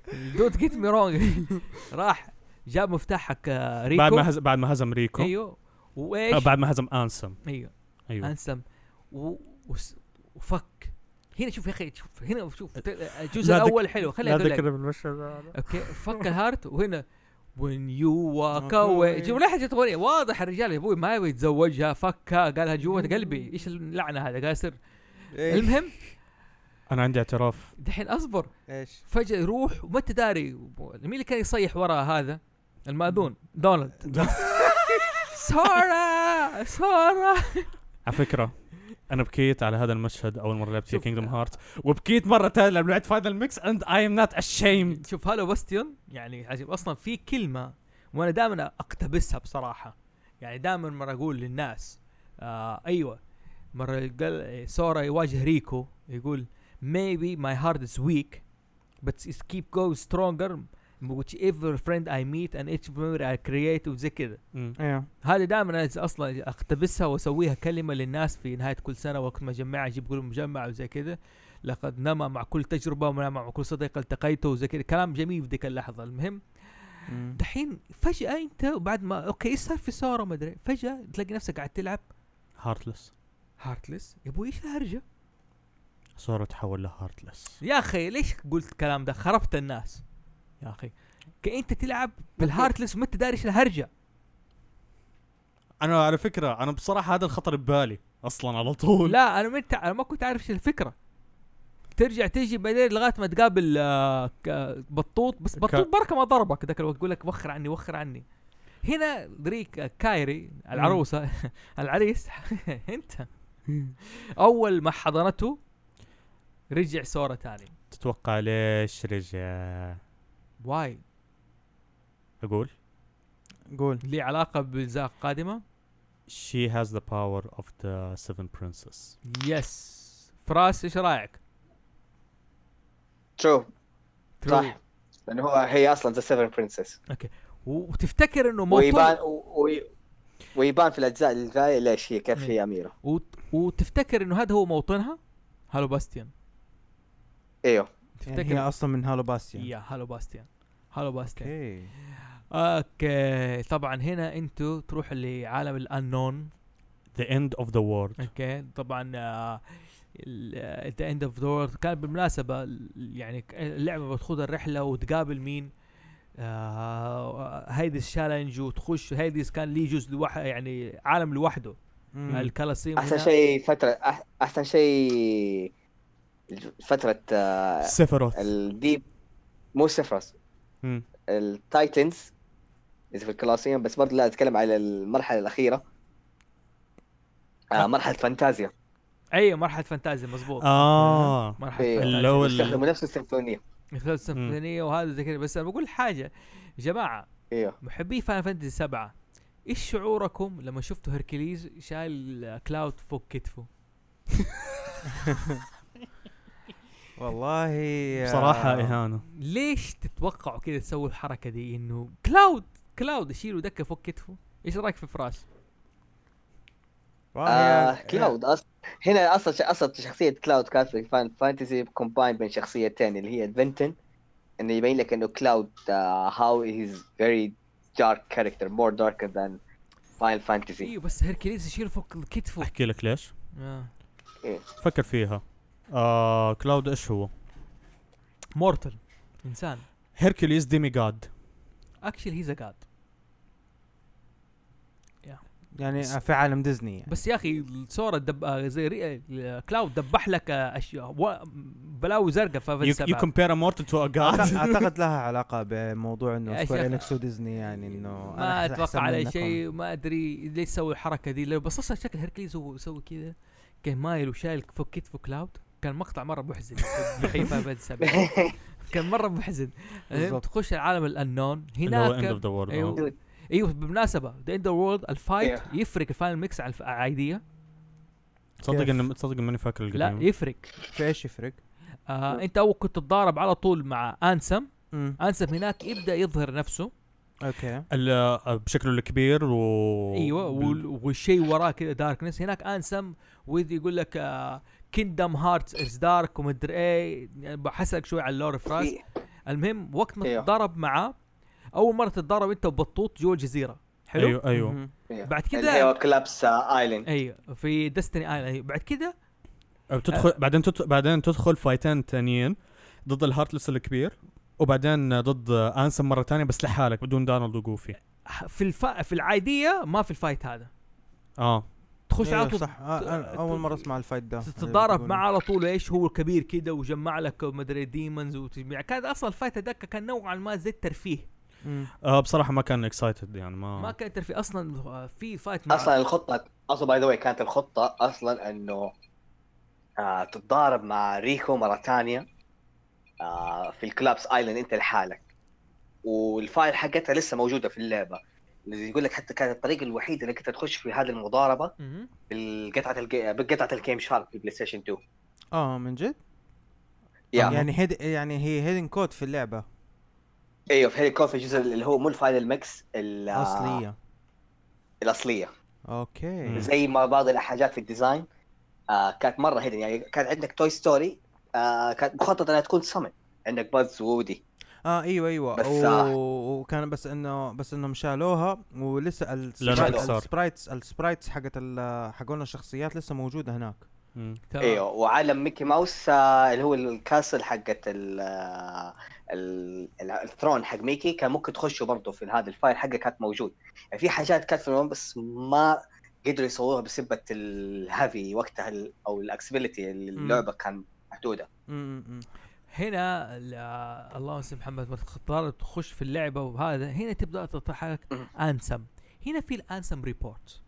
دوت جيت مي رونج راح جاب مفتاح حق آه، ريكو
بعد ما هز... بعد ما هزم ريكو
ايوه
آه
وايش
بعد ما هزم انسم
ايوه
ايوه
انسم و... وس... وفك هنا شوف يا اخي شوف هنا شوف ت- الجزء
أه، لا ذك-
الاول حلو خليني
لا
اقول لك
ذكر بالبشر
اوكي فك الهارت وهنا when you walk
Walk
آه،
away
away.
شوف لحظة تغنية واضح الرجال يا ابوي ما يبغى يتزوجها فكها قالها جوة قلبي ايش اللعنة هذا قاسر
إيه.
المهم
انا عندي اعتراف
دحين اصبر
ايش
فجأة يروح وما انت داري مين اللي كان يصيح ورا هذا المأذون دونالد سارة سارة
على فكره انا بكيت على هذا المشهد اول مره لعبت فيه
شوف.
كينجدوم هارت وبكيت مره ثانيه لما لعبت فاينل ميكس اند اي ام نوت اشيمد
شوف هالو باستيون يعني عجيب اصلا في كلمه وانا دائما اقتبسها بصراحه يعني دائما مره اقول للناس آه ايوه مره قال سورا يواجه ريكو يقول maybe my heart is weak but it keep going stronger whichever friend I meet and each memory I create وزي كذا
ايوه
هذه دائما اصلا اقتبسها واسويها كلمه للناس في نهايه كل سنه وقت ما اجمعها اجيب لهم مجمع وزي كذا لقد نما مع كل تجربه ونما مع كل صديق التقيته وزي كذا كلام جميل في ذيك اللحظه المهم
مم.
دحين فجاه انت وبعد ما اوكي ايش صار في ساره ما ادري فجاه تلاقي نفسك قاعد تلعب
هارتلس
هارتلس يا ابوي ايش الهرجه
صار تحول لهارتلس
يا اخي ليش قلت الكلام ده خربت الناس يا اخي كأنت تلعب بالهارتلس وما انت داري ايش الهرجه
انا على فكره انا بصراحه هذا الخطر ببالي اصلا على طول
لا انا ما انا ما كنت عارف ايش الفكره ترجع تيجي بعدين لغايه ما تقابل آه، ك- بطوط بس
ك-
بطوط بركه ما ضربك ذاك الوقت يقول لك وخر عني وخر عني هنا دريك آه، كايري العروسه العريس انت اول ما حضنته رجع سورة تاني
تتوقع ليش رجع
واي
اقول
قول
لي علاقه باجزاء قادمه
she has the power of the seven princess
يس فراس ايش رايك
ترو
True.
صح لانه هو هي اصلا ذا سيفن برنسس
و- وتفتكر انه موضوع
ويبان و- و- ويبان في الاجزاء الجايه ليش هي كيف
إيه.
هي اميره
وت- وتفتكر انه هذا هو موطنها هالو باستيان
ايوه
يعني
تفتكر
هي اصلا من هالو باستيان
يا هالو باستيان هالو باستيان
اوكي
اوكي طبعا هنا انتو تروح لعالم الانون
the end of the world
اوكي طبعا آه، ذا اند اوف دور كان بالمناسبه ال- يعني ك- اللعبه بتخوض الرحله وتقابل مين آه هيدي الشالنج وتخش هيدي كان ليه جزء لوحده يعني عالم لوحده
مم.
الكالاسيم
احسن
هنا.
شيء فتره أح- احسن شيء الج- فتره آه،
سيفروث
الديب مو سيفرس
مم.
التايتنز اذا في الكلاسيوم بس برضه لا اتكلم على المرحله الاخيره آه مرحله فانتازيا
اي مرحله فانتازيا مزبوط
آه.
اه
مرحله
في-
فانتازيا.
اللي هو ال-
إيه. يستخدموا نفس السيمفونيه
مثل السيمفونيه وهذا زي كذا بس انا بقول حاجه يا جماعه
ايوه
محبي فان فانتسي 7 ايش شعوركم لما شفتوا هركليز شايل كلاود فوق كتفه؟
والله آه،
بصراحه
إيه.
اهانه
ليش تتوقعوا كذا تسوي الحركه دي انه كلاود كلاود يشيله دكه فوق كتفه؟ ايش رايك في فراس؟
والله
آه
يا-
كلاود أص... هنا اصلا ش... اصلا شخصيه كلاود كانت في فان فانتسي كومباين بين شخصيتين اللي هي فينتن انه يبين لك آه، انه كلاود هاو هيز فيري دارك كاركتر مور داركر ذان فاين فانتسي
ايوه بس هركليز يشيله فوق كتفه
احكي لك ليش
آه.
إيه.
فكر فيها آه كلاود ايش هو
مورتل انسان
هيركليز ديمي جاد
اكشلي هيز جاد
يعني في عالم ديزني يعني.
بس يا اخي سورا دب... آه، زي ري... آه، كلاود دبح لك آه، اشياء و... بلاوي زرقاء في
يو
Avengers
يو
سبعة.
كومبير مورتل تو ا
أعت-
جاد
اعتقد لها علاقه بموضوع
يا
انه
شيخ،
سكوير انكس وديزني يعني انه
ما
أنا أحس- أحسن
اتوقع عليه
منكم.
شيء ما ادري ليش سوى الحركه دي لو بصص على شكل هيركليز وهو يسوي كذا كان مايل وشايل فوق كتفه كلاود كان مقطع مره محزن بحيفا بد سبع كان مره محزن
بالضبط.
تخش العالم الانون
اللي هو اند اوف
هناك
ذا وورد
ايوه ايوه بالمناسبه ذا اند وورلد الفايت
Yeah.
يفرق الفاينل ميكس عن العاديه
تصدق
كيف؟
اني تصدق ماني فاكر
لا
القديم
يفرق
في ايش يفرق؟
آه انت اول كنت تتضارب على طول مع انسم
امم
انسم هناك يبدا يظهر نفسه
اوكي
ال- آه، بشكله الكبير و
ايوه وال- والشيء وراه كذا داركنس هناك انسم ويجي يقول لك آه، كيندم هارتس از دارك ومدري ايه يعني بحسك شوي على اللور فراس
إيه.
المهم وقت ما
أيوه.
تتضارب معاه اول مره تتضارب انت وبطوط جوا الجزيره حلو
ايوه ايوه
مهم.
بعد
إيه. اللي آه،
كده
هو كلابس ايلاند
ايوه في ديستني ايلاند بعد كده
آه،
آه.
بتدخل بعدين تدخل بعدين تدخل فايتين ثانيين ضد الهارتلس الكبير وبعدين ضد انسم مره ثانيه بس لحالك بدون دانالد وجوفي
ح- في الف... في العاديه ما في الفايت هذا
اه
تخش على
أيوه،
طول
صح آه، أنا اول مره اسمع الفايت ده
تتضارب معه على طول ايش هو كبير كده وجمع لك مدري ديمونز وتجميع كان اصلا الفايت هذاك كان نوعا ما زي الترفيه
مم.
آه بصراحه ما كان اكسايتد يعني ما,
ما كان ترفيه اصلا آه، في فايت مع
اصلا الخطه اصلا باي ذا كانت الخطه اصلا انه آه تتضارب مع ريكو مره ثانيه آه في الكلابس ايلاند انت لحالك والفايل حقتها لسه موجوده في اللعبه اللي يقول لك حتى كانت الطريقه الوحيده انك انت تخش في هذه المضاربه
مهم.
بالقطعه الج... بقطعه الجيم شارك في بلاي ستيشن 2
اه من جد؟
يا
يعني هيد يعني هي هيدن كود في اللعبه
ايوه في هيلي كوفي الجزء اللي هو مو الفاينل ميكس ال-
اصليه
الاصليه
اوكي
مم.
زي ما بعض الحاجات في الديزاين آه كانت مره هيدن يعني كان عندك توي ستوري آه كانت مخطط انها تكون سمن عندك باز وودي
اه ايوه ايوه
بس،
و-
آه.
وكان بس انه بس انهم شالوها ولسه
لأنه
السبرايت-
Pixar.
السبرايتس السبرايتس حقت ال- حقون الشخصيات لسه موجوده هناك
مم.
تمام.
ايوه وعالم ميكي ماوس آه اللي هو الكاسل حقت ال- آه، ال- ال- الثرون حق ميكي كان ممكن تخشه برضه في هذا الفايل حقه كانت موجود يعني في حاجات كانت في الألبوم بس ما قدروا يصوروها بسبة الهافي وقتها ال- او الاكسبيلتي اللي
مم.
اللعبه كان محدوده
مم،
mm,
مم.
هنا ال- اللهم صل محمد ما تختار تخش في اللعبه وهذا هنا تبدا تتحرك
مهم.
انسم هنا في الانسم ريبورت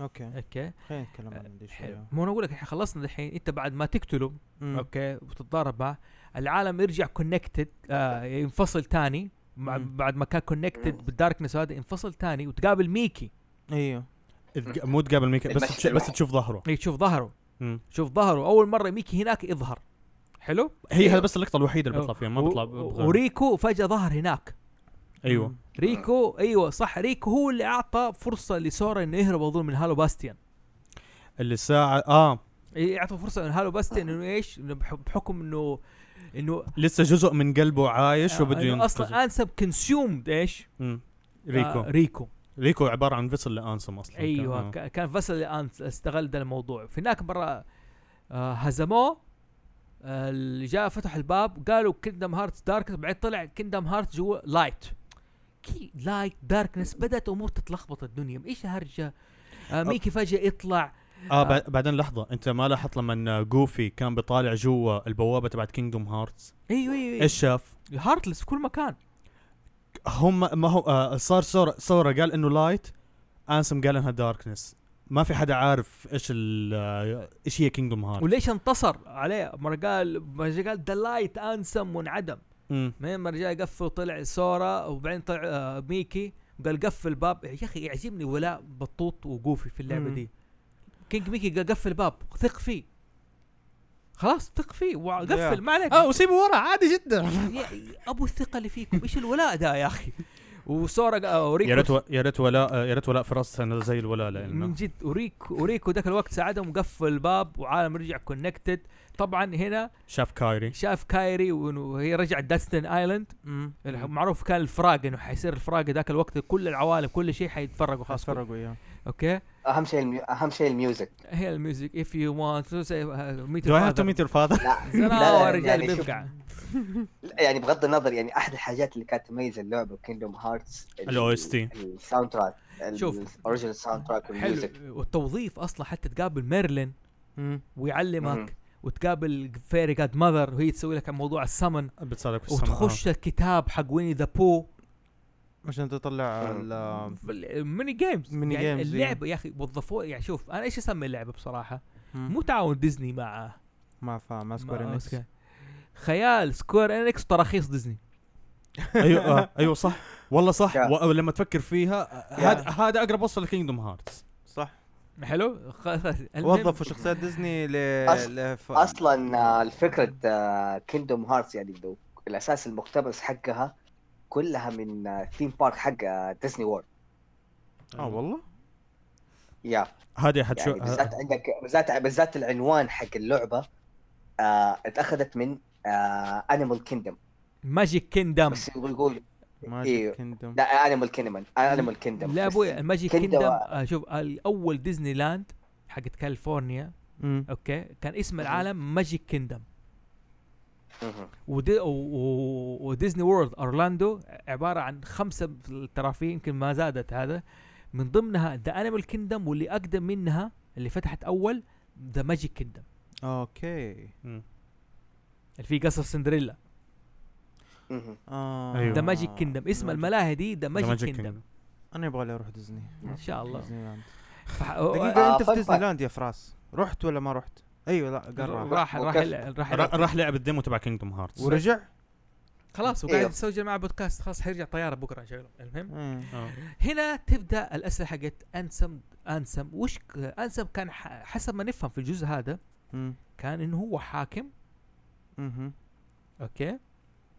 اوكي
اوكي
خلينا نتكلم عن دي
حلو
شويه
مو انا اقول لك إحنا خلصنا دحين انت بعد ما تقتله
مم.
اوكي وتتضارب معه العالم يرجع كونكتد آه ينفصل تاني مع
مم.
بعد ما كان كونكتد بالداركنس هذا انفصل تاني وتقابل ميكي
ايوه
تق- مو تقابل ميكا بس
المشهد
تش... بس
الوحيد.
تشوف ظهره
إيه، تشوف ظهره
مم.
شوف ظهره اول مره ميكي هناك يظهر حلو
هي هذا بس اللقطه الوحيده اللي
أو-
بيطلع فيها ما بيطلع
و-
بغير.
وريكو فجاه ظهر هناك
ايوه
ريكو ايوه صح ريكو هو اللي اعطى فرصه لسورا انه يهرب اظن من هالو باستيان
اللي ساعه اه
إيه، اعطى فرصه من هالو باستيان انه ايش إنه بح- بحكم انه انه
لسه جزء من قلبه عايش وبده
إنه
ينقذه
اصلا انسب كونسيومد ايش
مم. ريكو
آه ريكو
ريكو عباره عن فيصل لانسم اصلا
ايوه
كان- آه.
ك- كان فصل الان استغل ده الموضوع في هناك برا آه هزموه آه، اللي جاء فتح الباب قالوا كيندم هارتس دارك بعدين طلع كيندم هارتس جوا لايت كي لايت داركنس بدات امور تتلخبط الدنيا ايش هرجه آه ميكي فجاه يطلع
اه بع- بعدين لحظه انت ما لاحظت لما جوفي كان بيطالع جوا البوابه تبعت كينجدوم هارتس
ايوه ايوه
ايش شاف؟
هارتلس في كل مكان
هم ما هو آه صار سورا سورا قال انه لايت انسم قال انها داركنس ما في حدا عارف ايش ال- آه، ايش هي كينجدوم هارت
وليش انتصر عليه مره قال مره قال ذا لايت انسم وانعدم
مم.
بعدين مره جاء قفل وطلع سورا وبعدين طلع آه ميكي وقال قفل الباب يا اخي يعجبني ولاء بطوط وقوفي في اللعبه
مم.
دي كينج ميكي قال قفل الباب ثق فيه خلاص ثق فيه وقفل
Yeah.
ما عليك
اه وسيبه ورا عادي جدا
يا- يا ابو الثقه اللي فيكم ايش الولاء ده يا اخي وسورا آه، قا- اوريكو
يا ريت و- يا ريت ولاء آه، يا ريت ولاء في راسها زي الولاء
من
لانه
جد اوريكو اوريكو ذاك الوقت ساعدهم وقفل الباب وعالم رجع كونكتد طبعا هنا
شاف كايري
شاف كايري وإنه- وهي رجعت داستن ايلاند
Mm.
الح- معروف كان الفراق انه حيصير الفراق ذاك الوقت كل العوالم كل شيء حيتفرقوا خلاص كل-
فرقوا اياه
اوكي
اهم شيء الميو... اهم شيء الميوزك
هي الميوزك اف يو وانت تو سي ميت
دو اي هاف تو ميت يور فاذر
لا،
لا رجال
يعني شوف-
بيفقع
لا، يعني بغض النظر يعني احد الحاجات اللي كانت تميز اللعبه كيندوم هارتس
ال OST.
الساوند تراك
شوف.
الاوريجنال ساوند تراك والميوزك
حلو والتوظيف اصلا حتى تقابل ميرلين
Mm.
مم.
ويعلمك وتقابل فيري جاد ماذر وهي تسوي لك عن موضوع السمن
بتصير لك في السماء.
وتخش الكتاب حق ويني ذا بو
عشان تطلع
مم.
ال
ميني جيمز
ميني
يعني
جيمز، إيه.
اللعبه يا اخي وظفوها يعني شوف انا ايش اسمي اللعبه بصراحه مو تعاون ديزني مع
ما فا ما سكوير
Mm. ما-
انكس
أوكي. خيال سكوير انكس تراخيص ديزني
آه. ايوه آه. ايوه صح والله صح
Yeah.
و- لما تفكر فيها آه،
Yeah.
هذا هذا اقرب وصف لكينجدوم هارتس
صح
حلو خ- المهم-
وظفوا شخصيات ديزني ل
أص-
ل- ف-
اصلا آه، الفكره كيندوم هارتس يعني لو الاساس المقتبس حقها كلها من ثيم بارك حق آه، ديزني وورلد
اه والله
يا
هذه حتشو آه،
يعني
آه،
بالذات عندك بالذات بالذات العنوان حق اللعبه آه، اتاخذت من انيمال كيندم
ماجيك كيندم
بس يبغوا يقول
ماجيك
إيوه.
كيندوم
لا انيمال كيندم انيمال كيندم
لا ابوي ماجيك
كيندم.
كيندم آه، شوف اول ديزني لاند حقت كاليفورنيا
Mm.
اوكي كان اسم
مهم.
العالم ماجيك كيندم ودي و- و- وديزني وورلد اورلاندو عباره عن خمسه ترافيه يمكن ما زادت هذا من ضمنها ذا انيمال كيندم واللي اقدم منها اللي فتحت اول ذا ماجيك كيندم
اوكي
مم.
اللي فيه قصر سندريلا
اه
أيوه.
ذا ماجيك كيندم اسم
Magic-
الملاهي دي ذا
The
ماجيك
Magic
كيندم
Kingdom.
انا يبغى لي اروح ديزني
ان شاء الله
ديزني لاند
فح-
دقيقة
آه،
انت في
fun
ديزني
fact.
لاند يا فراس رحت ولا ما رحت؟ ايوه لا قال راح
راح راح
وكف.
يلع- راح
را-
يلع-
راح لعب الديمو تبع كينجدوم هارتس
ورجع؟
خلاص وقاعد
إيه.
إيوه.
يسجل معه بودكاست خلاص حيرجع طياره بكره شغله المهم
إيه.
آه،
هنا تبدا الاسئله حقت انسم انسم وش ك- انسم كان ح- حسب ما نفهم في الجزء هذا
مم.
كان انه هو حاكم
مهم.
اوكي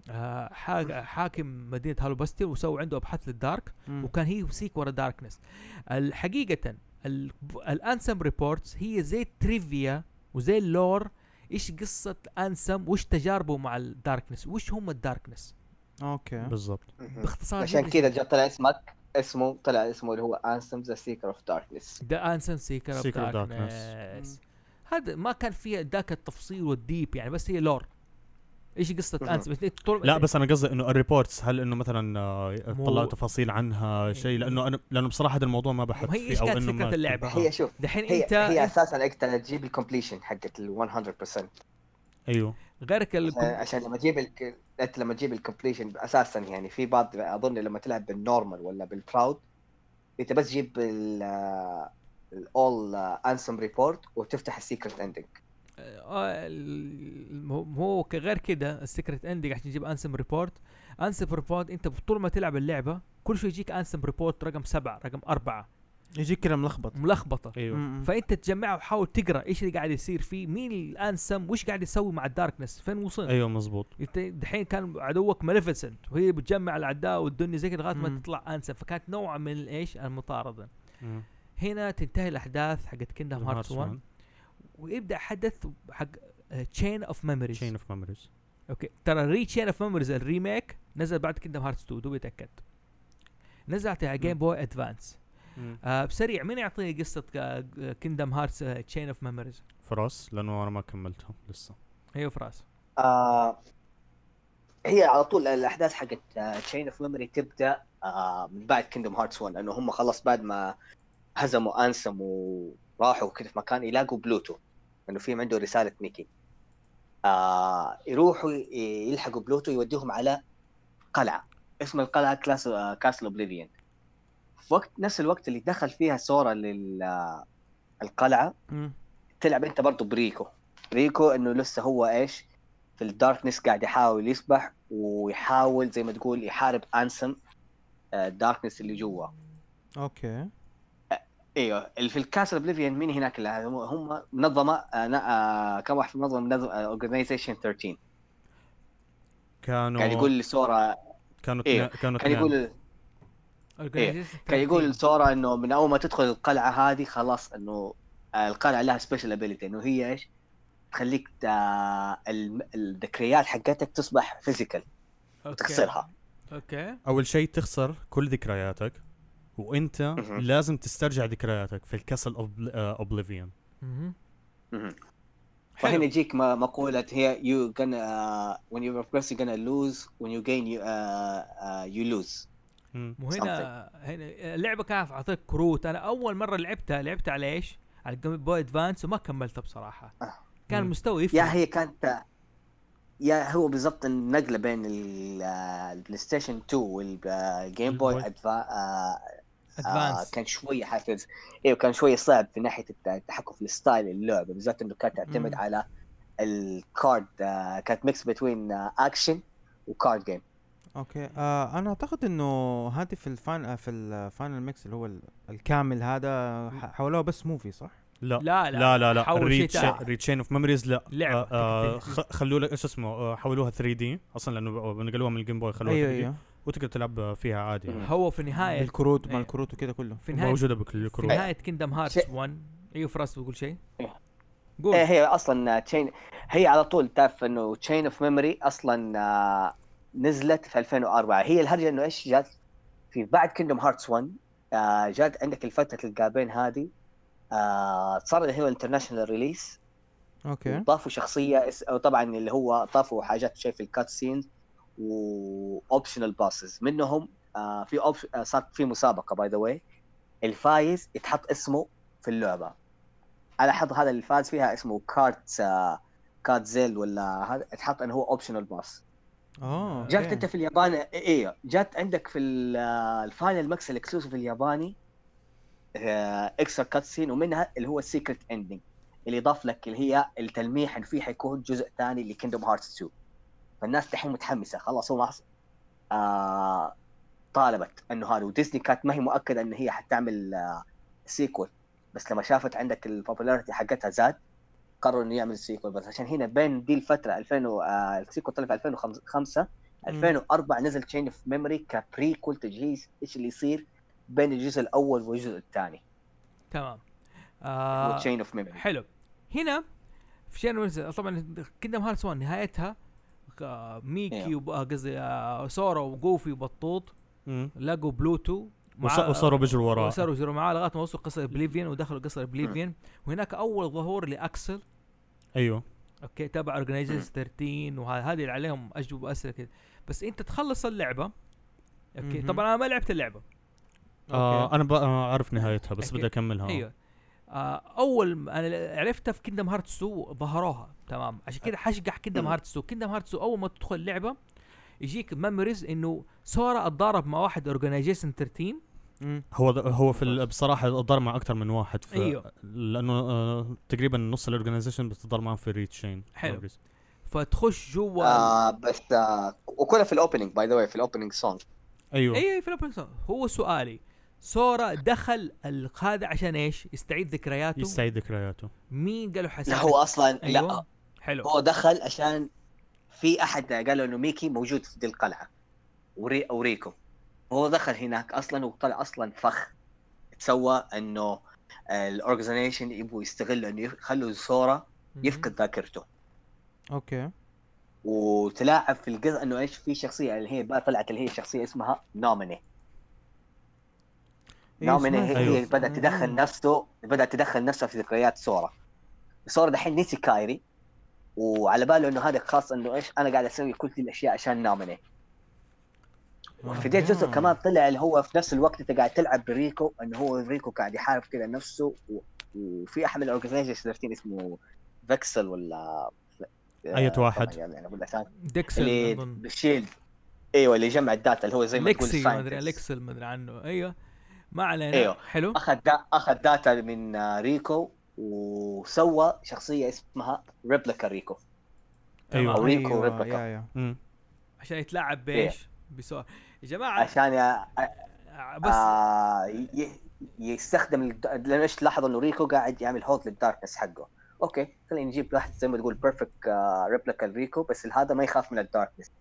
آه حا- حاكم مدينه هالوباستير وسوى عنده ابحاث للدارك
مم.
وكان هي يمسيك ورا داركنس الحقيقة ال- الانسم ريبورتس هي زي تريفيا وزي اللور ايش قصة انسم وايش تجاربه مع الداركنس وش هم الداركنس
اوكي
بالضبط
باختصار يعني
عشان
جداً.
كذا جا طلع اسمك اسمه طلع اسمه اللي هو انسم ذا سيكر اوف داركنس
ذا انسم سيكر اوف
Seeker of Darkness.
داركنس هذا ما كان فيها ذاك التفصيل والديب يعني بس هي لور ايش قصة
مهم.
انسم طول-
لا بس انا قصدي انه الريبورتس هل انه مثلا آه،
مو-
طلعوا تفاصيل عنها شيء لانه انا لانه بصراحه هذا الموضوع ما بحث
ما هي ايش
فيه او
كانت
انه
فكرة
ما
اللعبة
هي شوف
دحين
هي
انت
هي
أنت
اساسا انك تجيب الكومبليشن حقت ال 100%
ايوه
غيرك
عشان-
الكم-
عشان لما تجيب الك... انت لما تجيب الكومبليشن اساسا يعني في بعض اظن لما تلعب بالنورمال ولا بالبراود انت بس تجيب ال الاول انسم ريبورت وتفتح السيكرت اندنج
آه، ال- هو- هو ك- غير كده السكرت اندنج عشان تجيب انسم ريبورت انسم ريبورت انت طول ما تلعب اللعبه كل شوي يجيك انسم ريبورت رقم سبعة رقم أربعة
يجيك كلام ملخبط
ملخبطة
ايوه
مم.
فانت تجمعها وحاول تقرا ايش اللي قاعد يصير فيه مين الانسم وش قاعد يسوي مع الداركنس فين وصل
ايوه مزبوط
انت دحين كان عدوك ماليفيسنت وهي بتجمع الاعداء والدنيا زي كده لغايه ما
مم.
تطلع انسم فكانت نوع من ايش المطارده
مم.
هنا تنتهي الاحداث حقت كيندم هارتس 1 ويبدا حدث حق آه، تشين اوف ميموريز
تشين اوف ميموريز
اوكي ترى ري تشين اوف ميموريز الريميك نزل بعد كيندم هارتس 2 دوبي اتاكدت نزلت على جيم بوي ادفانس
مم.
آه بسريع مين يعطيني آه، قصه كيندم هارتس تشين اوف ميموريز
فراس لانه انا ما كملتهم لسه
ايوه فراس
آه هي على طول الاحداث حقت آه، تشين اوف ميموري تبدا آه من بعد كيندوم هارتس 1 لانه هم خلاص بعد ما هزموا انسم وراحوا كده في مكان يلاقوا بلوتو انه في عنده رساله ميكي آه يروحوا ي- يلحقوا بلوتو يوديهم على قلعه اسم القلعه كلاس آه، كاسل اوبليفيون في وقت نفس الوقت اللي دخل فيها آه، سورا للقلعه
مم.
تلعب انت برضه بريكو ريكو انه لسه هو ايش في الداركنس قاعد يحاول يسبح ويحاول زي ما تقول يحارب انسم آه، الداركنس اللي جوا
اوكي
ايوه اللي في الكاسل بليفيان مين هناك اللي هم- هم منظمه آه، نا- آه، كم واحد في آه، منظمه منظمه اورجنايزيشن 13
كانوا
قاعد يعني يقول لسورا
كانوا
إيه،
اتنا- كانوا
كان
اتنين.
يقول إيه. كان يقول لسورا انه من اول ما تدخل القلعه هذه خلاص انه آه، القلعه لها سبيشال ابيلتي انه هي ايش؟ تخليك آه، تا- الم- الذكريات حقتك تصبح فيزيكال تكسرها
اوكي
اول شيء تخسر كل ذكرياتك وانت
مهم.
لازم تسترجع ذكرياتك في الكسل آه، اوبليفيون
مهم.
مهم.
حلو.
وهنا يجيك م- مقولة هي you gonna uh, when you progress you're gonna lose when you gain you uh, uh, you lose
وهنا هنا اللعبه كانت اعطيك كروت انا اول مره لعبتها لعبتها على ايش؟ على الجيم بوي ادفانس وما كملتها بصراحه
آه.
كان
مم.
مستوى
يا
يفرق
هي كانت يا هو بالضبط النقلة بين ال- آه، البلاي ستيشن 2 والجيم بوي
Boy.
ادفانس
uh, آه، كان شوية حافز ايوه كان شوية صعب في ناحية الت- التحكم في الستايل اللعبة بالذات انه كانت تعتمد
مم.
على الكارد آه، كانت uh, ميكس بين اكشن وكارد جيم
اوكي آه انا اعتقد انه هذه في الفاينل في الفاينل ميكس اللي هو ال- الكامل هذا ح- حولوه بس موفي صح؟
لا
لا
لا لا لا
حول شيء
ريتش
تاني.
ريتشين اوف ميموريز لا
لعبة.
آه، آه، خ- خلوا لك ايش اسمه آه، حولوها 3 دي اصلا لانه ب- نقلوها من الجيم بوي خلوها 3
أيوة،
ايوه
دي
ايوه
وتقدر تلعب فيها عادي يعني.
هو في نهايه
بالكروت مع
إيه.
الكروت وكذا كله
في نهايه
موجوده بكل
في
الكروت
نهايه كيندم هارتس
شيء.
1 ايوه فراس بتقول شيء
إيه.
قول
ايه هي اصلا تشين هي على طول تعرف انه تشين اوف ميموري اصلا آه، نزلت في 2004 هي الهرجه انه ايش جات في بعد كيندوم هارتس 1 آه، جات عندك الفتره الجابين هذه آه، صار هي الانترناشونال ريليس
اوكي
وضافوا شخصيه اس- أو طبعا اللي هو ضافوا حاجات شيء في الكات سينز واوبشنال باسز منهم آه، في أوبش... آه، صار في مسابقه باي ذا واي الفايز يتحط اسمه في اللعبه على حظ هذا اللي فاز فيها اسمه كارت آه، كارت زيل ولا هذا يتحط انه هو اوبشنال باس
اه
جات
جات
أوكي.
انت في اليابان ايه جات عندك في ال- آه، الفاينل ماكس الاكسلوسيف الياباني آه، اكسترا كاتسين ومنها اللي هو السيكرت اندنج اللي ضاف لك اللي هي التلميح انه في حيكون جزء ثاني لكيندوم هارتس 2 فالناس دحين متحمسه خلاص هو محص... آه طالبت انه هذا وديزني كانت ما هي مؤكده ان هي حتعمل آه سيكول بس لما شافت عندك البوبولاريتي حقتها زاد قرروا انه يعمل سيكول بس عشان هنا بين دي الفتره 2000 و- آه السيكول طلع في 2005 2004 نزل تشين اوف ميموري كبريكول تجهيز ايش اللي يصير بين الجزء الاول والجزء الثاني
تمام
آه
آه
وتشين اوف ميموري
حلو هنا في شين ويلز- طبعا كيندم هارتس 1 نهايتها آه، ميكي
إيوه.
وب- آه، قصدي آه، سورا وجوفي وبطوط
مم.
لقوا بلوتو آه،
وص- وصاروا بيجروا وراه
وصاروا يجروا معاه لغايه ما وصلوا قصر بليفيان ودخلوا قصر بليفيان وهناك اول ظهور لاكسل
ايوه
اوكي تبع اورجنايزيشن 13 وهذه اللي عليهم اجوبه اسئله كذا بس انت تخلص اللعبه اوكي
مهم.
طبعا انا ما لعبت اللعبه
آه
أوكي.
انا ب- آه، اعرف نهايتها بس
أوكي.
بدي اكملها
ايوه آه اول ما انا عرفتها في كيندم هارتس 2 ظهروها تمام عشان كذا حشقح كيندم
مم.
هارتس 2 كيندم هارتس 2 اول ما تدخل اللعبه يجيك ميموريز انه سورا اتضارب مع واحد اورجنايزيشن 13
مم.
هو هو في ال- بصراحه ضرب مع اكثر من واحد في
أيوه.
لانه آه تقريبا نص الاورجنايزيشن بتضرب معاهم في ريتشين
حلو. فتخش جوا
آه بس آه وكلها في الاوبننج باي ذا واي في الاوبننج سونج
ايوه
اي أيوة، في الأوبننج سونج. هو سؤالي سورا دخل ال- هذا عشان ايش؟ يستعيد ذكرياته
يستعيد ذكرياته
مين قالوا حسن
لا هو اصلا لا
أيوه. حلو
هو دخل عشان في احد قالوا انه ميكي موجود في دي القلعه وري اوريكو هو دخل هناك اصلا وطلع اصلا فخ تسوى انه الاورجنايزيشن يبغوا يستغلوا انه يخلوا سورا
مهم.
يفقد ذاكرته
اوكي
وتلاعب في القصه انه ايش في شخصيه اللي هي بقى طلعت اللي هي شخصيه اسمها نوميني
إيه،
ناومي هي, هي
أيوه.
أيوة.
بدات تدخل نفسه بدات تدخل نفسها في ذكريات سورا سورا دحين نسي كايري وعلى باله انه هذا خاص انه ايش انا قاعد اسوي كل الاشياء عشان نامني في ذا
آه.
الجزء كمان طلع اللي هو في نفس الوقت انت قاعد تلعب بريكو انه هو ريكو قاعد يحارب كذا نفسه و... وفي احد من الاورجنايزيشن اسمه فيكسل ولا
أية واحد.
طبعاً يعني انا اقول لك
ديكسل
اللي
اظن
بالشيلد ايوه اللي جمع الداتا اللي هو زي ما تقول
ليكسي ما ادري
scientist.
ليكسل ما ادري عنه ايوه ما علينا
أيوة.
حلو
اخذ دا اخذ داتا من آه، ريكو وسوى شخصيه اسمها ريبليكا ريكو
ايوه
أو ريكو
أيوة،
ريبليكا.
يا- يا.
مم.
عشان يتلاعب بايش؟ بسؤال يا جماعه
عشان يا-
آه، بس
آه ي- يستخدم الد- لانه ايش لاحظ انه ريكو قاعد يعمل هولد للداركنس حقه اوكي خلينا نجيب واحد زي ما تقول بيرفكت ريبليكا ريكو بس هذا ما يخاف من الداركنس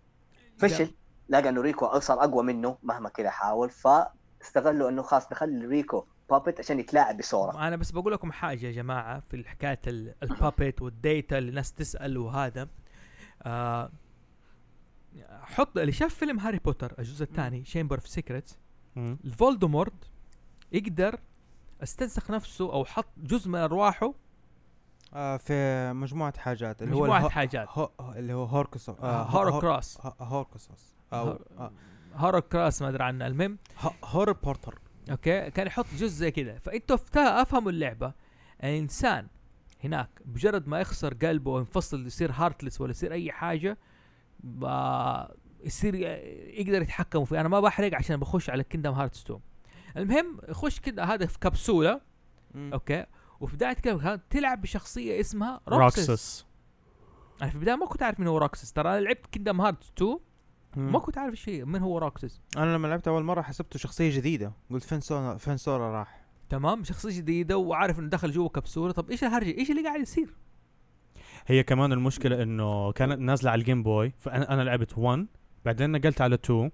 فشل لقى انه ريكو صار اقوى منه مهما كذا حاول فاستغلوا انه خلاص نخلي ريكو بابت عشان يتلاعب بسورا
انا بس بقول لكم حاجه يا جماعه في حكايه البابيت والديتا اللي الناس تسال وهذا آه حط اللي شاف فيلم هاري بوتر الجزء الثاني شامبر اوف سيكريتس
مم.
الفولدمورت يقدر استنسخ نفسه او حط جزء من ارواحه
آه، في مجموعة حاجات اللي هو
مجموعه
الهو-
حاجات
هو اللي هو هوركس
هورو كراس
هوركسوس آه، او
هور- هورو كراس ما ادري عنه المهم
هور بورتر
اوكي كان يحط جزء زي كذا فانتوا فتا- افهموا اللعبه الانسان هناك بجرد ما يخسر قلبه وينفصل يصير هارتلس ولا يصير اي حاجه ب- يصير ي- يقدر يتحكموا فيه انا ما بحرق عشان بخش على كيندم هارتس 2 المهم خش كده هذا في كبسوله اوكي وفي بدايه كده تلعب بشخصيه اسمها روكسس
روكسس
انا في البدايه ما كنت عارف مين هو روكسس ترى انا لعبت كيندم هارتس 2 ما
مم.
كنت عارف شيء مين هو روكسس
انا لما لعبت اول مرة حسبته شخصية جديدة قلت فين سورا فين سورا راح
تمام شخصيه جديده وعارف انه دخل جوه كبسوله طب ايش الهرجه ايش اللي قاعد يصير
هي كمان المشكله انه كانت نازله على الجيم بوي فانا انا لعبت 1 بعدين نقلت على 2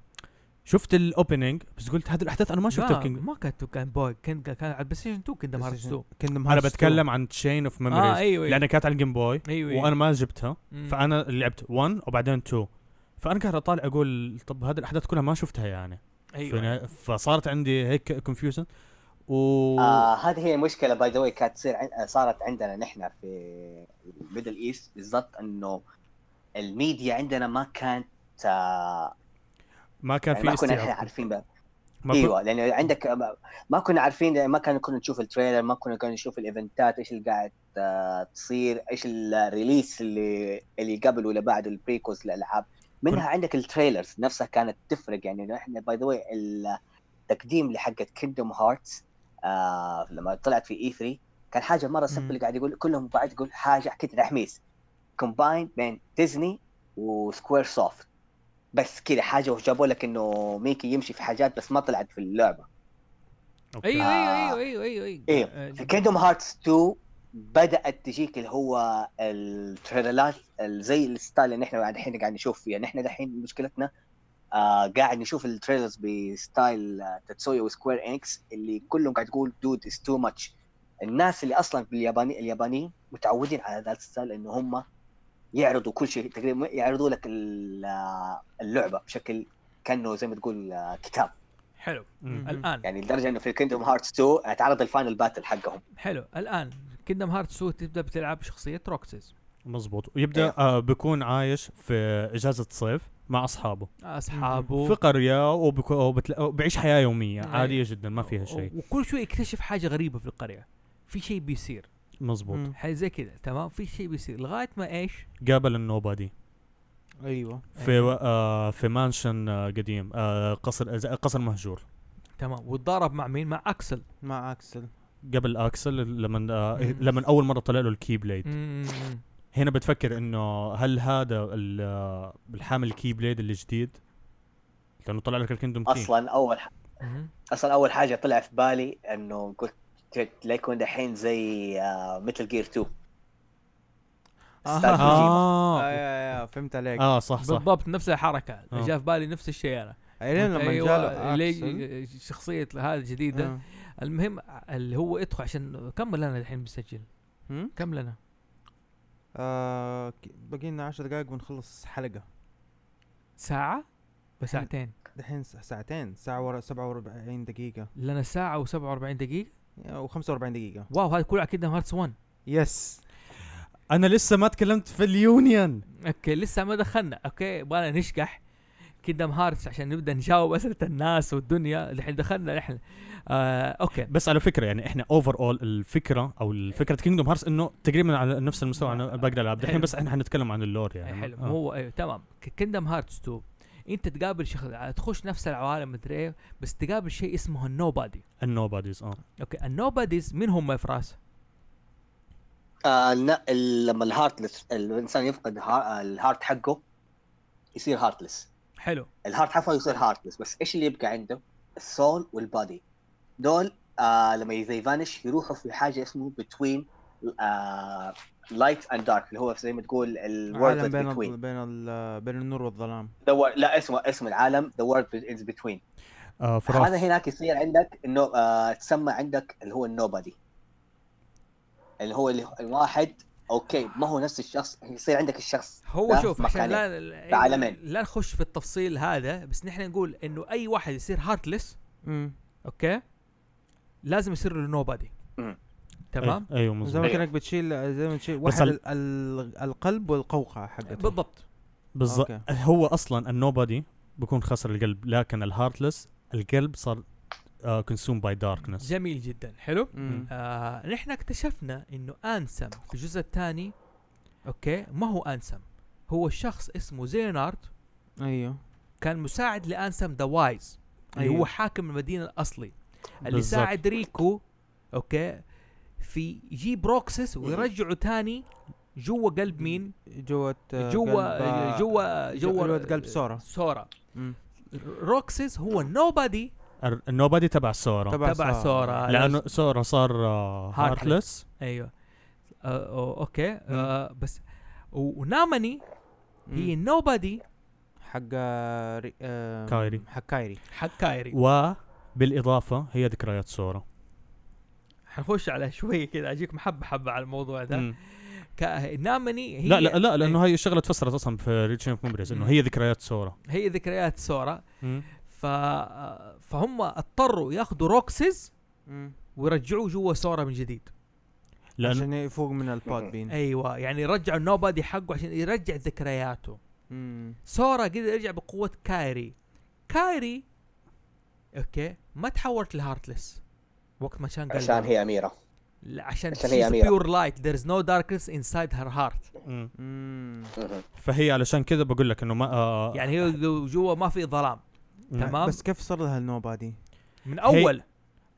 شفت الاوبننج بس قلت هذه الاحداث انا ما شفتها في
لا،
Kingdom-
ما كانت كان بوي كان كان على البلاي ستيشن 2 كيندم هارتس 2
كندم
انا بتكلم عن تشين اوف
اه
ميموريز
ايوه
لانها يعني كانت على الجيم بوي
ايوه أيوة.
وانا ما جبتها
مم.
فانا لعبت 1 وبعدين 2 فانا قاعد اطالع اقول طب هذه الاحداث كلها ما شفتها يعني
ايوه
فنا- فصارت عندي هيك كونفيوجن و
آه هذه هي مشكله باي ذا واي كانت تصير عن... آه، صارت عندنا نحن في الميدل ايست بالضبط انه الميديا عندنا ما كانت آه
ما كان
يعني
في
ما كنا نحن
استيعاب
عارفين بقى.
ما كن-
ايوه لان عندك ما- ما كنا عارفين ما كنا كنا نشوف التريلر ما كنا كنا نشوف الايفنتات ايش اللي قاعد آه، تصير ايش الريليس اللي اللي قبل ولا بعد البريكوز الالعاب منها عندك التريلرز نفسها كانت تفرق يعني احنا باي ذا واي التقديم لحقت كيندوم هارتس لما طلعت في اي 3 كان حاجه مره
مم.
سمبل قاعد يقول كلهم قاعد يقول حاجه كده تحميس كومباين بين ديزني وسكوير سوفت بس كده حاجه وجابوا لك انه ميكي يمشي في حاجات بس ما طلعت في اللعبه
أوكي.
ايوه
آه.
ايوه ايوه ايوه ايوه
إيه،
ايوه
آه،
في كيندوم هارتس 2 بدات تجيك اللي هو التريلرات ال- زي الستايل اللي احنا الحين قاعد نشوف فيها نحن دحين مشكلتنا آه قاعد نشوف التريلرز بستايل آه، تاتسويا وسكوير انكس اللي كلهم قاعد تقول دود از تو ماتش الناس اللي اصلا بالياباني اليابانيين متعودين على ذا الستايل انه هم يعرضوا كل شيء تقريبا يعرضوا لك ال- آه، اللعبه بشكل كانه زي ما تقول آه، كتاب
حلو
مم.
الان
يعني لدرجه انه في كيندوم هارتس 2 اتعرض الفاينل باتل حقهم
حلو الان كيندم هارتس 2 تبدا بتلعب بشخصيه روكسس
مزبوط ويبدا
أيوة.
آه بيكون عايش في اجازه صيف مع اصحابه
اصحابه
في قريه وبك- وبتلا- وبيعيش حياه يوميه
أيوة.
عاديه جدا ما فيها شيء
و- وكل شوي يكتشف حاجه غريبه في القريه في شيء بيصير
مزبوط
حاجه زي كذا تمام في شيء بيصير لغايه ما ايش
قابل النوبادي
ايوه
في
أيوة.
و- آه في مانشن آه قديم آه قصر زي- قصر مهجور
تمام وتضارب مع مين مع اكسل
مع اكسل
قبل اكسل لما آه
مم.
لما اول مره طلع له الكي بليد
مم.
هنا بتفكر انه هل هذا ال- آه، الحامل الكي بليد الجديد لانه طلع لك الكندوم كي
اصلا اول
مم.
اصلا اول حاجه طلع في بالي انه قلت جد لا يكون دحين زي آه، متل جير 2 أستاذ كوجيما.
آه،
اه
يا- يا، فهمت عليك
اه صح صح
بالضبط نفس الحركه
آه.
جاء في بالي نفس الشيء انا
الين لما
ايوه
جاله أكسل،
ليه شخصيه هذا الجديده
آه.
المهم اللي هو ادخل عشان كم لنا الحين بنسجل
هم؟
كم لنا
آه، ك- باقي لنا 10 دقائق ونخلص حلقة
ساعه وساعتين
دحين س- ساعتين ساعة ورا 47 دقيقة
لنا ساعه و47 دقيقه
او 45 دقيقة
واو هذا كله على كيندم هارتس 1
يس
انا لسه ما تكلمت في اليونيون
اوكي لسه ما دخلنا اوكي يبغانا نشقح كيندم هارتس عشان نبدا نجاوب اسئله الناس والدنيا الحين دخلنا نحن آه اوكي
بس على فكره يعني احنا اوفر اول الفكره او فكره كينجدوم هارس انه تقريبا على نفس المستوى عن باقي الالعاب الحين
حلو.
بس احنا حنتكلم عن اللور يعني
حلو
آه.
هو ايوه تمام كيندم هارتس 2 انت تقابل شخص تخش نفس العوالم مدري ايه بس تقابل شيء اسمه النو بادي
النو باديز اه
اوكي النو باديز مين هم يا فراس؟
آه لا ال- لما الهارتلس الانسان يفقد ها- الهارت حقه يصير هارتلس
حلو
الهارت حقه يصير هارتلس بس ايش اللي يبقى عنده؟ السول والبادي دول آه لما زي فانش يروحوا في حاجه اسمه آه، بتوين لايت اند دارك اللي هو زي ما تقول
عالم
الورد
بين
بتوين
ال بين ال بين النور والظلام
لا اسمه اسم العالم ذا وورد از بتوين
آه
هذا
فراس
هناك يصير عندك انه آه تسمى عندك اللي هو النوبادي اللي هو اللي الواحد اوكي ما هو نفس الشخص يصير عندك الشخص
هو
ده
شوف
في
عشان
مكانين.
لا لا-
بعالمين.
لا نخش في التفصيل هذا بس نحن نقول انه اي واحد يصير هارتلس
امم
اوكي لازم يصير له نو بادي
مم.
تمام
أي- ايوه
زي
مظبوط
ما
أيوة.
كانك بتشيل زي ما تشيل واحد
ال-
ال ال القلب والقوقعة حقته
بالضبط
بالظبط
أوكي.
هو اصلا النو بادي بيكون خسر القلب لكن الهارتلس القلب صار آه، كونسوم باي داركنس
جميل جدا حلو
مم.
آه نحن اكتشفنا انه انسم في الجزء الثاني اوكي ما هو انسم هو الشخص اسمه زينارد
ايوه
كان مساعد لانسم ذا وايز اللي
أيوه.
هو حاكم المدينه الاصلي اللي
بالظبط.
ساعد ريكو اوكي في يجيب روكسس
إيه.
ويرجعه ثاني جوا قلب مين
جوة آه،
جوا
قلب-
جوا
جو-
جوا آه،
الواد قلب سورا
سورا
مم.
روكسس هو النوبادي
النو بادي تبع سورا
تبع
تبع
سورا.
سورا
لانه سورا صار
Heartless.
هارتلس
ايوه آه، أو- اوكي آه بس و- وناماني هي النوبادي
حق آه، ري- آه،
كايري.
حق كايري
حق كايري
وبالاضافه هي ذكريات سورا
حنخش على شوي كذا اجيك محبه حبه على الموضوع ده
مم.
كا- ناماني هي
لا لا لا لانه هاي الشغله تفسرت اصلا في ريتشن اوف
مم.
انه هي ذكريات سورا
هي ذكريات سورا ف فهم اضطروا ياخذوا روكسز ويرجعوه جوا سورا من جديد
لانه
عشان يفوق من الباد بين
ايوه يعني رجعوا النوبادي حقه عشان يرجع ذكرياته
مم.
سورا قدر يرجع بقوة كايري كايري اوكي ما تحولت لهارتلس وقت ما كان قلبها
عشان هي اميره
لا، عشان
عشان هي
she's
أميرة.
pure light there is no darkness inside her heart
مم.
مم.
مهم.
فهي علشان كذا بقول لك انه ما آه
يعني هي جو- جوا ما في ظلام
مم.
تمام
بس كيف صار لها النو بادي؟
من اول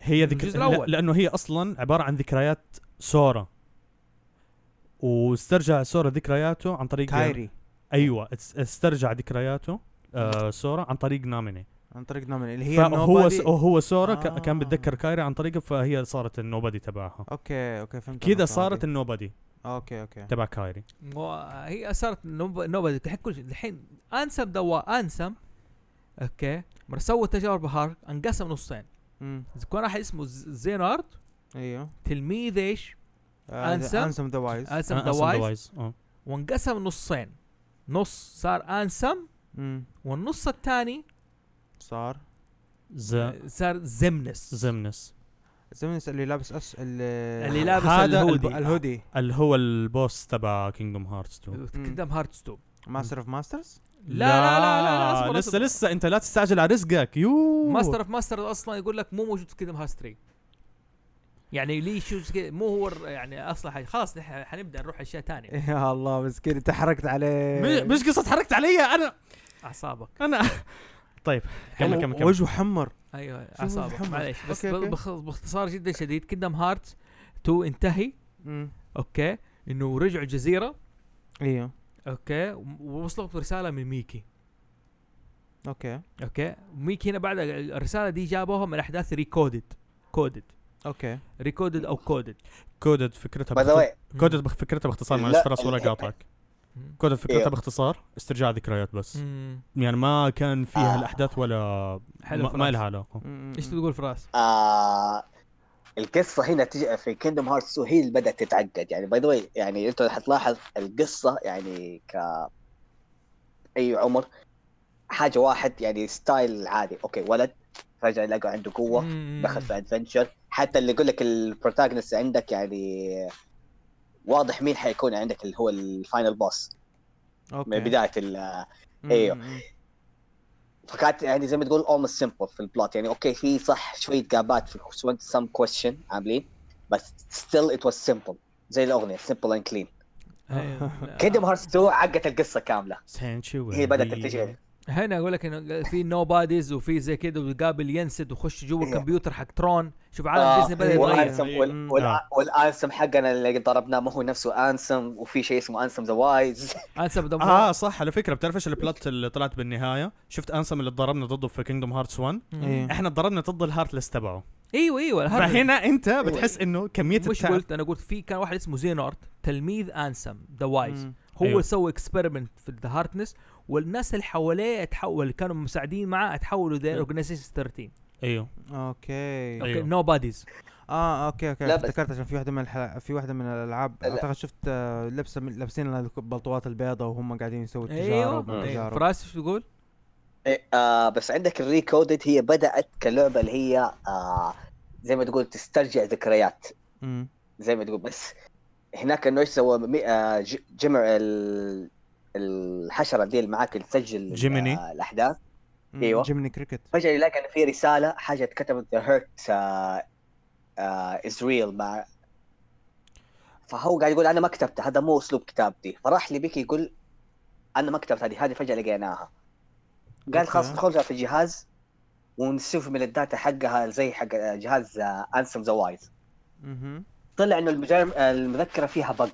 هي
الجزء
ذكر...
الأول.
لا لانه هي اصلا عباره عن ذكريات سورا واسترجع سورا ذكرياته عن طريق
كايري
ايوه است- استرجع ذكرياته آه سورا عن طريق ناميني
عن طريق نومن اللي هي
فهو س...
النوبادي-
هو سورا آه.
آه.
كان بتذكر كايري عن طريقه فهي صارت النوبادي تبعها
اوكي اوكي فهمت
كذا
النقطة
صارت
إيه؟
هذه.
النوبادي
اوكي اوكي
تبع كايري
مو- هي صارت نوبادي الحين كل شيء الحين انسم دوا انسم اوكي مر سوى تجارب بهار انقسم نصين
مم.
كان واحد اسمه ز- زينارد
ايوه
تلميذ ايش؟
آه،
أنسم.
انسم ذا وايز
انسم
آه،
ذا
أنسم
وايز
وايز. آه.
وانقسم نصين نص صار انسم
مم.
والنص الثاني
صار
ز...
صار زمنس
زمنس
الزمن اللي لابس أس... اللي,
اللي لابس
هذا
الهودي
الب-
الهودي
اللي هو البوس تبع كينجدوم هارتس 2
كيندم هارتس 2
ماستر اوف ماسترز
لا لا لا لا, لا اصبر
لسه لسه انت لا تستعجل على رزقك يو
ماستر اوف ماستر اصلا يقول لك مو موجود في كيندم هارتس 3 يعني ليه شو زي كده- مو هو الر- يعني اصلا حي- خلاص نح- حنبدا نروح اشياء ثانيه
يا الله مسكين انت حركت عليه
مش قصه اتحركت علي انا
اعصابك
انا طيب كمل كمل كمل
وجهه حمر
ايوه
شوف
اعصابك
محمد.
معليش بس
أوكي،
ب-
أوكي.
بخ- باختصار جدا شديد كيندم هارتس 2 انتهي اوكي انه رجعوا جزيره
ايوه
اوكي ووصلت رساله من ميكي
اوكي
اوكي ميكي هنا بعد الرساله دي جابوها من احداث ريكودد كودد
اوكي
ريكودد او كودد
كودد فكرتها
باي ذا
باختصار
واي
كودد بخ- فكرتها باختصار
لا،
معلش فراس ولا
ال-
قاطعك
مم.
كودد فكرتها
إيوه.
باختصار استرجاع ذكريات بس
مم.
يعني ما كان فيها
آه.
الاحداث ولا
حلو
ما- ما
فراس.
لها علاقه
ايش تقول فراس؟
آه القصه هنا تجي في كيندوم هارتس هي اللي بدات تتعقد يعني باي ذا واي يعني انت حتلاحظ القصه يعني ك اي عمر حاجه واحد يعني ستايل عادي اوكي ولد رجع لقى عنده قوه
مم.
دخل في ادفنتشر حتى اللي يقول لك البروتاغونست عندك يعني واضح مين حيكون عندك اللي هو الفاينل بوس
اوكي
إيه.
من بدايه ال-
مم.
ايوه. فكانت يعني زي ما تقول اولموست سمبل في البلوت يعني اوكي في صح شويه جابات في سم كويشن عاملين بس ستيل ات واز سمبل زي الاغنيه سمبل اند كلين
آه. أيوة.
كيندم هارتس 2 عقت القصه كامله
سانشو
هي بدات تتجه
هنا اقول لك انه في نو باديز وفي زي كذا وتقابل ينسد وخش جوا
إيه.
الكمبيوتر حق ترون شوف
آه،
عالم ديزني بدا يتغير
والانسم وال- وال-
آه.
والانسم حقنا اللي ضربناه ما هو نفسه انسم وفي شيء اسمه انسم ذا وايز
انسب دمار
اه صح على فكره بتعرف ايش البلات اللي طلعت بالنهايه شفت انسم اللي اتضربنا ضده في كينجدوم هارتس 1
إيه.
أيوه.
احنا اتضربنا ضد الهارتلس تبعه
ايوه ايوه الهرجة.
فهنا انت بتحس انه كميه
مش
التعب
قلت انا قلت في كان واحد اسمه زينارت تلميذ انسم ذا وايز
مم.
هو
أيوة.
أيوه. سوى اكسبيرمنت في ذا هارتنس والناس اللي حواليه تحول اللي كانوا مساعدين معاه تحولوا ذا اورجنايزيشن 13
ايوه
اوكي
اوكي
أيوه.
نو باديز
اه اوكي اوكي
لا، بس-
افتكرت عشان في واحده من الحلق... في واحده من الالعاب
لا.
اعتقد شفت آه، لبسه من... لابسين البلطوات البيضاء وهم قاعدين يسووا التجارب
ايوه أيوه.
والتجارب.
فراس شو تقول؟
إيه، آه بس عندك الريكودد هي بدات كلعبه اللي هي آه زي ما تقول تسترجع ذكريات
مم.
زي ما تقول بس هناك انه ايش سوى مي- آه، ج- جمع ال- الحشره دي اللي معاك اللي تسجل ال-
جيميني.
آه، الاحداث
مم.
أيوة.
جيمني كريكت
فجاه يلاقي انه في رساله حاجه اتكتبت ذا هيرت از ريل آه، مع فهو قاعد يقول انا ما كتبتها هذا مو اسلوب كتابتي فراح لبيكي يقول انا ما كتبت هذه هذه فجاه لقيناها قال
أوكي.
خلاص ندخلها في الجهاز ونشوف من الداتا حقها زي حق آه، جهاز انسم ذا وايز
مهم.
طلع انه المجرم المذكره فيها بق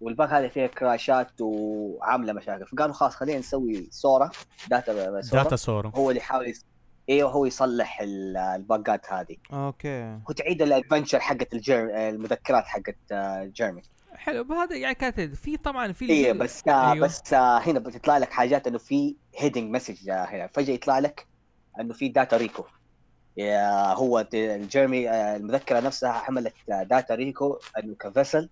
والبق هذه فيها كراشات وعامله مشاكل فقالوا خلاص خلينا نسوي سوره داتا
داتا
سوره
سورو
هو اللي يحاول يس... ايوه هو يصلح ال- البقات هذه
اوكي
وتعيد الادفنشر حقت الجير... المذكرات حقت آه، جيرمي
حلو هذا يعني كانت في طبعا في
ايوه بس آه
أيوه.
أيوه. بس آه هنا بتطلع لك حاجات انه في هيدنج مسج آه هنا فجاه يطلع لك انه في داتا ريكو يا هو د- الجيرمي آه المذكره نفسها عملت آه، داتا ريكو انه كفيسل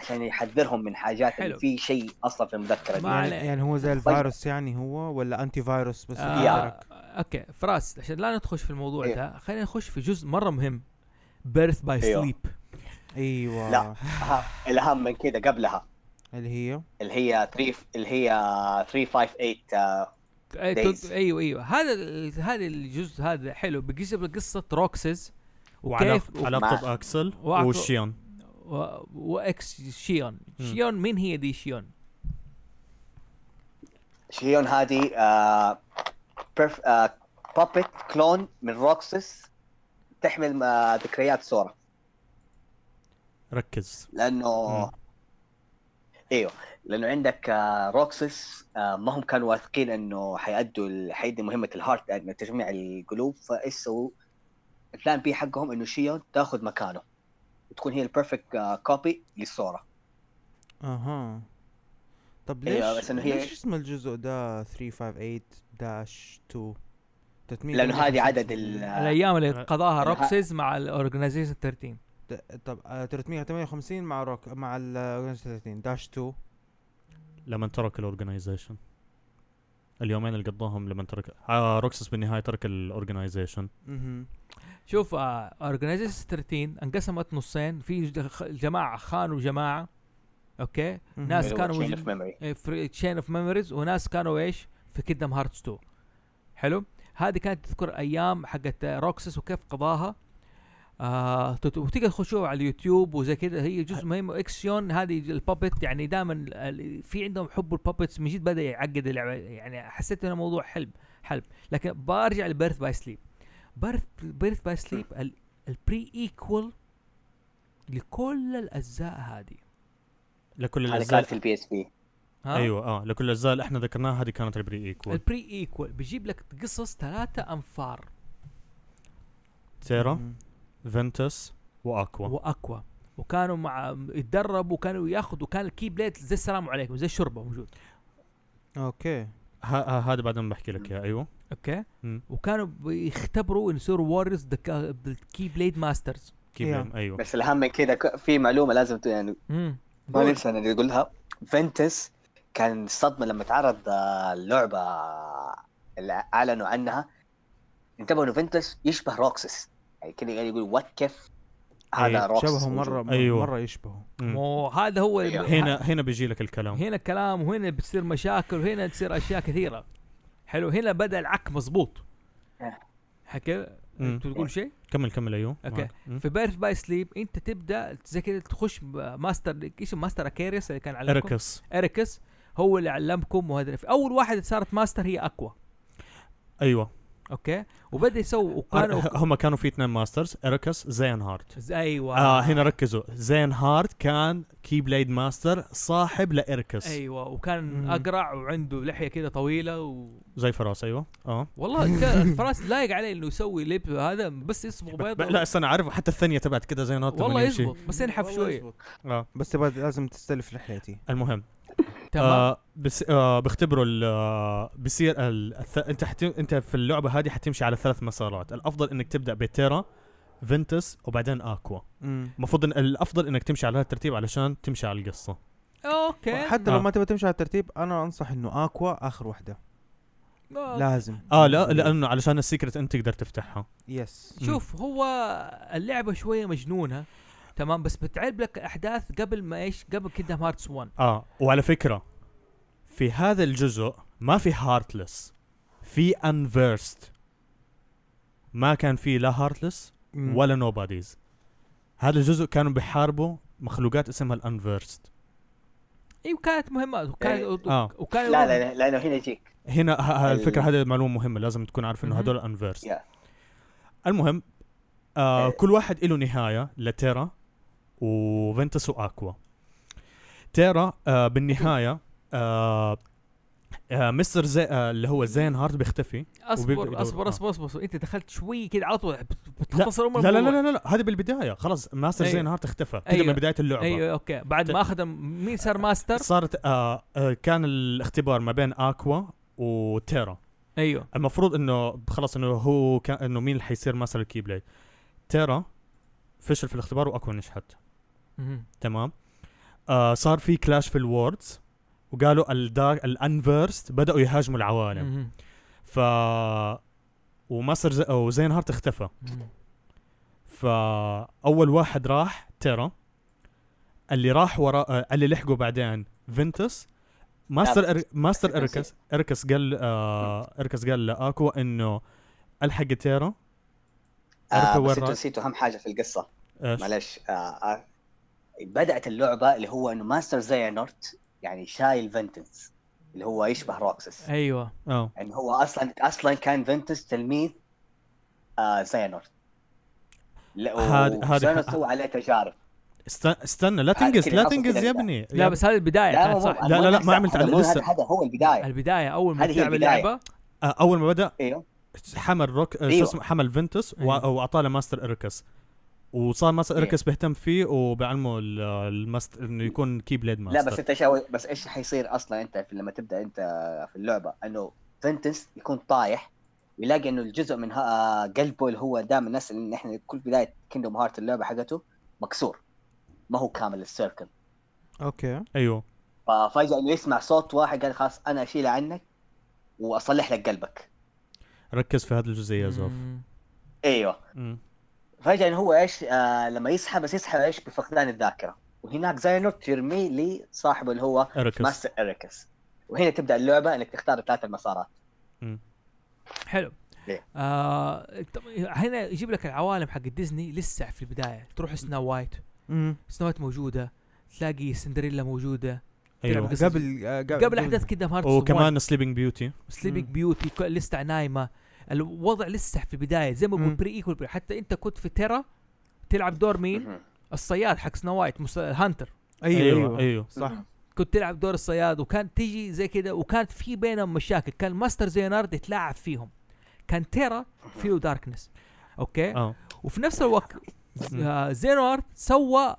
عشان يحذرهم من حاجات
حلو.
انه في شيء اصلا في المذكره
ما
دي
يعني,
عليه.
يعني هو زي الفيروس يعني هو ولا انتي فيروس بس
آه
طيب. يا.
اوكي فراس عشان لا ندخل في الموضوع
إيه.
ده خلينا نخش في جزء مره مهم بيرث باي
أيوه.
سليب
ايوه
لا. آه، الاهم من كده قبلها
اللي هي
اللي هي 3 اللي هي 358 آه
ايوه
Days.
ايوه ايوه هذا ال- هذا الجزء هذا حلو بيجيب لك قصه روكسز وكيف
وعلاقه
و-
علاقته باكسل
وعلاقة-
وشيون
و- واكس شيون
مم.
شيون مين هي دي شيون؟
شيون هذه آه برف... آه بابت كلون من روكسس تحمل آه ذكريات سورا
ركز مم.
لانه ايوه لانه عندك آه، روكسس آه، ما هم كانوا واثقين انه حيأدوا ال- حيدي مهمه الهارت انه تجميع القلوب فايش سووا؟ البلان بي حقهم انه شيون تاخذ مكانه وتكون هي آه، البيرفكت كوبي للسورا
اها طب ليش
أيوة، بس إنه هي-
ليش اسم الجزء ده 358 داش 2 تتميم
لانه هذه عدد
ال
ال
الايام اللي قضاها
الها-
روكسز مع الاورجنايزيشن 13
طب آه، 358 مع روك مع ال 30 داش 2
لما ترك الاورجنايزيشن اليومين اللي قضاهم لما ترك آه روكسس بالنهايه ترك الاورجنايزيشن
اها
شوف اورجنايزيشن 13 انقسمت نصين في ج- جماعه خانوا جماعه اوكي ناس كانوا موجودين-
ميموري
تشين اوف ميموريز وناس كانوا ايش في كيدم هارتس 2 حلو هذه كانت تذكر ايام حقت روكسس وكيف قضاها آه تت- وتقدر تخشوها على اليوتيوب وزي كذا هي جزء مهم اكسيون هذه البابت يعني دائما في عندهم حب البابتس من جد بدا يعقد اللعبه يعني حسيت انه موضوع حلب حلب لكن برجع لبيرث باي سليب بيرث بيرث باي سليب البري ايكول لكل الاجزاء هذه
لكل
هذا كان
الاجزاء
في البي اس بي
ها؟
ايوه اه لكل الاجزاء اللي احنا ذكرناها هذه كانت البري ايكوال
البري ايكوال بيجيب لك قصص ثلاثة انفار
تيرا فينتس واكوا
واكوا وكانوا مع يتدربوا وكانوا ياخذوا كان الكي بليد زي السلام عليكم زي الشربه موجود
اوكي
ه- هذا بعدين بحكي لك اياه ايوه
اوكي
مم.
وكانوا بيختبروا إن يصيروا واريورز بالكي بليد ماسترز
كيف
يا.
بليم، ايوه
بس الاهم من كده ك- في معلومه لازم ت- يعني
امم
ما ننسى ان نقولها فينتس كان الصدمه لما تعرض آه، اللعبه اللي اعلنوا عنها انتبهوا نوفنتس يشبه روكسس يعني كذا قاعد يقول وات كيف هذا
أي،
روكسس
إيه، شبهه مره
موجود.
مره,
أيوه.
مرة يشبهه
مم.
مو هذا هو الم-
هنا هنا بيجي لك الكلام
هنا كلام وهنا بتصير مشاكل وهنا تصير اشياء كثيره حلو هنا بدا العك مزبوط
إيه.
حكي
مم.
انت تقول شيء
كمل كمل ايوه
أوكي.
معك. مم.
في بيرث باي سليب انت تبدا زي كذا تخش ب- ماستر ايش ماستر اكيريس اللي كان علمكم
اركس
اريكس هو اللي علمكم وهذا في اول واحده صارت ماستر هي اكوا
ايوه
اوكي وبدا يسوي وكانوا
أر- هم كانوا في اثنين ماسترز اركس زين هارت
ايوه
آه هنا ركزوا زين هارت كان كي بليد ماستر صاحب لاركس
ايوه وكان
مم.
اقرع وعنده لحيه كذا طويله و...
زي فراس ايوه اه
والله كان الفراس لايق عليه انه يسوي لب هذا بس يصبغ
ب-
بيضه
لا استنى عارف حتى الثانيه تبعت كده زين هارت
والله
لما يمشي.
يزبط بس ينحف
والله
شويه
يزبط.
اه
بس تبغى لازم تستلف رحلتي
المهم
تمام
آه بس آه بيختبروا ال- آه، بيصير ال- الث- انت حت... انت في اللعبه هذه حتمشي على ثلاث مسارات الافضل انك تبدا بتيرا فينتس وبعدين اكوا المفروض إن الافضل انك تمشي على هذا الترتيب علشان تمشي على القصه
اوكي
حتى لو
آه.
ما تبغى تمشي على الترتيب انا انصح انه اكوا اخر واحده
آه،
لازم
اه لا لانه علشان السيكرت انت تقدر تفتحها
يس
شوف هو اللعبه شويه مجنونه تمام بس بتعرب لك احداث قبل ما ايش قبل كيندم هارتس 1
اه وعلى فكره في هذا الجزء ما في هارتلس في انفيرست ما كان في لا هارتلس
مم.
ولا نوباديز هذا الجزء كانوا بيحاربوا مخلوقات اسمها الانفيرست
اي وكانت مهمه وكان
إيه.
آه.
وكان
لا لا لا لانه هنا يجيك
هنا ه- ه-
ال-
الفكره هذه معلومه مهمه لازم تكون عارف انه
مهم.
هذول انفيرست
أيوة. Yeah.
المهم آه
إيه.
كل واحد له نهايه لتيرا وفنتس واكوا تيرا آه بالنهايه آه آه مستر زي آه اللي هو زين هارت بيختفي وبيبدأ
اصبر
يدور.
اصبر
آه.
اصبر اصبر, أصبر. انت دخلت شوي كده على طول بت- بتختصر
لا
امر
لا لا
الموضوع.
لا, لا, لا هذا بالبدايه خلاص ماستر
أيوه.
زين هارت اختفى كذا
أيوه.
من بدايه اللعبه
ايوه اوكي بعد
ت-
ما اخذ مين صار ماستر
صارت آه آه كان الاختبار ما بين اكوا وتيرا
ايوه
المفروض انه خلاص انه هو كان انه مين اللي حيصير ماستر الكي بليد تيرا فشل في الاختبار واكوا نجحت
مهم.
تمام آه صار في كلاش في الوردز وقالوا الدارك الانفيرست بداوا يهاجموا العوالم
مهم.
ف وماستر زي... او زين هارت اختفى
مهم.
فاول واحد راح تيرا اللي راح ورا آه، اللي لحقوا بعدين فينتس ماستر إر... ماستر اركس اركس قال آه... اركس قال لاكوا انه الحق تيرا عرفوا
آه
وين
بس انتوا
رايح؟
نسيتوا اهم حاجه في القصه
ايش
معلش آه آه بدات اللعبه اللي هو انه ماستر زيانورت يعني شايل فينتنس اللي هو يشبه روكسس
ايوه
اه
يعني هو اصلا اصلا كان فينتنس تلميذ آه زيانورت لا
هاد- هاد-
وزيانورت سوى عليه تجارب
است... استنى لا
هاد
تنقز
آه، كده
لا
ياخذ
تنقز
كده
يا
كده.
ابني
لا بس هذه البدايه كانت صح
إيه، لا، لا، لا، ما عملت على- لسه. أيوه،
لسه هذا هو البدايه
البدايه اول ما
هذه هي
تلعب
البداية.
اللعبه
آه، اول ما بدا
ايوه
حمل روك آه، شو
أيوة.
اسمه حمل فينتوس
أيوه.
أيوة.
واعطاه لماستر اركس وصار ماستر
أيوة.
اركس بيهتم فيه وبعلمه ال- الماست انه يكون كي بليد
لا
ماستر
بس انت شاوي بس ايش حيصير اصلا انت في لما تبدا انت في اللعبه انه فنتس يكون طايح ويلاقي انه الجزء من ها- قلبه اللي هو دائما الناس اللي احنا كل بدايه كيندوم هارت اللعبه حقته مكسور ما هو كامل السيركل
اوكي
ايوه
ففجاه انه يسمع صوت واحد قال خلاص انا اشيله عنك واصلح لك قلبك
ركز في هذه الجزئيه يا زوف
مم.
ايوه
مم.
فجاه انه هو ايش آه لما يصحى بس يصحى ايش بفقدان الذاكره وهناك زينوت يرميه لصاحبه اللي هو
اركس
ماستر اريكس وهنا تبدا اللعبه انك تختار ثلاث المسارات
حلو
إيه.
آه طب هنا يجيب لك العوالم حق ديزني لسه في البدايه تروح سنو وايت
مم.
سنو وايت موجوده تلاقي سندريلا موجوده
ايوه
تلعب قصة.
قبل آه،
قبل احداث كده هارتس
وكمان سليبنج بيوتي
سليبنج
مم.
بيوتي ك- لسه نايمه الوضع لسه في البدايه زي ما بقول
مم.
بري ايكول حتى انت كنت في تيرا تلعب دور مين؟
مهم.
الصياد حق سنو وايت مس- الهانتر
ايوه ايوه, أيوة.
ايوه
صح
كنت تلعب دور الصياد وكان تيجي زي كده وكانت في بينهم مشاكل كان ماستر زينارد يتلاعب فيهم كان تيرا فيه داركنس اوكي
اه
وفي نفس الوقت آه، زينارد سوى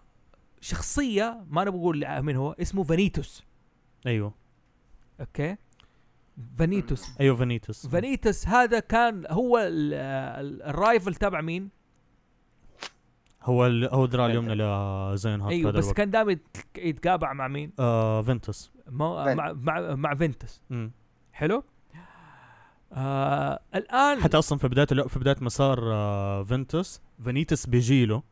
شخصيه ما انا بقول من هو اسمه فانيتوس
ايوه
اوكي
أمم،
فانيتوس
ايوه فانيتس
فانيتوس هذا كان هو ال- ال- الرايفل تبع مين
هو ال... هو ذراع اليمنى لزين هارت
ايوه بس كان دائما يتقابع مع مين
آه فينتس
مو-
فين.
مع مع, مع فينتس
مم.
حلو آه الان
حتى اصلا في بدايه اللعبة- في بدايه مسار آه، فينتوس فينيتس بيجيله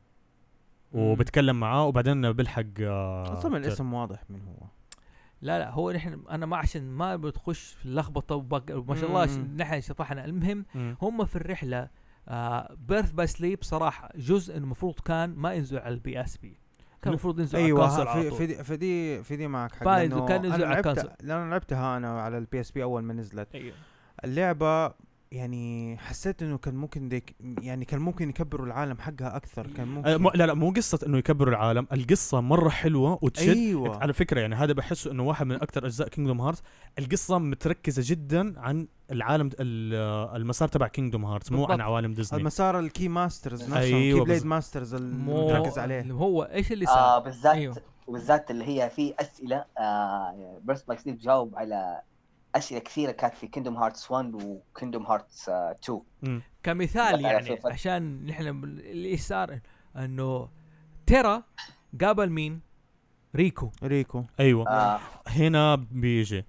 وبتكلم معاه وبعدين بيلحق آه، تير.
اصلا الاسم واضح من هو
لا لا هو نحن انا ما عشان ما بتخش في اللخبطه وبق- وما شاء الله
مم.
نحن شطحنا المهم
مم.
هم في آه، الرحله بيرث باي سليب صراحه جزء المفروض كان ما ينزل على البي اس بي كان
لا.
المفروض ينزل
ايوه
على الكونسول
ها-
على
في في
طول
دي في دي, في دي معك حق
بايد
لأنه
وكان ينزل
انا
على
لعبتها
الكونسول.
لأنه لعبتها انا على البي اس بي اول ما نزلت
أيوة.
اللعبه يعني حسيت انه كان ممكن ديك يعني كان ممكن يكبروا العالم حقها اكثر كان
آه،
ممكن
مو- لا لا مو قصه انه يكبروا العالم القصه مره حلوه وتشد
ايوه
على فكره يعني هذا بحسه انه واحد من اكثر اجزاء كينجدوم هارت القصه متركزه جدا عن العالم ال- آه، المسار تبع كينجدوم هارت مو
بالضبط.
عن عوالم ديزني
المسار الكي ماسترز نفسهم
أيوة،
كي بليد
بز-
ماسترز
مو
المركز عليه
اللي هو ايش اللي صار؟
أمم، آه بالذات
أيوه.
وبالذات اللي هي في اسئله آه بيرث باي سليب جاوب على اسئله كثيره كانت في كيندوم هارتس 1 وكيندوم هارتس آه 2
مم.
كمثال
لا،
يعني
شوف.
عشان نحن بال- اللي صار انه تيرا قابل مين؟ ريكو
ريكو
ايوه
آه
هنا بيجي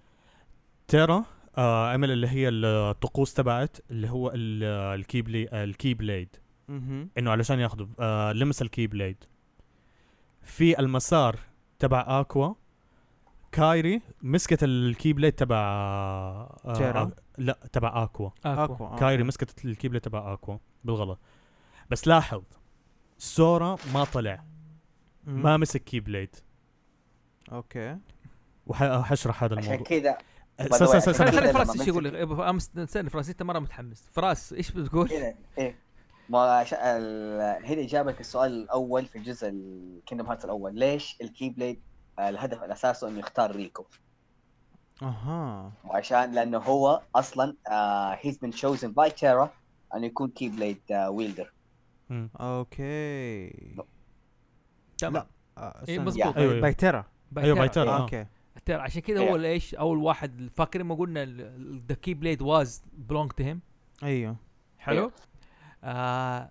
تيرا آه عمل اللي هي الطقوس تبعت اللي هو ال- آه، الكي بلي آه، الكي بليد
مهم.
انه علشان ياخذوا آه لمس الكي بليد في المسار تبع اكوا كايري مسكت الكي بليد تبع آه
تيرا؟
آه لا تبع اكوا
اكو
اكوا آه.
كايري مسكت الكي بليد تبع اكوا بالغلط بس لاحظ سورا ما طلع
مم.
ما مسك كي بليد
اوكي
وحشرح هذا
عشان
الموضوع
كذا
آه،
by the
سل-
way،
سل-
خلي
سل- سل-
خلي
لما
فراس ايش
مسك-
يقول لك إيه، امس استنى فراس انت مره متحمس فراس ايش بتقول؟
هنا ايه ما ش... ال... هنا اجابه السؤال الاول في الجزء الكيندوم هارتس الاول ليش الكي بليد آه، الهدف الاساسي انه يختار ريكو
اها
وعشان لانه هو آه، اصلا هيز بين شوزن باي تيرا انه يكون آه، كي بليد ويلدر
مم.
اوكي
تمام
لا. آه،
اي
استنى.
مظبوط
Yeah. أيوة.
باي- باي تيرا
ايوه باي
تيرا.
تيرا آه.
اوكي
ترى عشان كذا هو
Yeah.
اللي ايش اول واحد فاكرين ما قلنا ذا كي بليد واز بلونج تو هيم
ايوه
إيه.
حلو آه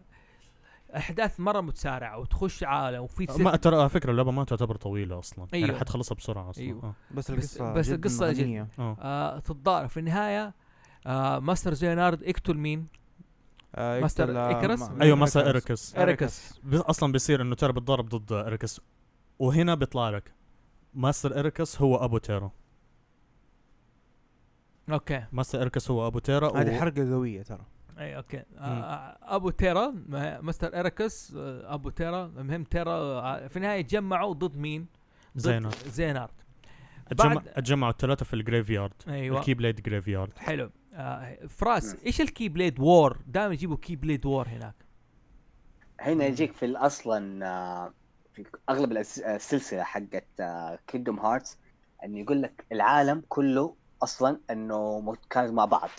احداث مره متسارعه وتخش عالم وفي ست-
ما ترى على فكره اللعبه ما تعتبر طويله اصلا أيوه. يعني
أيوة.
حتخلصها بسرعه اصلا
أيوة.
آه.
بس-
بس القصه
بس
جداً
القصة جد.
غنية.
آه.
آه تتضارب في النهايه آه ماستر زينارد يقتل مين؟
آه،
ماستر
يقتل، آه،
إيكاروس؟
ما-
ايوه مسا اريكس
إيريكس.
بي- اصلا بيصير انه تيرا بتضرب ضد اريكس وهنا بيطلع لك ماستر اريكس هو ابو تيرا
اوكي
ماستر اريكس هو ابو تيرا و...
هذه حرقه قويه ترى
اي اوكي آه ابو تيرا ما- ماستر اريكس آه ابو تيرا المهم تيرا آه في النهايه تجمعوا ضد مين؟ ضد
زينارد
زينارد
اتجمع
بعد-
اتجمعوا الثلاثه في الجريف يارد
أيوة.
ايوه
الكي بليد جريف يارد
حلو آه فراس ايش الكي بليد وور؟ دائما يجيبوا كي بليد وور هناك
هنا يجيك في ال- اصلا آه، في اغلب الأس- السلسله حقت آه، كيندوم هارتس انه يقول لك العالم كله اصلا انه مت- كانوا مع بعض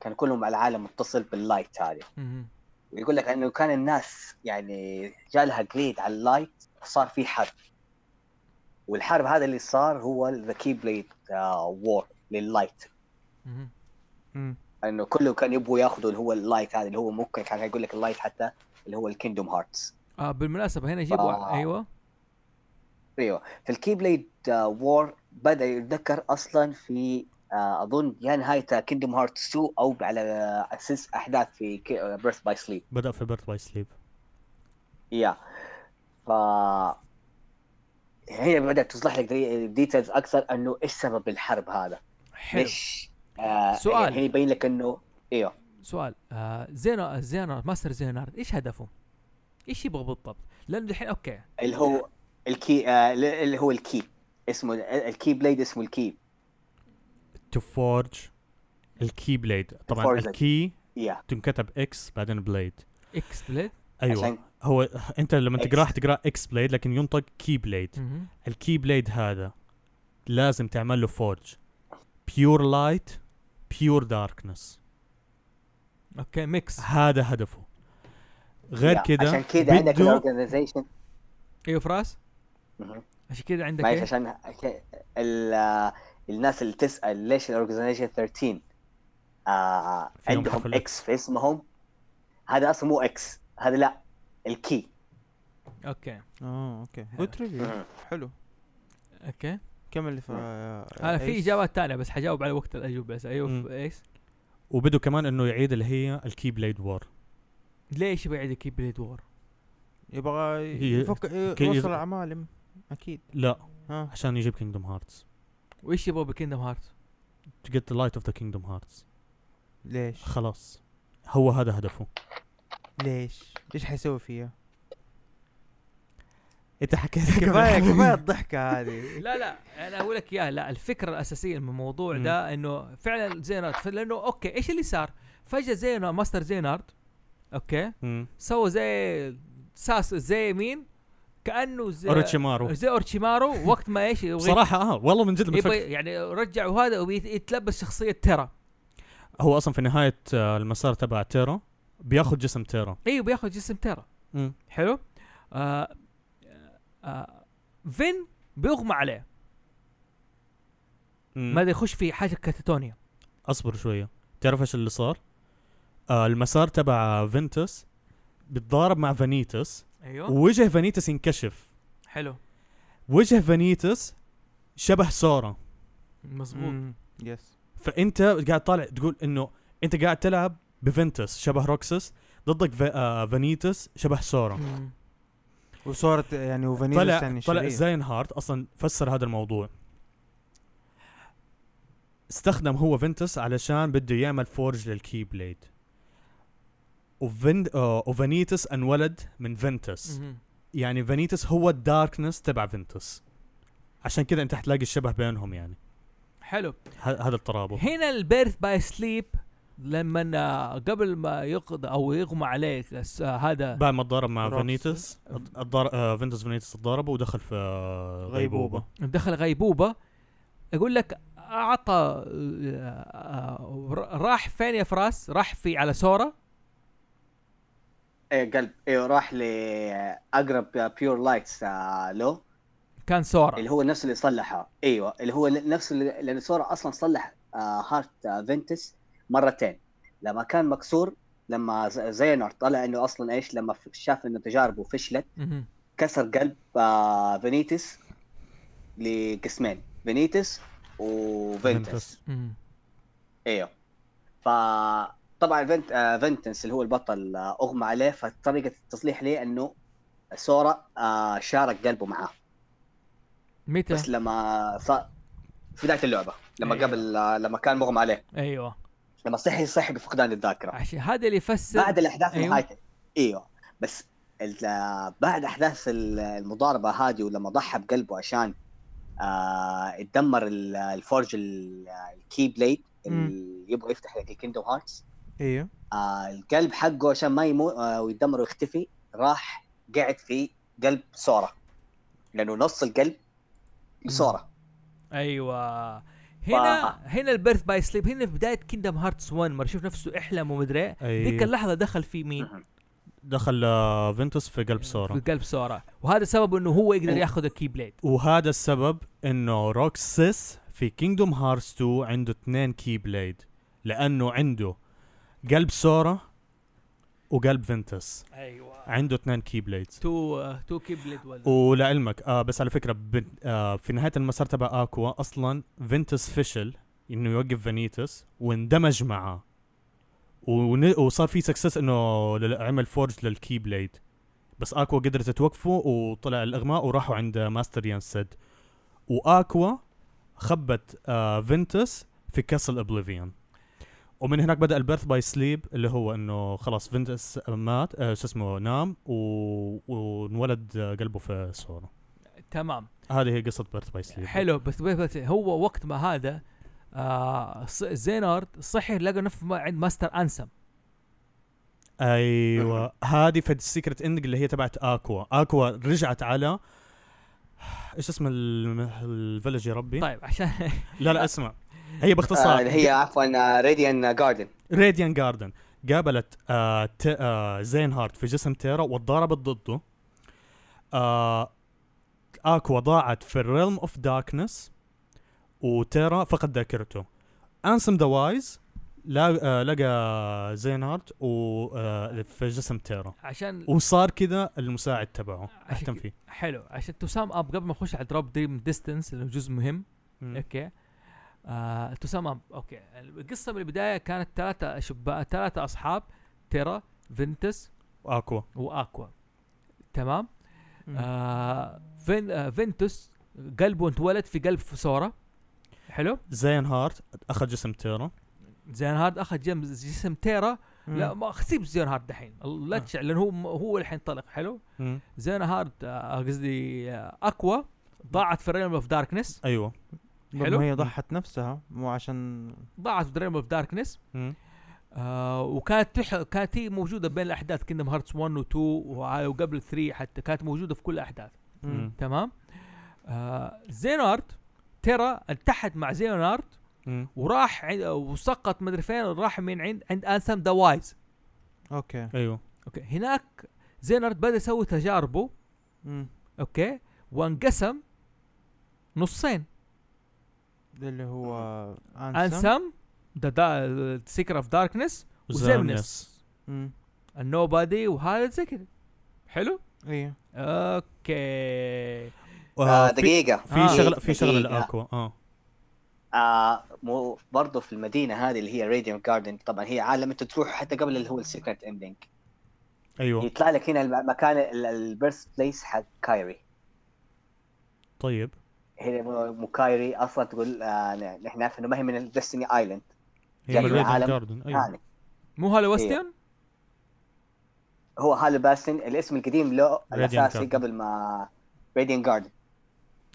كان كلهم العالم متصل باللايت هذه
مهم.
ويقول لك انه كان الناس يعني جالها جليد على اللايت صار في حرب والحرب هذا اللي صار هو ذا كي بليد وور لللايت
مهم.
مم.
انه كله كان يبغوا ياخذوا اللي هو اللايت هذا اللي هو ممكن كان يقول لك اللايت حتى اللي هو الكيندوم هارتس
آه بالمناسبه هنا يجيبوا
آه.
ايوه
ايوه فالكي بليد آه، وور بدا يتذكر اصلا في آه، اظن يا نهايه كيندوم هارتس 2 او على آه، اساس احداث في آه، بيرث باي سليب
بدا في بيرث باي سليب
يا ف هي بدات توضح لك ديتيلز اكثر انه ايش سبب الحرب هذا
حلو
ليش آه
سؤال.
هنا يبين لك انه ايوه
سؤال آه زينو زينو ماستر زينارد ايش هدفه؟ ايش يبغى بالضبط؟ لانه الحين اوكي
اللي هو الكي آه اللي هو الكي اسمه الكي بليد اسمه الكي
تو فورج الكي بليد طبعا
Forge.
الكي
يا
تنكتب اكس بعدين بليد
اكس بليد
ايوه
عشان-
هو انت لما
X.
تقراه تقراه اكس بليد لكن ينطق كي بليد
مهم.
الكي بليد هذا لازم تعمل له فورج بيور لايت بيور داركنس
اوكي ميكس
هذا هدفه غير
يا.
كده
عشان كذا عندك
بده-
الاورجنايزيشن
ايوه فراس عشان كذا عندك
معلش
ايه؟
عشان عشان ال- آه، الناس اللي تسال ليش الاورجنايزيشن 13 آه
فيهم
عندهم
حرف ال X.
اكس في اسمهم هذا اصلا مو اكس هذا لا الكي
اوكي
اه اوكي جود تريفيو حلو
اوكي
كمل ف آه.
انا في اجابات ثانيه بس حجاوب على وقت الاجوبه بس ايوه
مم.
ف- ايش؟
وبدوا كمان انه يعيد اللي هي الكي بليد وور
ليش يبغى يعيد الكي بليد وور؟
يبغى
هي-
يفك
كي-
يوصل العمالم اكيد
لا
ها
عشان يجيب كينجدوم هارتس
وايش يبغى بكيندم هارت؟
to get the light of the kingdom hearts
ليش؟
خلاص هو هذا هدفه
ليش؟ ايش حيسوي فيها؟
انت حكيت
كفايه كفايه الضحكه هذه
لا لا انا اقول لك اياها لا الفكره الاساسيه من الموضوع ده انه فعلا زينارد ف- لانه اوكي ايش اللي صار؟ فجاه زينو ماستر زينارد اوكي سوى زي ساس زي مين؟ كانه زي
اوروتشيمارو
زي اورتشيمارو وقت ما ايش يبغى-
صراحة اه والله من جد لما
يبغى
تفكر
يعني رجعوا هذا ويتلبس شخصيه تيرا
هو اصلا في نهاية آه، المسار تبع تيرا بياخذ جسم تيرا
ايوه بياخذ جسم تيرا حلو آه آه فين بيغمى عليه
مم.
ما أدري يخش في حاجه كاتاتونيا
اصبر شوية تعرف ايش اللي صار؟ آه المسار تبع فينتس بيتضارب مع فانيتس
ايوه
ووجه فانيتس ينكشف
حلو
وجه فانيتس شبه سورا
مزبوط
يس
فانت قاعد طالع تقول انه انت قاعد تلعب بفينتس شبه روكسس ضدك ف... آه فانيتس شبه سورا
مم.
وصارت يعني وفانيلا
طلع
يعني
طلع
شرير.
زاين هارت اصلا فسر هذا الموضوع استخدم هو فينتس علشان بده يعمل فورج للكي بليد وفين آه وفانيتس انولد من فينتس
مم.
يعني فانيتس هو الداركنس تبع فينتس عشان كذا انت حتلاقي الشبه بينهم يعني
حلو
ه- هذا الترابط
هنا البيرث باي سليب لما آه، قبل ما يقض او يغمى عليه الس- آه، هذا
بعد ما تضارب مع
روكس.
فانيتس الضار... آه فينتس فانيتس تضاربوا ودخل في آه
غيبوبة.
غيبوبة
دخل غيبوبه يقول لك اعطى آه، آه، ر- راح فين يا فراس؟ راح في على سورا
ايه قلب ايه راح لاقرب بيور لايتس آه، له
كان سورا
اللي هو نفس اللي صلحها ايوه اللي هو نفس اللي لان سورا اصلا صلح آه، هارت آه، فينتس مرتين لما كان مكسور لما ز- زينر طلع انه اصلا ايش لما ف- شاف انه تجاربه فشلت
مهم.
كسر قلب آه، فينيتس لقسمين فينيتس وفينتس
فينتس.
مهم.
ايوه فطبعا فينت آه، فينتس اللي هو البطل آه، اغمى عليه فطريقه التصليح ليه انه سورا آه، شارك قلبه معاه
متى؟
بس لما صار في بدايه اللعبه لما
أيوة.
قبل لما كان مغمى عليه
ايوه
لما صحي صحي بفقدان الذاكره
عشان هذا اللي يفسر
بعد الاحداث
أيوة.
أيوة. نهايته ايوه بس ال- بعد احداث ال- المضاربه هذه ولما ضحى بقلبه عشان آه اتدمر ال- الفورج ال- الكي بليد اللي يبغى يفتح لك الكيندوم هارتس
ايوه
آه القلب حقه عشان ما يموت آه ويتدمر ويختفي راح قاعد في قلب سورا لانه نص القلب لسورا
ايوه هنا هنا البيرث باي سليب هنا في بدايه كيندم هارتس 1 مره شوف نفسه احلم ومدري إيه. ذيك
أي...
اللحظه دخل في مين؟
دخل آه فينتس في قلب سورا
في قلب سورا وهذا سبب انه هو يقدر ياخذ الكي بليد
وهذا السبب انه روكسس في كينجدوم هارتس 2 عنده اثنين كي بليد لانه عنده قلب سورا وقلب فينتس
ايوه
عنده اثنين كي بليدز
تو تو كي بليد ولا
ولعلمك آه بس على فكره ب... آه في نهايه المسار تبع اكوا اصلا فينتس فشل انه يوقف فانيتس واندمج معاه ون... وصار في سكسس انه ل- عمل فورج للكي بليد بس اكوا قدرت توقفه وطلع الاغماء وراحوا عند ماستر يانسد واكوا خبت آه فينتس في كاسل اوبليفيون ومن هناك بدا البيرث باي سليب اللي هو انه خلاص فينتس مات آه شو اسمه نام و... وانولد آه، قلبه في سورا
تمام
هذه هي قصه بيرث باي سليب
حلو بس, بس, بس هو وقت ما هذا آه ص- زينارد صحي لقى نفسه ما- عند ماستر انسم
ايوه هذه في السيكرت اندنج اللي هي تبعت اكوا اكوا رجعت على ايش اسم الفيلج يا ربي
طيب عشان
لا لا اسمع هي
آه،
باختصار
اللي هي عفوا راديان جاردن
راديان جاردن قابلت آه ت... آه زين هارت في جسم تيرا وتضاربت ضده آه اكوا ضاعت في الريلم اوف داركنس وتيرا فقد ذاكرته انسم ذا وايز لا آه لقى زين هارت و... آه في جسم تيرا
عشان
وصار كذا المساعد تبعه
عشان
اهتم
كده.
فيه
حلو عشان تو سام اب قبل ما نخش على دروب دريم ديستنس اللي هو جزء مهم
مم.
اوكي آه، تسمى اوكي القصه من البدايه كانت ثلاثه شباب ثلاثه اصحاب تيرا فينتس
واكوا
واكوا تمام
مم.
آه فين آه فينتوس قلبه انتولد في قلب سورا حلو
زين هارت اخذ جسم تيرا
زين هارد اخذ جم- جسم تيرا لا
مم.
ما سيب زين هارد دحين لا
آه.
تشع لان هو هو اللي حينطلق حلو
مم.
زين هارد آه، قصدي آه، اكوا ضاعت في ريم اوف داركنس
ايوه
حلو.
حلو هي ضحت نفسها مو عشان
ضاعت في ريم اوف داركنس
مم.
آه وكانت تح... كانت هي موجوده بين الاحداث كيندم هارتس 1 و 2 وع- وقبل 3 حتى كانت موجوده في كل الاحداث
مم.
تمام آه زينارد ترى التحت مع زينارد
مم.
وراح عند... وسقط مدري فين راح من عند عند انسام ذا وايز
اوكي
ايوه
اوكي هناك زينارد بدا يسوي تجاربه
مم.
اوكي وانقسم نصين
ده اللي هو انسم
انسام ذا سيكر اوف داركنس
زيرنس.
وزيمنس
مم.
النوبادي وهذا زي كذا حلو
ايوه
اوكي
آه،
آه
في-
دقيقه
في
آه.
شغله في شغله
دقيقة.
لاكوا اه
آه مو برضه في المدينه هذه اللي هي راديوم جاردن طبعا هي عالم انت تروح حتى قبل اللي هو السيكرت اندنج
ايوه
يطلع لك هنا المكان البيرث بليس حق كايري
طيب
هنا مو- مو كايري اصلا تقول آه نحن عارف انه ما هي من الدستني ايلاند
هي
يعني
من Red
عالم
Garden. ايوه
يعني
مو هالو وستيون؟
هو هالو باستن الاسم القديم له الاساسي
Garden.
قبل ما راديان جاردن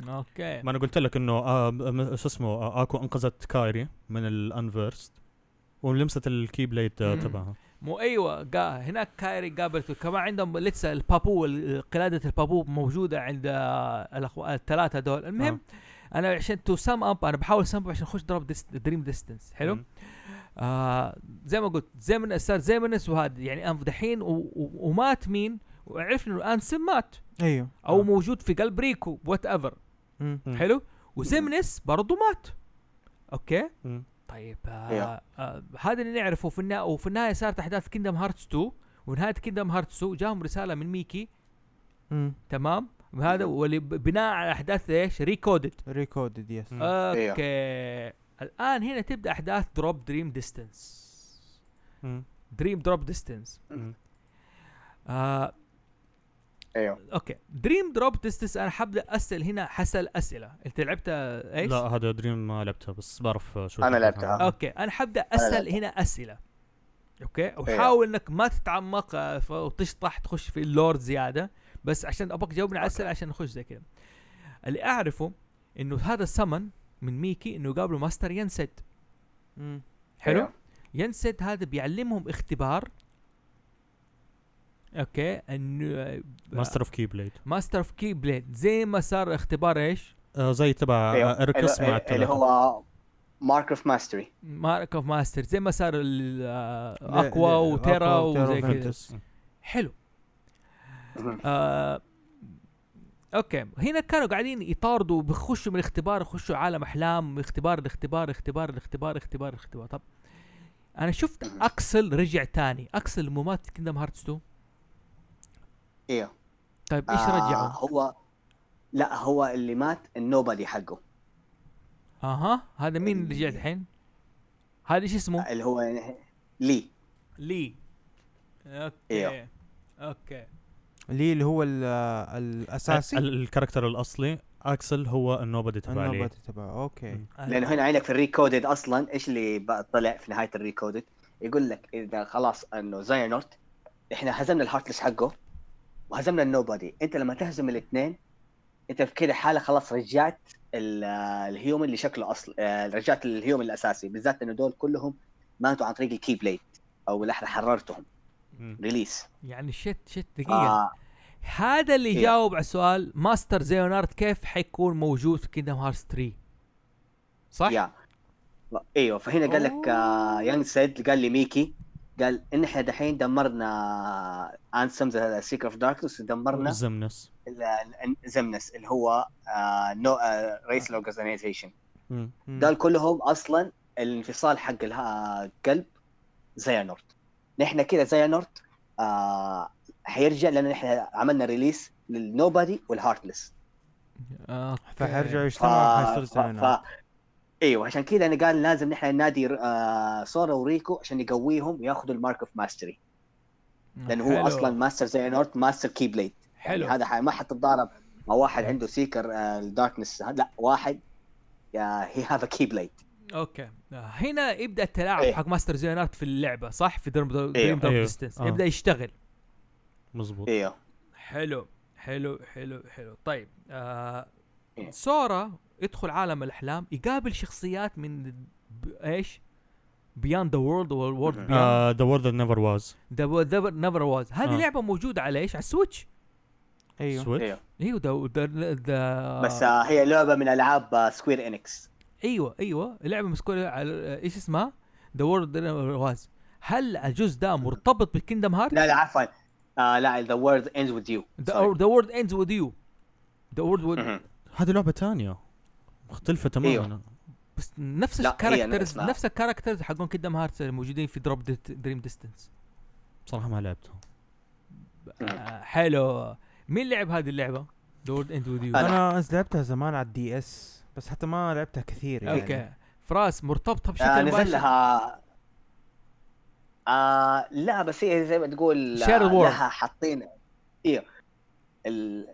اوكي
ما انا قلت لك انه آه، م- شو اسمه آه، اكو انقذت كايري من الانفيرست ولمست الكي بليد آه،
مم.
تبعها
مو ايوه قا هناك كايري قابلته كمان عندهم لسه البابو ال- قلاده البابو موجوده عند آه، الاخوه الثلاثه دول
آه.
المهم انا عشان تو سم اب انا بحاول سم اب عشان اخش دروب ديست دريم ديستنس حلو
مم.
آه زي ما قلت زي من صار زي من وهذا يعني انف دحين و- و- ومات مين وعرفنا انه انسم مات
ايوه
او
آه.
موجود في قلب ريكو وات ايفر
مم.
مم.
حلو وزمنس برضو مات اوكي
مم.
طيب آه آه هذا اللي نعرفه في النهايه وفي النهايه صارت احداث كيندم هارتس 2 ونهايه كيندم هارتس 2 جاهم رساله من ميكي
مم.
تمام وهذا واللي ب- بناء على احداث ايش ريكودد
ريكودد يس
آه.
مم.
إيه.
اوكي الان هنا تبدا احداث دروب دريم ديستنس
مم.
دريم دروب ديستنس
مم.
آه
ايوه
اوكي دريم دروب ديستنس انا حبدا اسال هنا حسأل اسئله انت لعبت آه، ايش؟
لا هذا دريم ما لعبتها بس بعرف آه، شو
أنا
تحكي
لعبتها.
عنها.
اوكي انا حبدا اسال هنا اسئله اوكي وحاول انك ما تتعمق آه، ف- وتشطح تخش في اللور زياده بس عشان ابغاك تجاوبني على اسئله عشان نخش زي كذا اللي اعرفه انه هذا السمن من ميكي انه قابله ماستر ينسد
مم.
حلو
أيوه.
ينسد هذا بيعلمهم اختبار اوكي انه
ماستر اوف كي بليد
ماستر اوف كي بليد زي ما صار اختبار ايش
آه، زي تبع
أيوه.
آه، اركس مع
اللي- اللي
الثلاثة.
هو مارك اوف ماستري
مارك اوف ماستر زي ما صار ال- آه،
لا-
اكوا
لا،
وتيرا
أقوى وتيرا
وزي كذا
وفينتوس.
حلو آه اوكي هنا كانوا قاعدين يطاردوا بيخشوا من اختبار يخشوا عالم احلام اختبار الاختبار اختبار الاختبار اختبار الاختبار طب انا شفت اكسل رجع تاني اكسل مو مات في كيندم هارتس 2
ايوه
طيب ايش رجعه؟
هو لا هو اللي مات النوبادي حقه
اها هذا مين اللي
إيه.
رجع الحين؟ هذا ايش اسمه؟
اللي هو لي
لي اوكي
إيوه.
اوكي
لي اللي هو ال- آه، الاساسي
ال- الكاركتر الاصلي اكسل هو النوبدي تبع لي
النوبات تبعه اوكي
لانه هنا عينك في الريكودد اصلا ايش اللي بقى طلع في نهايه الريكودد يقول لك اذا خلاص انه زاينورت احنا هزمنا الهارتلس حقه وهزمنا النوبادي انت لما تهزم الاثنين انت في كده حاله خلاص رجعت ال- الهيومن اللي شكله اصل آه، رجعت الهيومن الاساسي بالذات انه دول كلهم ماتوا عن طريق الكي بليد او الاحرى حررتهم
مم.
ريليس
يعني شت شت دقيقه
آه
هذا اللي
إيه.
جاوب على السؤال ماستر زيونارد كيف حيكون موجود في كيندم هارتس 3 صح؟
يا ايوه فهنا قال لك آه يانج سيد قال لي ميكي قال ان احنا دحين دمرنا انسم ذا سيكر اوف داركنس ودمرنا
زمنس
ال- ال- زمنس اللي هو آه نو آه ريس اورجانيزيشن
مم.
مم.
قال كلهم اصلا الانفصال حق اله- القلب زيانورت نحن كده زيانورت آه حيرجع لان احنا عملنا ريليس للنوبادي والهارتلس
آه،
فحيرجعوا
ف-
يجتمعوا
ف-
حيصير
ف-
زينات
ايوه عشان كذا انا قال لازم نحن نادي آه سورا وريكو عشان يقويهم وياخذوا المارك اوف ماستري لانه هو
حلو.
اصلا ماستر زي نورت ماستر كي بليد
حلو
يعني هذا ح- ما حتتضارب مع واحد عنده سيكر آه، الداركنس هذا- لا واحد هي هاف ا كي بليد
اوكي آه، هنا يبدا التلاعب
إيه.
حق ماستر زينات في اللعبه صح في درم درم
إيوه.
درم
إيوه.
ديستنس
آه.
يبدا يشتغل
مزبوط
ايوه
حلو حلو حلو حلو طيب آه
إيه.
سورا يدخل عالم الاحلام يقابل شخصيات من ب... ايش بياند ذا وورلد والورد
مهم.
بياند
ذا وورد نيفر واز
ذا نيفر واز هذه
آه.
لعبه موجوده على ايش على السويتش
ايوه
سويتش
ايوه
ايوه ذا ذا
بس آه، هي لعبه من آه، العاب سكوير انكس
ايوه ايوه لعبه مسكوره على ايش اسمها ذا وورلد واز هل الجزء ده مرتبط بكيندم هارت
لا لا عفوا آه لا ذا وورد اندز وذ يو
ذا وورلد اندز وذ يو ذا وورلد
هذه لعبه ثانيه مختلفه تماما
أيوه.
بس نفس
لا، هي
الكاركترز
نفسها.
نفس الكاركترز حقون كيندم هارت الموجودين في دروب دريم ديستنس
بصراحه ما لعبتها
آه حلو مين لعب هذه اللعبه؟ ذا وورلد اند وذ يو
أنا.
انا لعبتها زمان على الدي اس بس حتى ما لعبتها كثير يعني
اوكي فراس مرتبطه
آه
بشكل
نزل
مباشر
لها آه لا بس هي زي ما تقول آه،
Shared World.
لها حاطين ايوه ال...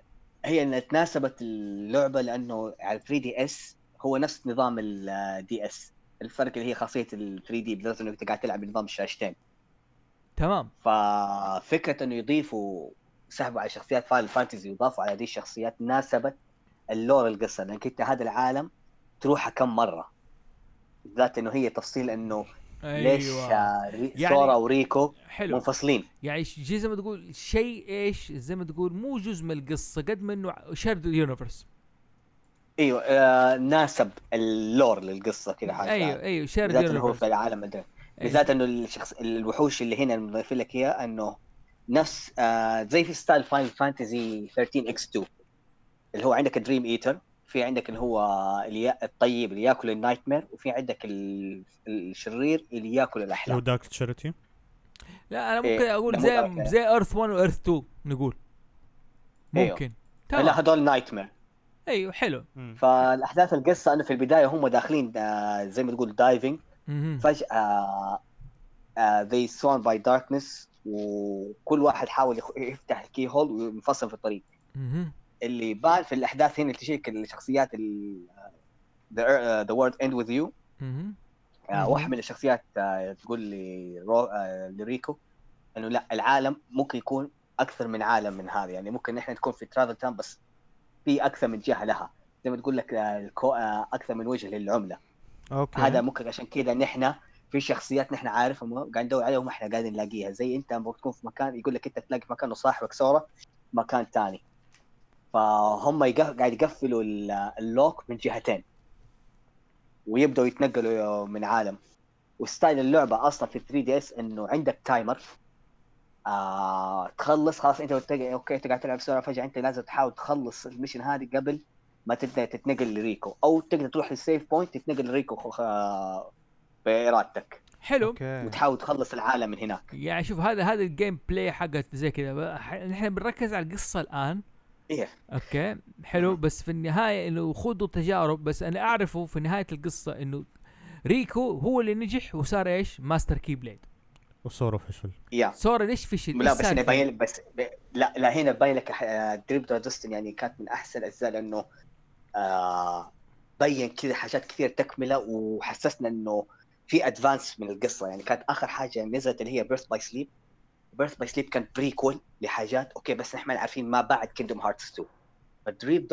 هي انها تناسبت اللعبه لانه على 3 دي اس هو نفس نظام الدي اس الفرق اللي هي خاصيه ال 3 دي بالذات انك أنت قاعد تلعب بنظام الشاشتين
تمام
ففكره انه يضيفوا سحبوا على شخصيات فاينل فانتزي ويضافوا على دي الشخصيات ناسبت اللور القصه لانك انت هذا العالم تروحه كم مره بالذات انه هي تفصيل انه ليش
ايوه
آه، ري-
يعني-
سورا وريكو
حلو
منفصلين
يعني ش- جي زي ما تقول شيء ايش زي ما تقول مو جزء من القصه قد ما انه شارد يونيفرس
ايوه آه ناسب اللور للقصه كذا حاجه
ايوه ايوه شارد
بالذات انه هو في
يونيفرس
العالم ده
أيوة.
بالذات انه الشخص الوحوش اللي هنا مضيفين لك اياه انه نفس آه زي في ستايل فاين فانتزي 13 اكس 2 اللي هو عندك دريم ايتر في عندك اللي هو اللي يا- الطيب اللي ياكل النايت مير وفي عندك ال- الشرير اللي ياكل
لو
الاحلام
دارك تشاريتي
لا انا
إيه،
ممكن اقول
لما
زي
تعرف-
زي ايرث 1 وايرث 2 نقول
أيوه.
ممكن
لا
تمام
هذول نايت مير
ايوه حلو
فالاحداث القصه انه في البدايه هم داخلين آه زي ما تقول دايفنج
مهم.
فجأة آه، ذي سوان باي داركنس وكل واحد حاول يخ- يفتح الكي هول وينفصل في الطريق
مهم.
اللي بان في الاحداث هنا اللي تشيك الشخصيات ذا وورد اند وذ يو
مهم. مهم.
واحد من الشخصيات آه، تقول لي رو- آه، لريكو انه لا العالم ممكن يكون اكثر من عالم من هذا يعني ممكن نحن نكون في ترافل تاون بس في اكثر من جهه لها زي ما تقول لك آه، الكو- آه، اكثر من وجه للعمله
اوكي
هذا ممكن عشان كذا نحن في شخصيات نحن عارفهم قاعد ندور عليهم احنا قاعدين نلاقيها زي انت لما تكون في مكان يقول لك انت تلاقي مكان وصاحبك سورة مكان ثاني فهم يق- قاعد يقفلوا ال- اللوك من جهتين ويبداوا يتنقلوا من عالم وستايل اللعبه اصلا في 3 دي اس انه عندك تايمر آه تخلص خلاص انت بتق- اوكي انت قاعد تلعب سورة فجاه انت لازم تحاول تخلص المشن هذه قبل ما تبدا تتنقل لريكو او تقدر تروح للسيف بوينت تتنقل لريكو خ... خ- بارادتك
حلو
اوكي
وتحاول تخلص العالم من هناك
يعني شوف هذا هذا الجيم بلاي حقت زي كذا ب- ح- نحن بنركز على القصه الان
ايه
اوكي حلو بس في النهايه انه خذوا تجارب بس انا اعرفه في نهايه القصه انه ريكو هو اللي نجح وصار ايش؟ ماستر كي بليد
وصورة فشل
يا
سورا ليش فشل؟ إيش
لا بس هنا
السالفة؟
باين بس ب... لا لا هنا باين لك دريب دوستن يعني كانت من احسن الاجزاء لانه آه بين كذا حاجات كثير تكمله وحسسنا انه في ادفانس من القصه يعني كانت اخر حاجه نزلت اللي هي بيرث باي سليب بيرث باي سليب كانت بريكول لحاجات اوكي بس نحن عارفين ما بعد كيندوم هارتس 2 فدريب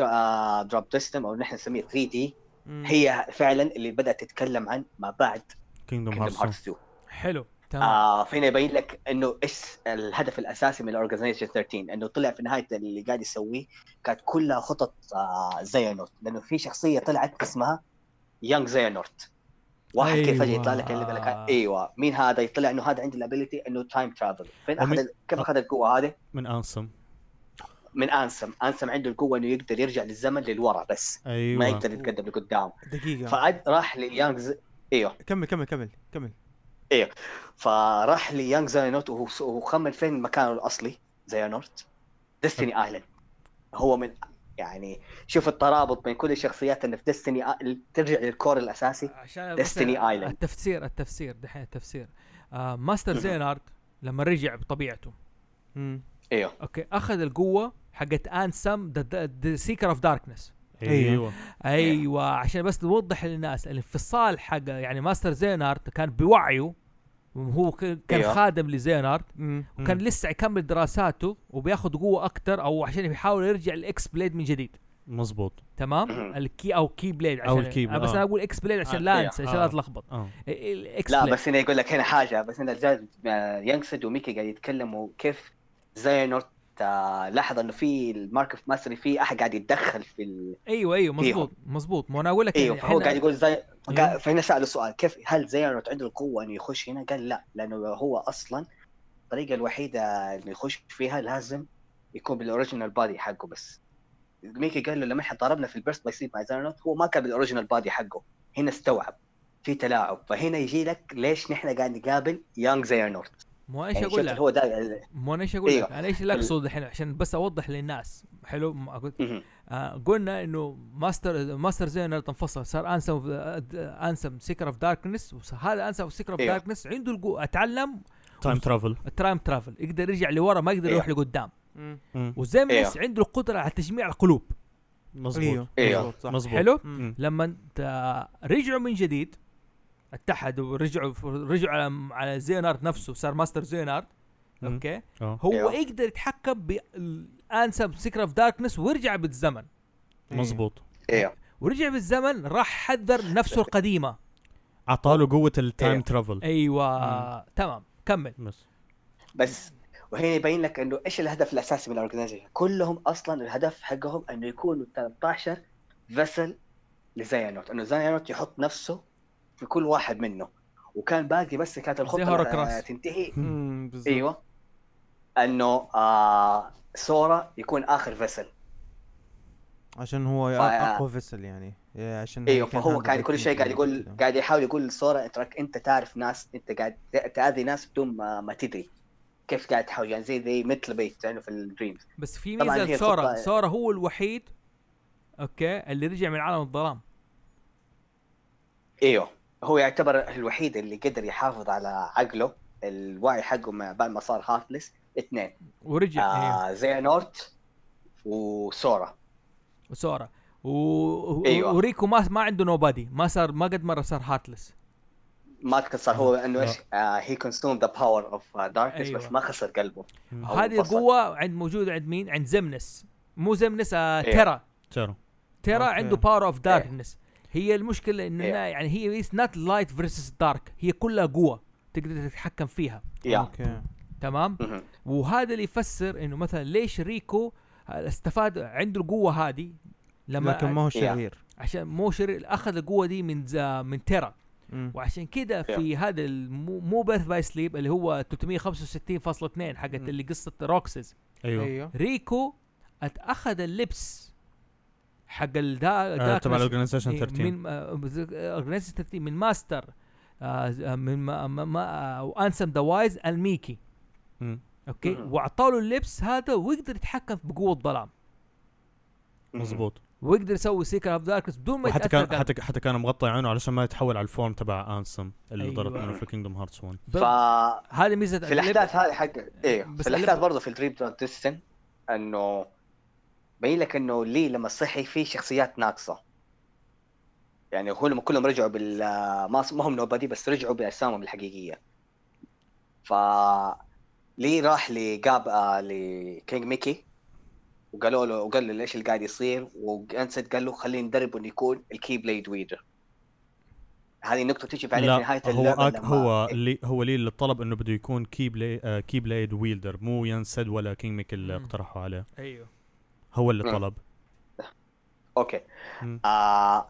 دروب ديستم او نحن نسميه 3 دي
مم.
هي فعلا اللي بدات تتكلم عن ما بعد
كينجدوم
كيندوم
هارتس
هارتس 2
حلو تمام
آه فينا يبين لك انه ايش الهدف الاساسي من الاورجنايزيشن 13 انه طلع في نهايه اللي قاعد يسويه كانت كلها خطط آه زينورت لانه في شخصيه طلعت اسمها يانج زينورت واحد أيوة. كيف فجاه يطلع لك اللي يقول لك
أيوة.
ايوه مين هذا يطلع انه هذا عنده الابيلتي انه تايم ترافل فين
ومن-
اخذ ال- كيف اخذ القوه هذه؟
من انسم
من انسم، انسم عنده القوه انه يقدر يرجع للزمن للورا بس
ايوه
ما يقدر يتقدم لقدام
أيوة. دقيقة
فعد راح ليانج زي... ايوه
كمل كمل كمل كمل
فراح ليانج زاينوت وهو- وخمن فين مكانه الاصلي زاينورت ديستني ايلاند هو من يعني شوف الترابط بين كل الشخصيات اللي في ديستني ترجع للكور الاساسي
عشان بس
Destiny Island.
التفسير التفسير دحين التفسير آه ماستر زينارد لما رجع بطبيعته
مم.
ايوه
اوكي اخذ القوه حقت انسم ذا سيكر اوف داركنس
ايوه
نعم.
ايوه عشان بس نوضح للناس الانفصال حق يعني ماستر زينارد كان بوعيه هو ك- كان
أيوة.
خادم لزينارد
مم.
وكان
مم.
لسه يكمل دراساته وبياخذ قوه اكثر او عشان يحاول يرجع الاكس بليد من جديد
مزبوط
تمام
مهم.
الكي او كي بليد عشان
أو الكي
أنا بس
آه.
انا اقول اكس بليد عشان
آه،
لا
أيوة.
انسى عشان
آه.
لا اتلخبط
اه
الاكس
لا
بليد.
بس هنا يقول لك هنا حاجه بس هنا جا- آه، ينكسد وميكي قاعد يتكلموا كيف زينورت آه، لاحظ انه في المارك اوف ماستري في احد قاعد يتدخل في ال...
ايوه ايوه
فيهم.
مزبوط مزبوط ما انا اقول لك
ايوه
يعني
فهو
إحنا-
قاعد يقول زي
أيوه.
قا- فهنا ساله سؤال كيف هل زينورت عنده القوه انه يخش هنا؟ قال لا لانه هو اصلا الطريقه الوحيده انه يخش فيها لازم يكون بالاوريجينال بادي حقه بس ميكي قال له لما احنا ضربنا في البيرست باي مع زينورت هو ما كان بالاوريجينال بادي حقه هنا استوعب في تلاعب فهنا يجي لك ليش نحن قاعد نقابل يانج زينورت
مو ايش
يعني
اقول
شفت
لك
هو ده
مو انا ايش اقول لك
أيوة.
انا ايش اللي اقصد الحين عشان بس اوضح للناس حلو م- أقول-
مهم.
آه قلنا انه ماستر ماستر زينر انفصل صار انسم انسم سيكر اوف داركنس هذا انسم سيكر اوف
أيوة.
داركنس عنده القوة اتعلم
تايم ترافل
التايم ترافل يقدر يرجع لورا ما يقدر
أيوة.
يروح لقدام
مم.
وزيمنس
أيوه.
عنده القدرة على تجميع القلوب
مزبوط
ايوه
أيوه.
مزبوط، صح.
مزبوط
حلو
مم.
لما ت- رجعوا من جديد اتحدوا ورجعوا رجعوا على على زينارد نفسه صار ماستر زينارد
مم.
اوكي
اه
هو
أيوه.
يقدر يتحكم بانسب سيكر اوف داركنس ويرجع بالزمن
أيوه.
مزبوط
إيه.
ايوه
ورجع بالزمن راح حذر نفسه القديمه
اعطاله قوه التايم
إيه.
أيوة.
ترافل
ايوه تمام كمل
بس
بس وهنا يبين لك انه ايش الهدف الاساسي من الاورجنايزيشن كلهم اصلا الهدف حقهم انه يكونوا 13 فيسل لزاينوت انه زاينوت يحط نفسه في كل واحد منه وكان باقي بس كانت الخطه
هوروكروس.
آه، تنتهي
مم، بالظبط.
ايوه انه آه سورا يكون اخر فيسل
عشان هو
ف-
اقوى فيسل يعني إيه، عشان
ايوه
هي كان
فهو
عنده
كان كل
ذكي
شيء قاعد يقول
كده.
قاعد يحاول يقول لسورا اترك انت تعرف ناس انت قاعد تاذي ناس بدون ما, ما تدري كيف قاعد تحاول يعني زي زي مثل بيت لانه في الدريمز
بس في
طبعاً
ميزه
هي
لسورا
الخطة-
سورا هو الوحيد اوكي اللي رجع من عالم الظلام
ايوه هو يعتبر الوحيد اللي قدر يحافظ على عقله الوعي حقه ما- بعد ما صار هارتلس اثنين
ورجع آه.
إيوه.
آه زينورت وسورا
وسورا و... و...
أيوة.
وريكو ما ما عنده نوبادي ما صار ما قد مره صار هارتلس
ما صار هو انه
آه. إيوه.
ايش هي كونسوم ذا باور اوف داركنس
أيوة.
آه، بس ما خسر قلبه
مم.
أو
هذه
انفصل.
القوه عند موجوده عند مين عند زمنس مو زمنس آه
أيوة.
تيرا
ترى
تيرا
أوكي.
عنده باور اوف داركنس هي المشكله انه
أيوة.
يعني هي اتس نوت لايت فيرسس دارك هي كلها قوه تقدر تتحكم فيها
يا
اوكي
تمام
مهم.
وهذا اللي يفسر انه مثلا ليش ريكو استفاد عنده القوه هذه لما
لكن ما هو شرير
عشان مو شرير اخذ القوه دي من زا- من تيرا
مم.
وعشان كده في هذا المو- مو بيرث باي سليب اللي هو 365.2 حقت
مم.
اللي قصه روكسز
أيوه. أيوة.
ايوه
ريكو اتاخذ اللبس حق الدا
آه، تبع
داركنس
الاورجنايزيشن 13
إيه، من اورجنايزيشن 13 من ماستر آه، ز- آه، من ما ما- ما وانسم ذا وايز الميكي
مم.
اوكي
مم.
واعطوا له اللبس هذا ويقدر يتحكم بقوه الظلام
مزبوط
ويقدر يسوي سيكر اوف داركنس بدون ما
وحتى
يتاثر
كان حتى حتى كان مغطي عينه علشان ما يتحول على الفورم تبع انسم اللي
أيوة.
ضرب منه في كينجدوم هارتس 1
ب-
ف
هذه ميزه
في الاحداث
اللعبة.
هذه حق ايوه
بس
في الاحداث
اللعبة-
برضه في الدريم ترانزيشن انه بين لك انه لي لما صحي في شخصيات ناقصه يعني هو لما كلهم رجعوا بال ما ما هم نوبادي بس رجعوا باجسامهم الحقيقيه ف لي راح لقاب آه، لكينج ميكي وقالوا له وقال له ايش اللي قاعد يصير وانسد قال له خلينا ندربه انه يكون الكي بليد ويدر هذه النقطه تجي عليه في نهايه
هو
اللعبه
آك
لما- إيه.
هو اللي هو لي اللي طلب انه بده يكون كي بلاي آه كي بلايد ويلدر مو ينسد ولا كينج ميك اللي
مم.
اقترحوا عليه
ايوه
هو اللي
مم.
طلب
اوكي
مم.
آه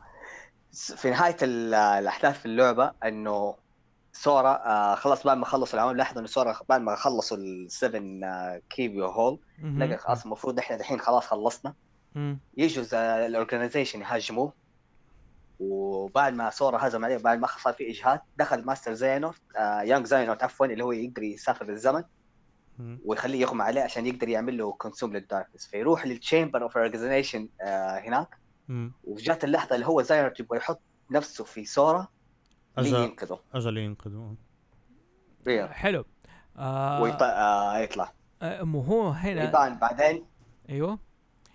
في نهايه ال- الاحداث في اللعبه انه سورا آه خلاص بعد ما خلصوا العمل لاحظوا انه سورا بعد ما خلصوا السفن آه كيبيو هول
مهم.
لقى خلاص المفروض احنا الحين خلاص خلصنا
مم.
يجوا زي الاورجنايزيشن يهاجموه وبعد ما سورا هزم عليه بعد ما صار في اجهاد دخل ماستر زينوف آه يانج زينوف عفوا اللي هو يقدر يسافر بالزمن
مم.
ويخليه يغمى عليه عشان يقدر يعمل له كونسوم للداركنس فيروح للتشامبر اوف اورجنايزيشن آه، هناك
مم.
وجات اللحظه اللي هو زايرت يبغى يحط نفسه في سورا
اجل
لينقذه
اجل ينقذوه
رير
حلو آه
ويط... آه يطلع
آه، مو هو هنا
ويبان بعدين
ايوه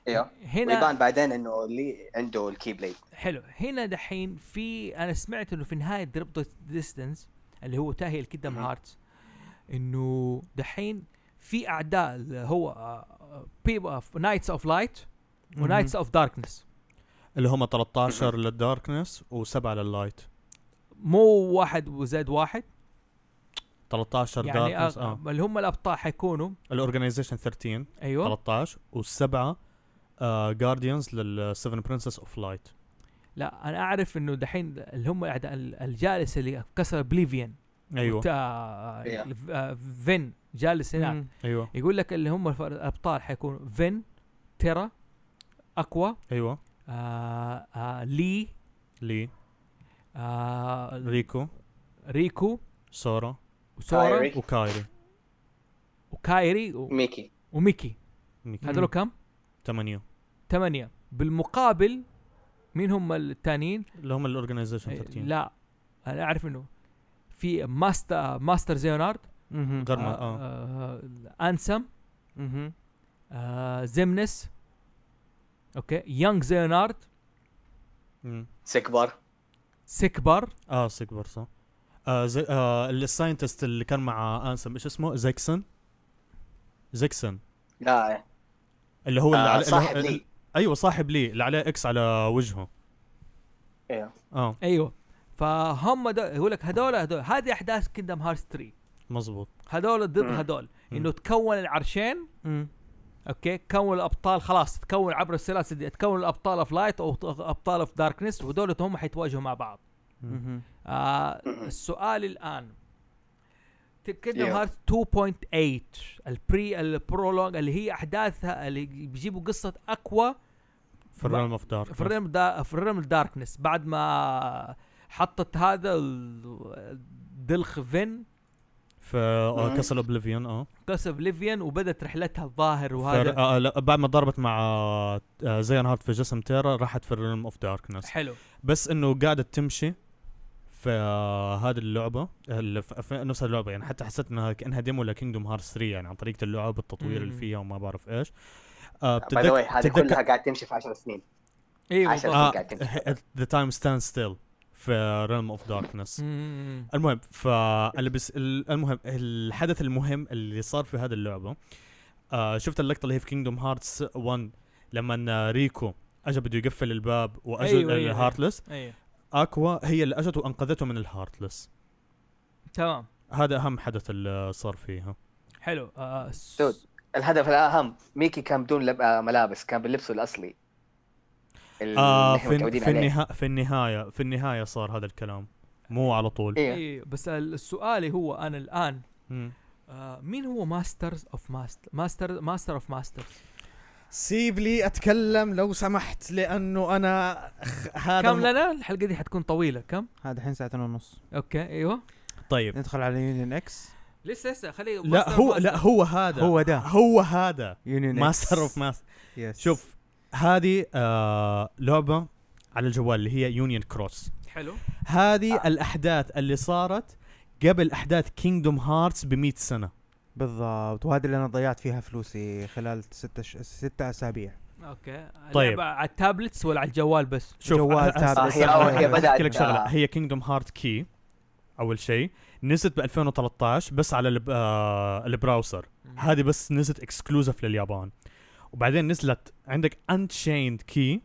ايوه
هنا
ويبان بعدين انه اللي عنده الكي بليد
حلو هنا دحين في انا سمعت انه في نهايه درب ديستنس اللي هو تاهي الكيدم
مم.
هارتس انه دحين في اعداء اللي هو آه، بيبل نايتس اوف لايت ونايتس اوف داركنس
اللي هم 13 للداركنس و7 لللايت
مو واحد وزائد واحد
13
يعني
داركنس
أغ...
اه
اللي هم الابطال حيكونوا
الاورجنايزيشن 13
ايوه
13 والسبعه جارديانز آه، للسفن برنسس اوف لايت
لا انا اعرف انه دحين اللي هم اعداء ال- الجالس اللي كسر آه، بليفيان
ايوه
إيه.
فين جالس هناك
مم.
ايوه
يقول لك اللي هم الف- الابطال حيكونوا فين تيرا اكوا
ايوه
آه آه لي
لي
آه
ريكو
ريكو
سورا
وسورا
كايري.
وكايري
وكايري و-
ميكي
وميكي
ميكي.
هذول كم؟
8
ثمانية بالمقابل مين هم التانيين؟
اللي هم الاورجنايزيشن
آه،
13
لا انا اعرف انه في ماستر ماستر زيونارد
مهم.
غير-
آه
ما- آه.
آه انسم
مهم.
آه زمنس اوكي يونغ زيونارد
مم.
سكبر
سكبر
اه سيك برصه آه زي آه الساينتست اللي كان مع انسم ايش اسمه زيكسون زيكسون
لا
اللي هو اللي
آه
على- اللي هو-
صاحب لي
ايوه صاحب لي اللي عليه اكس على وجهه
ايوه
اه
ايوه فهم دو... يقول لك هذول هذول هذه احداث كيندم هارت 3
مظبوط
هذول ضد
مم.
هذول
مم.
انه تكون العرشين
مم.
اوكي كون الابطال خلاص تكون عبر السلاسل دي تكون الابطال اوف لايت او ابطال اوف داركنس ودول هم حيتواجهوا مع بعض
مهم.
آه السؤال الان كيندم
Yeah.
هارت 2.8 البري البرولوج اللي هي احداثها اللي بيجيبوا قصه اقوى
في الريلم اوف دارك
في الريم دا في الريم الداركنس بعد ما حطت هذا ال- دلخ فين
في آه
مم.
كسل اوبليفيون اه
كسب ليفيان وبدت رحلتها الظاهر
فر...
وهذا
آه لا، بعد ما ضربت مع آه آه، زين هارت في جسم تيرا راحت في الريلم اوف داركنس
حلو
بس انه قاعده تمشي في آه هذه اللعبه اللي في في نفس اللعبه يعني حتى حسيت انها كانها ديمو لكينجدوم هارتس 3 يعني عن طريقه اللعب التطوير اللي
مم.
فيها وما بعرف ايش آه
باي ذا واي
بتتذك-
هذه كلها قاعد تمشي في 10 سنين
ايوه
عشان
بالضبط.
آه
قاعد تمشي.
ذا تايم ستاند ستيل في آه، ريلم اوف
آه.
داركنس
مم.
المهم فاللي بس ال- المهم الحدث المهم اللي صار في هذه اللعبه آه شفت اللقطه اللي هي في كينجدوم هارتس 1 لما آه، ريكو اجى بده يقفل الباب واجى
أيوة، أيوة.
الهارتلس
ايوه
اكوا هي اللي اجت وانقذته من الهارتلس
تمام
هذا اهم حدث اللي صار فيها
حلو آه س-
دود. الهدف الاهم ميكي كان بدون لب... آه، ملابس كان بلبسه الاصلي اللي
آه
إحنا
في,
متعودين
في,
عليه.
النها في النهايه في النهايه صار هذا الكلام مو على طول
إيه.
ايوه بس ال- السؤال هو انا الان
مم.
آه مين هو ماسترز اوف ماستر ماستر ماستر اوف ماسترز
سيب لي اتكلم لو سمحت لانه انا خ- هذا
كم
الم-
لنا الحلقه دي حتكون طويله كم
هذا الحين ساعتين ونص
اوكي ايوه
طيب
ندخل على يونيون اكس
لسه لسه خليه
لا هو لا هو هذا
هو ده.
هو هذا
يونيون
ماستر اوف ماستر
يس
شوف هذه آه لعبه على الجوال اللي هي يونيون كروس
حلو
آه.
هذه الاحداث اللي صارت قبل احداث كينجدوم هارتس ب 100 سنه
بالضبط وهذا اللي انا ضيعت فيها فلوسي خلال ستة ش... ستة اسابيع
اوكي
طيب.
اللعبة على التابلتس ولا على الجوال بس
شوف
جوال
أه- أه-
تابلت. أيوه.
أه-
آه، هي- هي
أه-
بدأت
أحكي لك
بها.
شغله هي كينجدوم هارت كي اول شيء نزلت ب 2013 بس على الب... آه البراوسر هذه بس نزلت اكسكلوزيف لليابان وبعدين نزلت عندك انشيند كي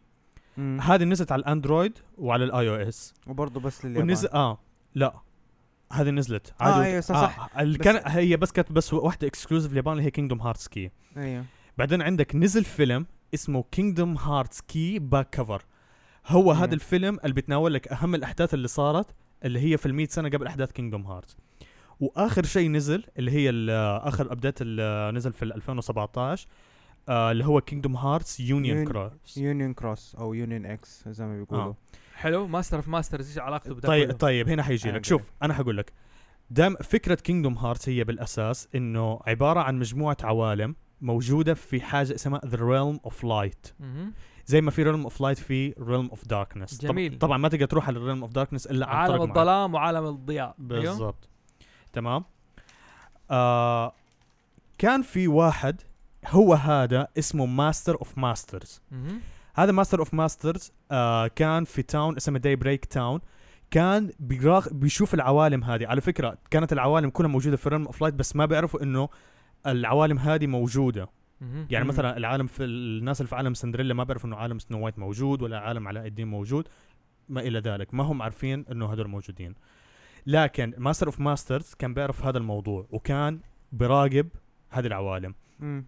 مم.
هذه نزلت على الاندرويد وعلى الاي او اس
وبرضه بس لليابان
ونزل اه لا هذه نزلت
آه، أيوة، صح، صح.
آه.
بس-
كان هي بس كانت بس واحده اكسكلوزيف اليابان اللي هي كينجدوم هارتس كي
ايوه
بعدين عندك نزل فيلم اسمه كينجدوم هارتس كي باك كفر هو
مم.
هذا الفيلم اللي بتناول لك اهم الاحداث اللي صارت اللي هي في ال سنه قبل احداث كينجدوم هارتس واخر شيء نزل اللي هي ال- اخر ابديت اللي نزل في ال 2017 آه اللي هو كينجدوم هارتس يونيون
يون-
كروس
يونيون كروس او يونيون اكس زي ما بيقولوا
آه.
حلو ماستر اوف ماسترز ايش علاقته بده
طيب
كله؟
طيب هنا حيجي
أنا
لك شوف انا حقول لك دام فكره كينجدوم هارتس هي بالاساس انه عباره عن مجموعه عوالم موجوده في حاجه اسمها ذا ريلم اوف لايت
مهم.
زي ما في ريلم اوف لايت في ريلم اوف داركنس
جميل.
طبعا ما تقدر تروح على ريلم اوف داركنس الا عن
عالم
طريق معين.
الظلام وعالم الضياء أيوه.
بالضبط تمام آه كان في واحد هو هذا اسمه ماستر اوف ماسترز
مهم.
هذا ماستر اوف ماسترز آه، كان في تاون اسمه داي بريك تاون كان بيراغ بيشوف العوالم هذه على فكره كانت العوالم كلها موجوده في ريلم اوف لايت بس ما بيعرفوا انه العوالم هذه موجوده
مهم.
يعني
مم.
مثلا العالم في الناس اللي في عالم سندريلا ما بيعرفوا انه عالم سنو وايت موجود ولا عالم علاء الدين موجود ما الى ذلك ما هم عارفين انه هذول موجودين لكن ماستر اوف ماسترز كان بيعرف هذا الموضوع وكان بيراقب هذه العوالم
مم.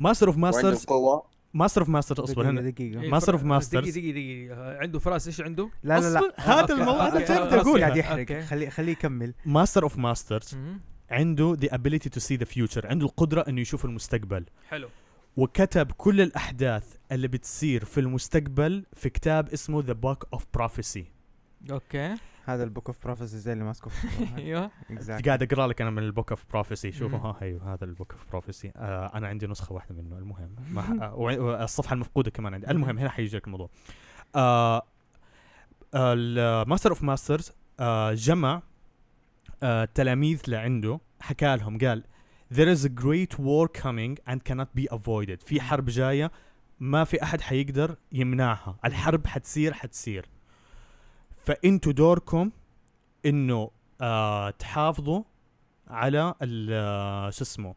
ماستر اوف
وعنده
ماسترز
قوه
ماستر اوف ماسترز اصبر
دقيقة
هنا
إيه،
دقيقة
ماستر
فر-
أوف ماسترز.
دقيقة دقيقة دقيقة عنده فراس ايش عنده؟
لا لا لا
أصبر، هذا
أوكي،
الموضوع
أوكي،
اللي
أوكي،
بدي
خلاص، قاعد
أقولها.
يحرق
أوكي.
خليه خليه يكمل
ماستر اوف ماسترز
مهم.
عنده the ability to see the future عنده القدرة انه يشوف المستقبل
حلو
وكتب كل الاحداث اللي بتصير في المستقبل في كتاب اسمه the book of prophecy
اوكي
هذا البوك اوف بروفيسي زي اللي ماسكه
ايوه
اكزاكتلي
قاعد اقرا لك انا من البوك اوف بروفيسي شوفوا
مم.
ها ايوه هذا البوك اوف بروفيسي آه انا عندي نسخه واحده منه المهم ما ح- آه، وع- والصفحه المفقوده كمان عندي المهم هنا حيجي لك الموضوع آه الماستر اوف ماسترز جمع آه تلاميذ لعنده حكى لهم قال there is a great war coming and cannot be avoided في حرب جايه ما في احد حيقدر يمنعها الحرب حتصير حتصير فانتوا دوركم انه آه تحافظوا على ال- آه، شو اسمه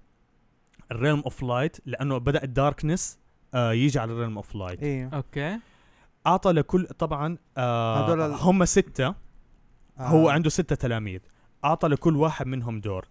الريلم اوف لايت لانه بدا الداركنس آه يجي على الريلم اوف لايت
ايوه
اوكي
اعطى لكل طبعا آه
هذول ال-
هم سته
آه،
هو عنده سته تلاميذ اعطى لكل واحد منهم دور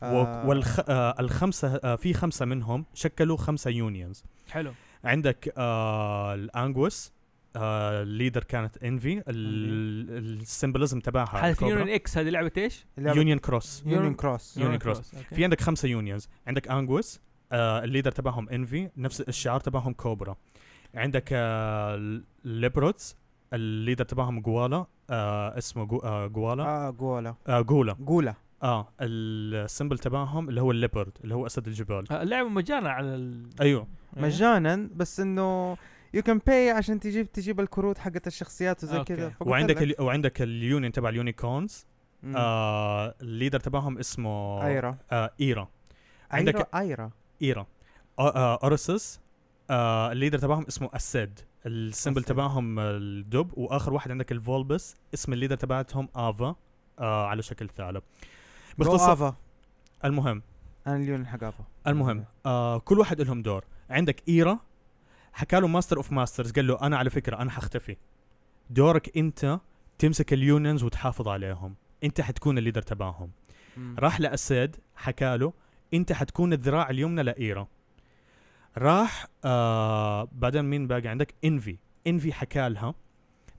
آه والخ آه الخمسه آه في خمسه منهم شكلوا خمسه يونيونز
حلو
طيب، عندك آه الانجوس آه الليدر كانت انفي السيمبلزم تبعها
حالة يونيون اكس هذه لعبة ايش؟
يونيون كروس
يونيون كروس
يونيون كروس.
أوكي.
في عندك خمسه يونيونز عندك انجوس آه الليدر تبعهم انفي نفس الشعار تبعهم كوبرا عندك آه ليبروتس الليدر تبعهم جوالا آه اسمه جو آه جوالا
اه جولا
آه جولا
جولا
اه السيمبل تبعهم اللي هو الليبرد اللي هو اسد الجبال
آه، اللعبة مجانا على ال...
ايوه
إيه.
مجانا بس انه يو كان باي عشان تجيب تجيب الكروت حقت الشخصيات وزي
أوكي.
كذا فقلت
وعندك
لك.
ال... وعندك اليونين تبع اليونيكورنز
مم.
آه الليدر تبعهم اسمه
ايرا
آه ايرا عندك-
عندك ايرا
ايرا اورسس آه الليدر تبعهم اسمه اسد السيمبل
أسد.
تبعهم الدب واخر واحد عندك الفولبس اسم الليدر تبعتهم افا آه على شكل ثعلب باختصار
باختصار
المهم
انا اليون حق افا
المهم آه كل واحد لهم دور عندك ايرا حكى له ماستر اوف ماسترز قال له انا على فكره انا حختفي دورك انت تمسك اليونيونز وتحافظ عليهم انت حتكون الليدر تبعهم
مم.
راح لأسد حكى له انت حتكون الذراع اليمنى لإيرا راح آه بعدين مين باقي عندك انفي انفي حكى لها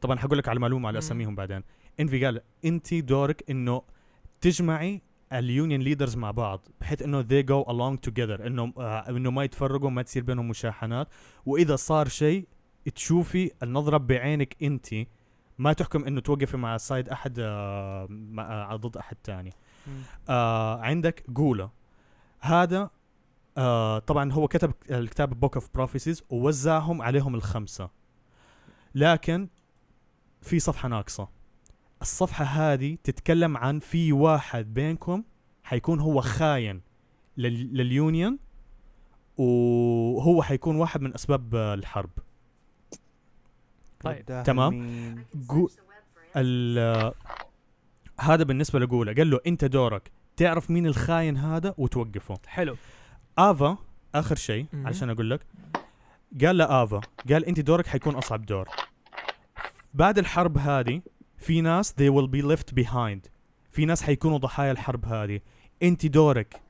طبعا حقول لك على معلومه على
مم.
اساميهم بعدين انفي قال انت دورك انه تجمعي اليونيون ليدرز مع بعض بحيث انه they go along together انه آه انه ما يتفرقوا ما تصير بينهم مشاحنات واذا صار شيء تشوفي النظره بعينك انت ما تحكم انه توقفي مع سايد احد آه مع- آه ضد احد تاني
مم.
آه عندك جولا هذا آه طبعا هو كتب الكتاب بوك اوف بروفيسيز ووزعهم عليهم الخمسه لكن في صفحه ناقصه الصفحه هذه تتكلم عن في واحد بينكم حيكون هو خاين لل- لليونيون وهو حيكون واحد من اسباب آه، الحرب
طيب.
والداهر
تمام.
مين؟
جو... ال هذا بالنسبه لجولا قال له انت دورك تعرف مين الخاين هذا وتوقفه
حلو
افا اخر شيء
مهم.
علشان اقول لك قال له افا قال انت دورك حيكون اصعب دور بعد الحرب هذه في ناس they will be left behind في ناس حيكونوا ضحايا الحرب هذه انت دورك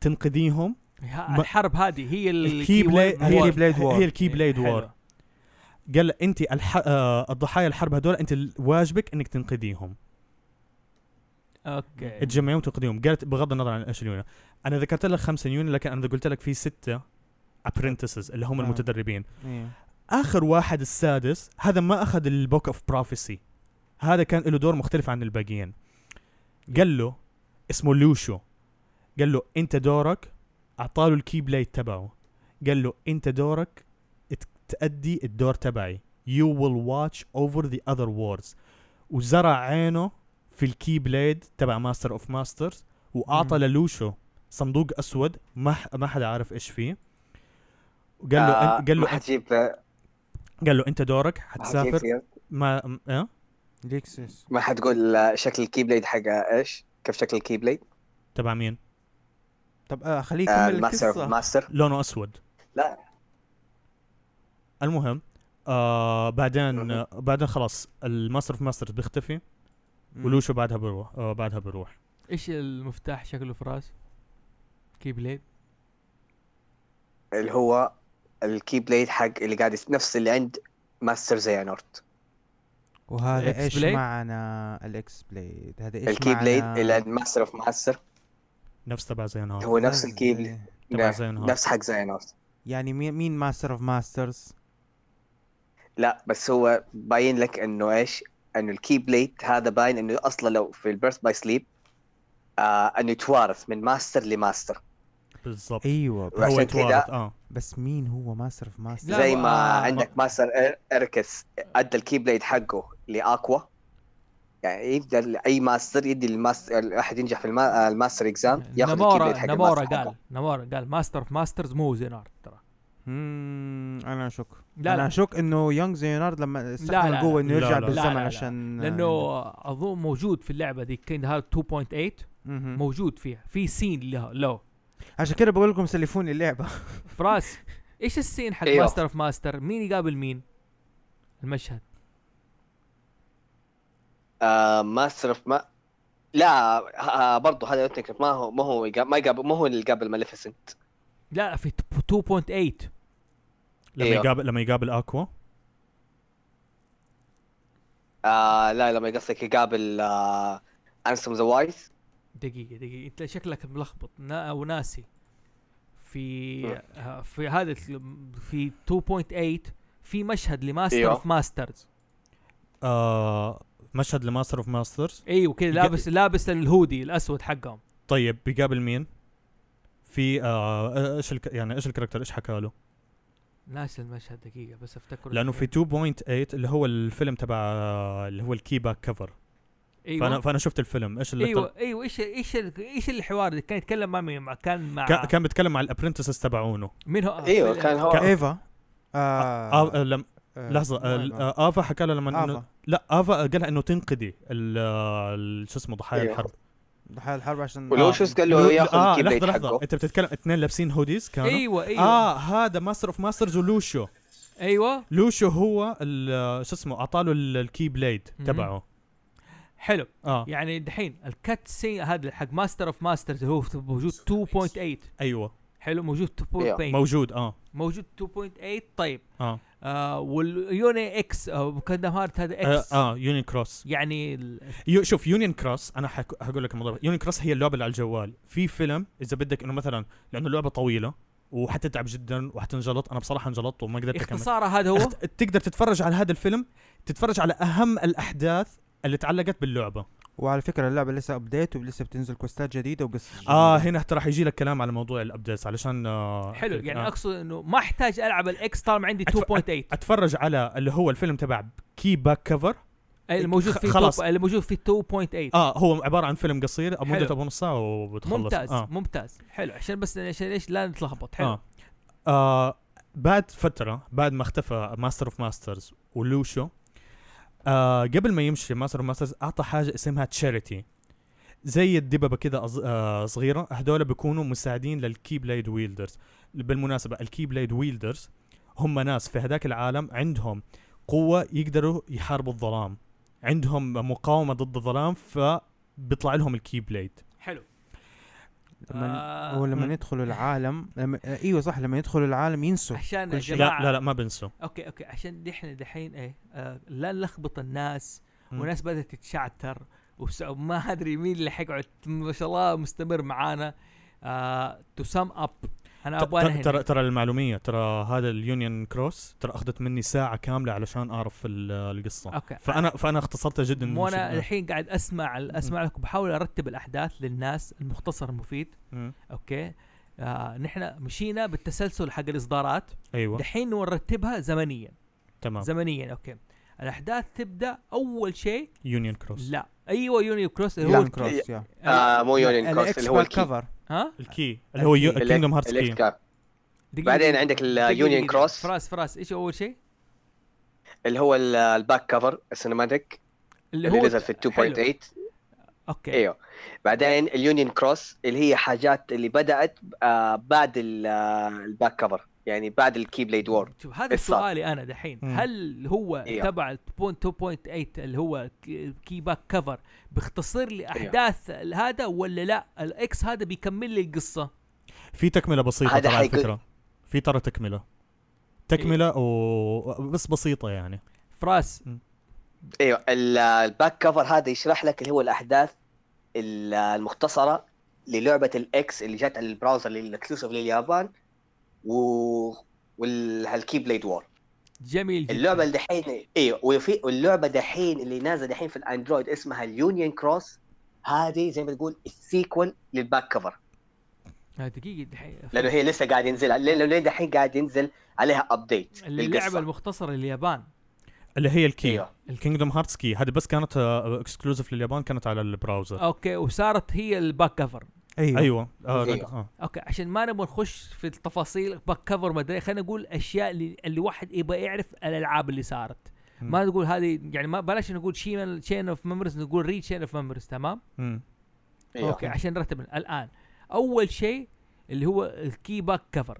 تنقذيهم
ها-
ما-
الحرب هذه هي ال-
الكي
key
بلاي
word-
هي
word.
الكي بلاي
Blade War.
هي الكي
إيه،
بلاي
حلو.
وور قال انت الح... آه الضحايا الحرب هذول انت ال- واجبك انك تنقذيهم
اوكي
تجمعيهم وتنقذيهم قالت بغض النظر عن ايش اليونان انا ذكرت لك خمسه يونان لكن انا قلت لك في سته apprentices اللي هم
آه.
المتدربين
إيه.
اخر واحد السادس هذا ما اخذ البوك اوف بروفيسي هذا كان له دور مختلف عن الباقيين قال له اسمه لوشو قال له انت دورك اعطاله الكي بلاي تبعه قال له انت دورك ات- تأدي الدور تبعي you will watch over the other wars وزرع عينه في الكي بليد تبع ماستر اوف ماسترز واعطى
مم.
للوشو صندوق اسود ما ح- ما حدا عارف ايش فيه وقال له آه قال له
حتجيب
قال له انت دورك
ما حتجيب
حتسافر
سيرة.
ما م- اه
ليكسس
ما حتقول آه، شكل الكي بليد حق ايش؟ كيف شكل الكي بليد؟
تبع مين
طب آه خليه
آه،
يكمل
الماستر
القصه
ماستر
لونه اسود
لا.
المهم آه بعدين
مهم.
آه بعدين خلاص الماستر اوف ماسترز بيختفي
مم.
ولوشو بعدها بروح آه بعدها بروح
ايش المفتاح شكله فراس كي بليد
اللي هو الكي بليد حق اللي قاعد يس- نفس اللي عند ماستر زيانورت
وهذا
الإكس
ايش
بلاي؟
معنا الاكس بليد هذا ايش
الكي بليد
معنا
اللي عند ماستر اوف ماستر
نفس تبع زينهار
هو نفس الكي بليد
إيه.
تبع
نعم،
زينهار
نفس حق زيانورت
يعني مين مين ماستر اوف ماسترز
لا بس هو باين لك انه ايش؟ انه الكي بليد هذا باين انه اصلا لو في البيرث باي سليب آه انه يتوارث من ماستر لماستر
بالضبط
ايوه بس,
هو
عشان كده-
يتوارث اه
بس مين هو ماستر اوف ماسترز
لا،
زي ما
آه،
عندك ماستر إير- ايركس ادى الكي بليد حقه لاكوا يعني يقدر اي ماستر يدي الماستر الواحد ينجح في الما... آه، الماستر اكزام ياخذ الكي
نامورا
بليد حق
نامورا
الماستر
قال
حقه.
نامورا قال ماستر اوف ماسترز مو زينار ترى
مم، انا اشك
لا
انا
لا
اشك انه يونغ زيونارد لما
لا
استخدم
لا.
القوه انه
لا لا.
يرجع
لا
لا
بالزمن
لا.
عشان
لانه اظن موجود في اللعبه دي كيند هارت 2.8
مهم.
موجود فيها في سين له لو
عشان كده بقول لكم سلفوني اللعبه
فراس ايش السين حق
أيوه.
ماستر اوف ماستر مين يقابل مين المشهد
آه ماستر اوف ما لا آه برضه هذا يوتنك ما هو ما هو يقا- ما يقابل ما هو اللي قابل ماليفيسنت
لا في 2.8
لما
أيوه.
يقابل لما يقابل اكوا
آه لا لما قصدك يقابل آه انسم ذا وايز
دقيقة دقيقة انت شكلك ملخبط نا او ناسي في
مم.
آه، في هذا ال- في 2.8 في مشهد لماستر
أيوه.
اوف ماسترز
آه مشهد لماستر اوف ماسترز
ايوه كذا
يق-
لابس لابس الهودي الاسود حقهم
طيب بيقابل مين في آه ايش الك... يعني ايش الكاركتر ايش حكى له
ناسي المشهد دقيقة بس افتكر
لانه في 2.8 اللي هو الفيلم تبع آه، اللي هو الكي باك كفر
ايوه
فانا فانا شفت الفيلم ايش اللي
ايوه ايوه ايش ايش ال- ايش الحوار اللي كان يتكلم مع مين مع- كان مع
كا- كان بيتكلم مع الابرنتسز تبعونه
مين هو
ايوه
آه، في-
كان هو
كان-
ايفا
آه
آه،
آه، لم
آه،
لحظه آه،
آه،
آه، افا حكى لها لما إنه
آفا.
لا افا قال لها انه تنقذي ال- آه، ال- شو اسمه ضحايا
أيوه.
الحرب
ضحايا الحرب عشان
ولو
ولوشوس قال له ياخذ
اه
الكي
لحظه
بليد
لحظه
حقه
انت بتتكلم اثنين لابسين هوديز كانوا
ايوه ايوه
اه هذا ماستر اوف ماسترز ولوشو
ايوه
لوشو هو ال- شو اسمه اعطاله ال- الكي بليد
مهم.
تبعه
حلو
اه
يعني دحين الكات سين هذا حق ماستر اوف ماسترز هو في- موجود 2.8
ايوه
حلو موجود
إيوه.
2.8
موجود اه
موجود 2.8 طيب
اه
آه واليوني اكس او كندم هارت هذا
آه،
اكس
اه يونين كروس
يعني ال-
يو شوف يونيون كروس انا حك... هقول لك الموضوع يونيون كروس هي اللعبه اللي على الجوال في فيلم اذا بدك انه مثلا لانه اللعبه طويله وحتتعب جدا وحتنجلط انا بصراحه انجلطت وما قدرت اكمل
اختصارها هذا هو
اخت... تقدر تتفرج على هذا الفيلم تتفرج على اهم الاحداث اللي تعلقت باللعبه
وعلى فكره اللعبه لسه ابديت ولسه بتنزل كوستات جديده وقصص جديدة.
اه هنا حتى راح يجي لك كلام على موضوع الابديتس علشان آه
حلو
أكيد،
يعني
آه.
اقصد انه ما احتاج العب الاكس طالما عندي
أتف-
2.8
اتفرج على اللي هو الفيلم تبع كي باك كفر
أي الموجود
إيه، خ-
في
خلاص.
خلاص الموجود في 2.8
اه هو عباره عن فيلم قصير
حلو.
مدته ابو نص ساعه وبتخلص
ممتاز
آه.
ممتاز حلو عشان بس عشان ليش لا نتلخبط حلو
آه. آه بعد فترة بعد ما اختفى ماستر اوف ماسترز ولوشو آه قبل ما يمشي ماستر اوف ماسترز اعطى حاجة اسمها تشاريتي زي الدببة كده أز- آه صغيرة هذول بيكونوا مساعدين للكي بلايد ويلدرز بالمناسبة الكي بلايد ويلدرز هم ناس في هذاك العالم عندهم قوة يقدروا يحاربوا الظلام عندهم مقاومة ضد الظلام فبيطلع لهم الكي بلايد
حلو
لما
آه،
هو
مم.
لما يدخلوا العالم لما آه، ايوه صح لما يدخلوا العالم ينسوا
عشان
كل شيء.
لا
الجماعة
لا لا ما بنسوا
اوكي اوكي عشان احنا دحين ايه آه لا نلخبط الناس
مم.
والناس بدات تتشعتر وس- وما آه، ادري مين اللي حيقعد ما شاء الله مستمر معانا تو سم اب انا ابغى
ترى
أنهي.
ترى ترى المعلوميه ترى هذا اليونيون كروس ترى اخذت مني ساعه كامله علشان اعرف ال- القصه
اوكي
فانا فانا اختصرتها جدا
مو انا
مش-
الحين قاعد اسمع اسمع لكم بحاول ارتب الاحداث للناس المختصر المفيد
مم.
اوكي آه نحن مشينا بالتسلسل حق الاصدارات
ايوه
دحين نرتبها زمنيا
تمام
زمنيا اوكي الاحداث تبدا اول شيء
يونيون كروس
لا ايوه يونيو كروس اللي
يونيون
هو
كروس يا
آه مو يونين كروس
الاكس
اللي هو الكي
كفر
ها
الكي اللي هو
الكي.
كينجدم هارتس
الإكس
كي
كاب.
دقيقة
بعدين
دقيقة.
عندك
دقيقة
اليونيون
دقيقة.
كروس
فراس فراس ايش اول شيء؟
اللي هو ال- الباك كفر السينماتيك
اللي
اللي
هو
نزل في ال 2.8
اوكي
ايوه بعدين اليونيون كروس اللي هي حاجات اللي بدات آه بعد ال- آه، الباك كفر يعني بعد الكي بليد وور
شوف هذا
الصار.
سؤالي انا دحين
مم.
هل هو
إيوه.
تبع ال 2.8 اللي هو كي- كي باك كفر بيختصر
إيه.
لي احداث هذا ولا لا الاكس هذا بيكمل لي القصه
في تكمله بسيطه
هذا
ترى على
حيكون-
فكره في ترى تكمله تكمله و... بس بسيطه يعني
فراس
ايوه ال- الباك كفر هذا يشرح لك اللي هو الاحداث ال- آه، المختصره للعبه الاكس اللي جت على البراوزر الاكسلوسيف لليابان و والكي بليد وور
جميل جدا
اللعبه اللي دحين ايوه وفي اللعبه دحين اللي نازله دحين في الاندرويد اسمها اليونيون كروس هذه زي ما تقول السيكول للباك كفر
آه، دقيقه دحين
لانه هي لسه قاعد ينزل لانه لين دحين قاعد ينزل عليها ابديت
اللعبه المختصره لليابان
اللي هي الكي
ايوه
الكينجدم هارتس كي هذه بس كانت اكسكلوزيف لليابان كانت على البراوزر
اوكي وصارت هي الباك كفر
ايوه ايوه
ايوه آه،
أيوة.
آه.
اوكي عشان ما نبغى نخش في التفاصيل باك كفر ما ادري خلينا نقول اشياء اللي, اللي واحد يبغى يعرف الالعاب اللي صارت
مم.
ما تقول هذه يعني ما بلاش نقول شين شين اوف ميموريز نقول ري شين اوف ميموريز تمام
مم.
أيوة.
اوكي عشان نرتب الان اول شيء اللي هو الكي باك كفر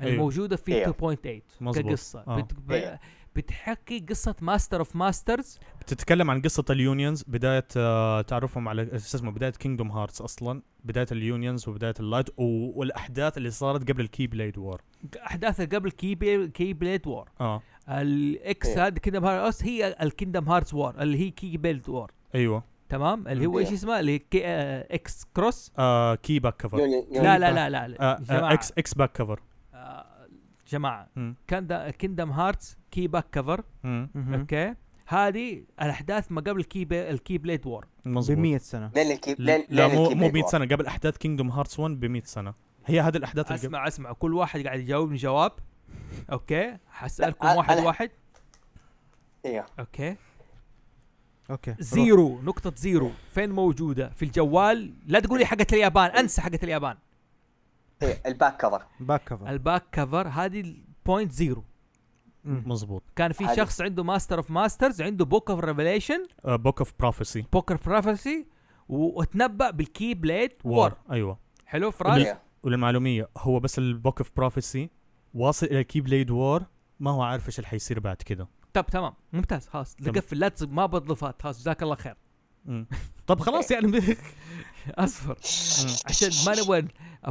أيوه.
الموجوده في
أيوه.
2.8
مظبوط.
كقصه
آه.
بت- ب-
أيوه.
بتحكي قصه ماستر اوف ماسترز
تتكلم عن قصة اليونيونز بداية آه، تعرفهم على شو اسمه بداية كينجدوم هارتس أصلا بداية اليونيونز وبداية اللايت و- والأحداث اللي صارت قبل الكي بليد وور
احداثها قبل كي بي كي بليد وور
اه
الاكس
أيوه.
هذا كيندم هارتس هي الكيندم هارتس وور اللي هي كي بليد وور
ايوه
تمام اللي هو
أيوه.
ايش اسمه اللي هي كي آه، اكس كروس
آه كي باك كفر
يونيون- يونيون-
لا لا لا لا, لا.
آه
جماعه
آه اكس اكس باك كفر
آه، جماعه
مم.
كيندم هارتس كي باك كفر
مم.
اوكي هذه الاحداث ما قبل الكي بي الكي بليد وور
ب
مظبوط
100 سنه
لين الكي لين
لا لا
لين
مو
الكي
مو
بليد
100
وور.
سنة قبل أحداث كينجدوم هارتس 1 ب 100 سنة هي هذه الأحداث اللي قبل
اسمع اسمع كل واحد قاعد يجاوبني جواب اوكي حسالكم
لا، آه، أنا-
واحد
أنا-
واحد
ايوه
اوكي
اوكي
زيرو نقطة زيرو فين موجودة في الجوال لا تقولي حقت اليابان انسى حقت اليابان
إيه، الباك كفر
باك
طيب.
كفر
الباك كفر هذه بوينت زيرو
مظبوط
كان في
حلو.
شخص عنده ماستر اوف ماسترز عنده بوك اوف ريفيليشن
بوك اوف بروفيسي
بوك اوف بروفيسي وتنبأ بالكي بليد وور
وور ايوه
حلو فراس
إيه.
وللمعلومية هو بس البوك اوف بروفيسي واصل إلى كي بليد وور ما هو عارف ايش اللي حيصير بعد كده
طب تمام ممتاز خلاص
تمام.
نقفل لا تصب ما بضلفات خلاص جزاك الله خير
مم. طب خلاص يعني
اصفر عشان ما نبغى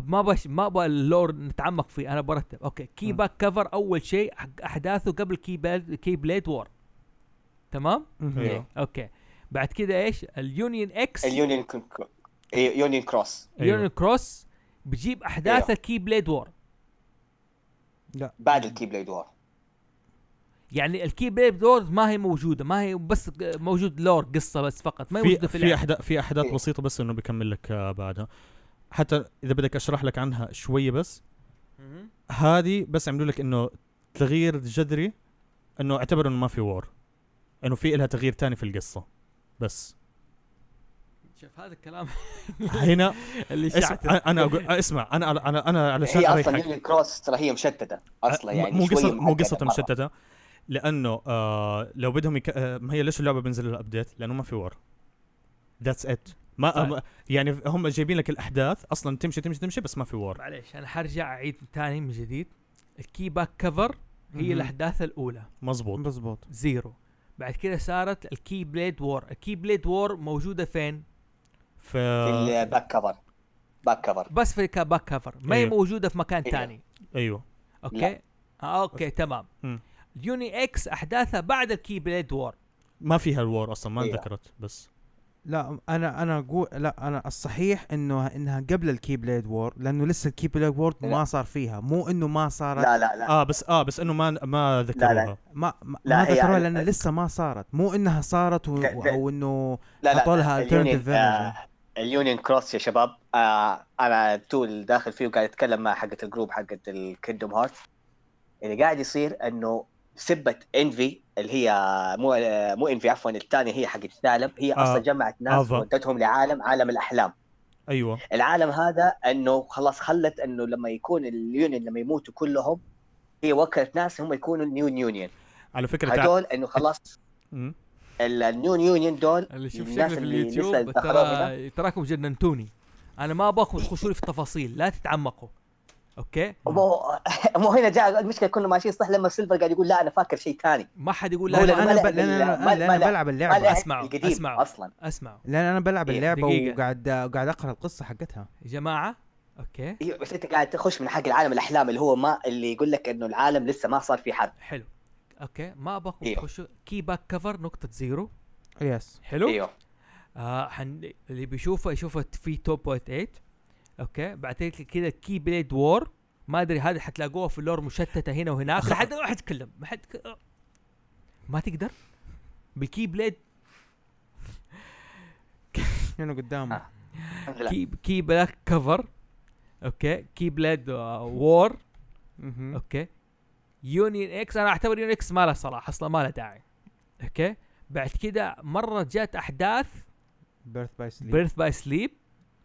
ما بش ما ابغى اللور نتعمق فيه انا برتب اوكي كي
م.
باك كفر اول شيء حق احداثه قبل كي بليد كي بليد وور تمام
ايوه
اوكي بعد كده ايش اليونيون اكس
إيوه. اليونيون كون- كون- إيه، يونيون كروس
اليونيون كروس بجيب احداث
أيوه.
الكي بليد وور
بعد الكي بليد وور
يعني الكي بليد وور ما هي موجوده ما هي بس موجود لور قصه بس فقط ما هي موجوده
في
في
في
اللعبه
احداث في احداث
إيه.
بسيطه بس انه بكمل لك آه، بعدها حتى اذا بدك اشرح لك عنها شويه بس
مهم.
هذه بس عملوا لك انه تغيير جذري انه اعتبروا انه ما في وور انه في لها تغيير تاني في القصه بس
شوف هذا الكلام
هنا
اللي
اسمع
شعته
أنا- انا اقول اسمع انا انا انا علشان
هي اصلا
اريحك
يونيون كروس ترى هي مشتته اصلا
م-
يعني
مو
شوية
قصه مو
محددة
قصه
مرة.
مشتته لانه آه لو بدهم يك... آه ما هي ليش اللعبه بينزل لها ابديت لانه ما في وور ذاتس ات ما
طيب.
آه يعني هم جايبين لك الاحداث اصلا تمشي تمشي تمشي بس ما في وور
معليش انا حرجع اعيد ثاني من جديد الكي باك كفر
مهم.
هي الاحداث الاولى
مزبوط
مضبوط
زيرو بعد كده صارت الكي بليد وور الكي بليد وور موجوده فين
في
في الباك كفر باك كفر
بس في الباك كفر ما هي
أيوه.
موجوده في مكان
أيوه.
ثاني
ايوه
اوكي
لا.
آه اوكي تمام
مم.
اليوني اكس احداثها بعد الكي بليد وور
ما فيها الوار اصلا ما
أيوة.
انذكرت بس
لا انا انا اقول لا انا الصحيح انه انها قبل الكي بليد وور لانه لسه الكي بليد وور ما
لا.
صار فيها مو انه ما صارت
لا لا لا
اه بس اه بس انه ما ما ذكروها
ما ما,
لا،
ما
هي-
ذكروها لان لسه ما صارت مو انها صارت و...
ك- ك-
او انه
لا
حطوا لها
اليونين
alternative
آه اليونين كروس يا شباب آه انا تول داخل فيه وقاعد اتكلم مع حقه الجروب حقه الكيندوم هارت اللي قاعد يصير انه سبه انفي اللي هي مو آه، مو انفي عفوا الثانيه هي حقت ثعلب هي
آه،
اصلا جمعت ناس
آفا.
ودتهم لعالم عالم الاحلام
ايوه
العالم هذا انه خلاص خلت انه لما يكون اليونين لما يموتوا كلهم هي وكلت ناس هم يكونوا النيو يونيون
على فكره تع...
هذول انه خلاص
مم.
ال- النيو يونيون دول
اللي شوف
الناس
شكلي في
اللي لسه
اليوتيوب
دخلوها هنا.
ترى آه، تراكم جننتوني انا ما ابغاكم تخشوا لي في التفاصيل لا تتعمقوا اوكي
مو مو هنا جاء المشكله كنا ماشيين صح لما سيلفر قاعد يقول لا انا فاكر شيء ثاني
ما حد يقول
لا
لا
هو
لأن
لا
لما
انا
لا-
ب... لأن
لا-
انا
ما-
لأن
ما
انا
لا-
بلعب
ما
اللعبه
لعبت
أسمعوا،
القديم
أسمعوا.
اصلا
اسمعوا
لان انا بلعب
إيه،
اللعبه
دقيقة.
وقاعد قاعد اقرا القصه حقتها
يا جماعه اوكي
إيوه، بس انت قاعد تخش من حق العالم الاحلام اللي هو ما اللي يقول لك انه العالم لسه ما صار فيه حرب
حلو اوكي ما ابغاكم
إيوه.
تخشوا كي باك كفر نقطه زيرو
يس
حلو
ايوه
آه حن... اللي بيشوفه يشوفه في توب بوينت 8 اوكي بعدين كذا كي بليد وور ما ادري هذه حتلاقوها في اللور مشتته هنا وهناك لحد ما حد يتكلم ما حد ك- ما تقدر بالكي بليد
هنا قدامه
آه. الحمد لله.
كي كي بلاك كفر اوكي كي بليد آه، وور
مهم.
اوكي يونيون اكس انا اعتبر يونيون اكس ما له صلاح اصلا ما له داعي اوكي بعد كده مره جات احداث
بيرث باي سليب
بيرث باي سليب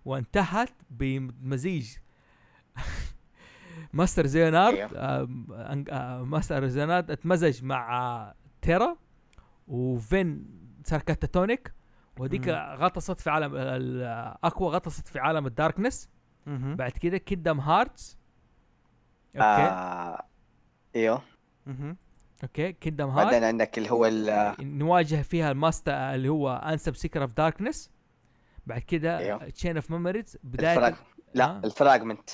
وانتهت بمزيج ماستر زيونارد
أيوه.
آم، أن- آه، ماستر زيونارد اتمزج مع آه، تيرا وفين ساركاتاتونيك وهذيك
مم.
غطست في عالم الاكوا غطست في عالم الداركنس بعد كده كيدم هارتس اوكي
آه، ايوه
اوكي كيدم هارتس
بعدين عندك اللي هو ال-
نواجه فيها الماستر اللي هو انسب سيكر اوف داركنس بعد كده
أيوه.
تشين اوف ميموريز بدايه
الفراغ لا
آه.
الفراغمنت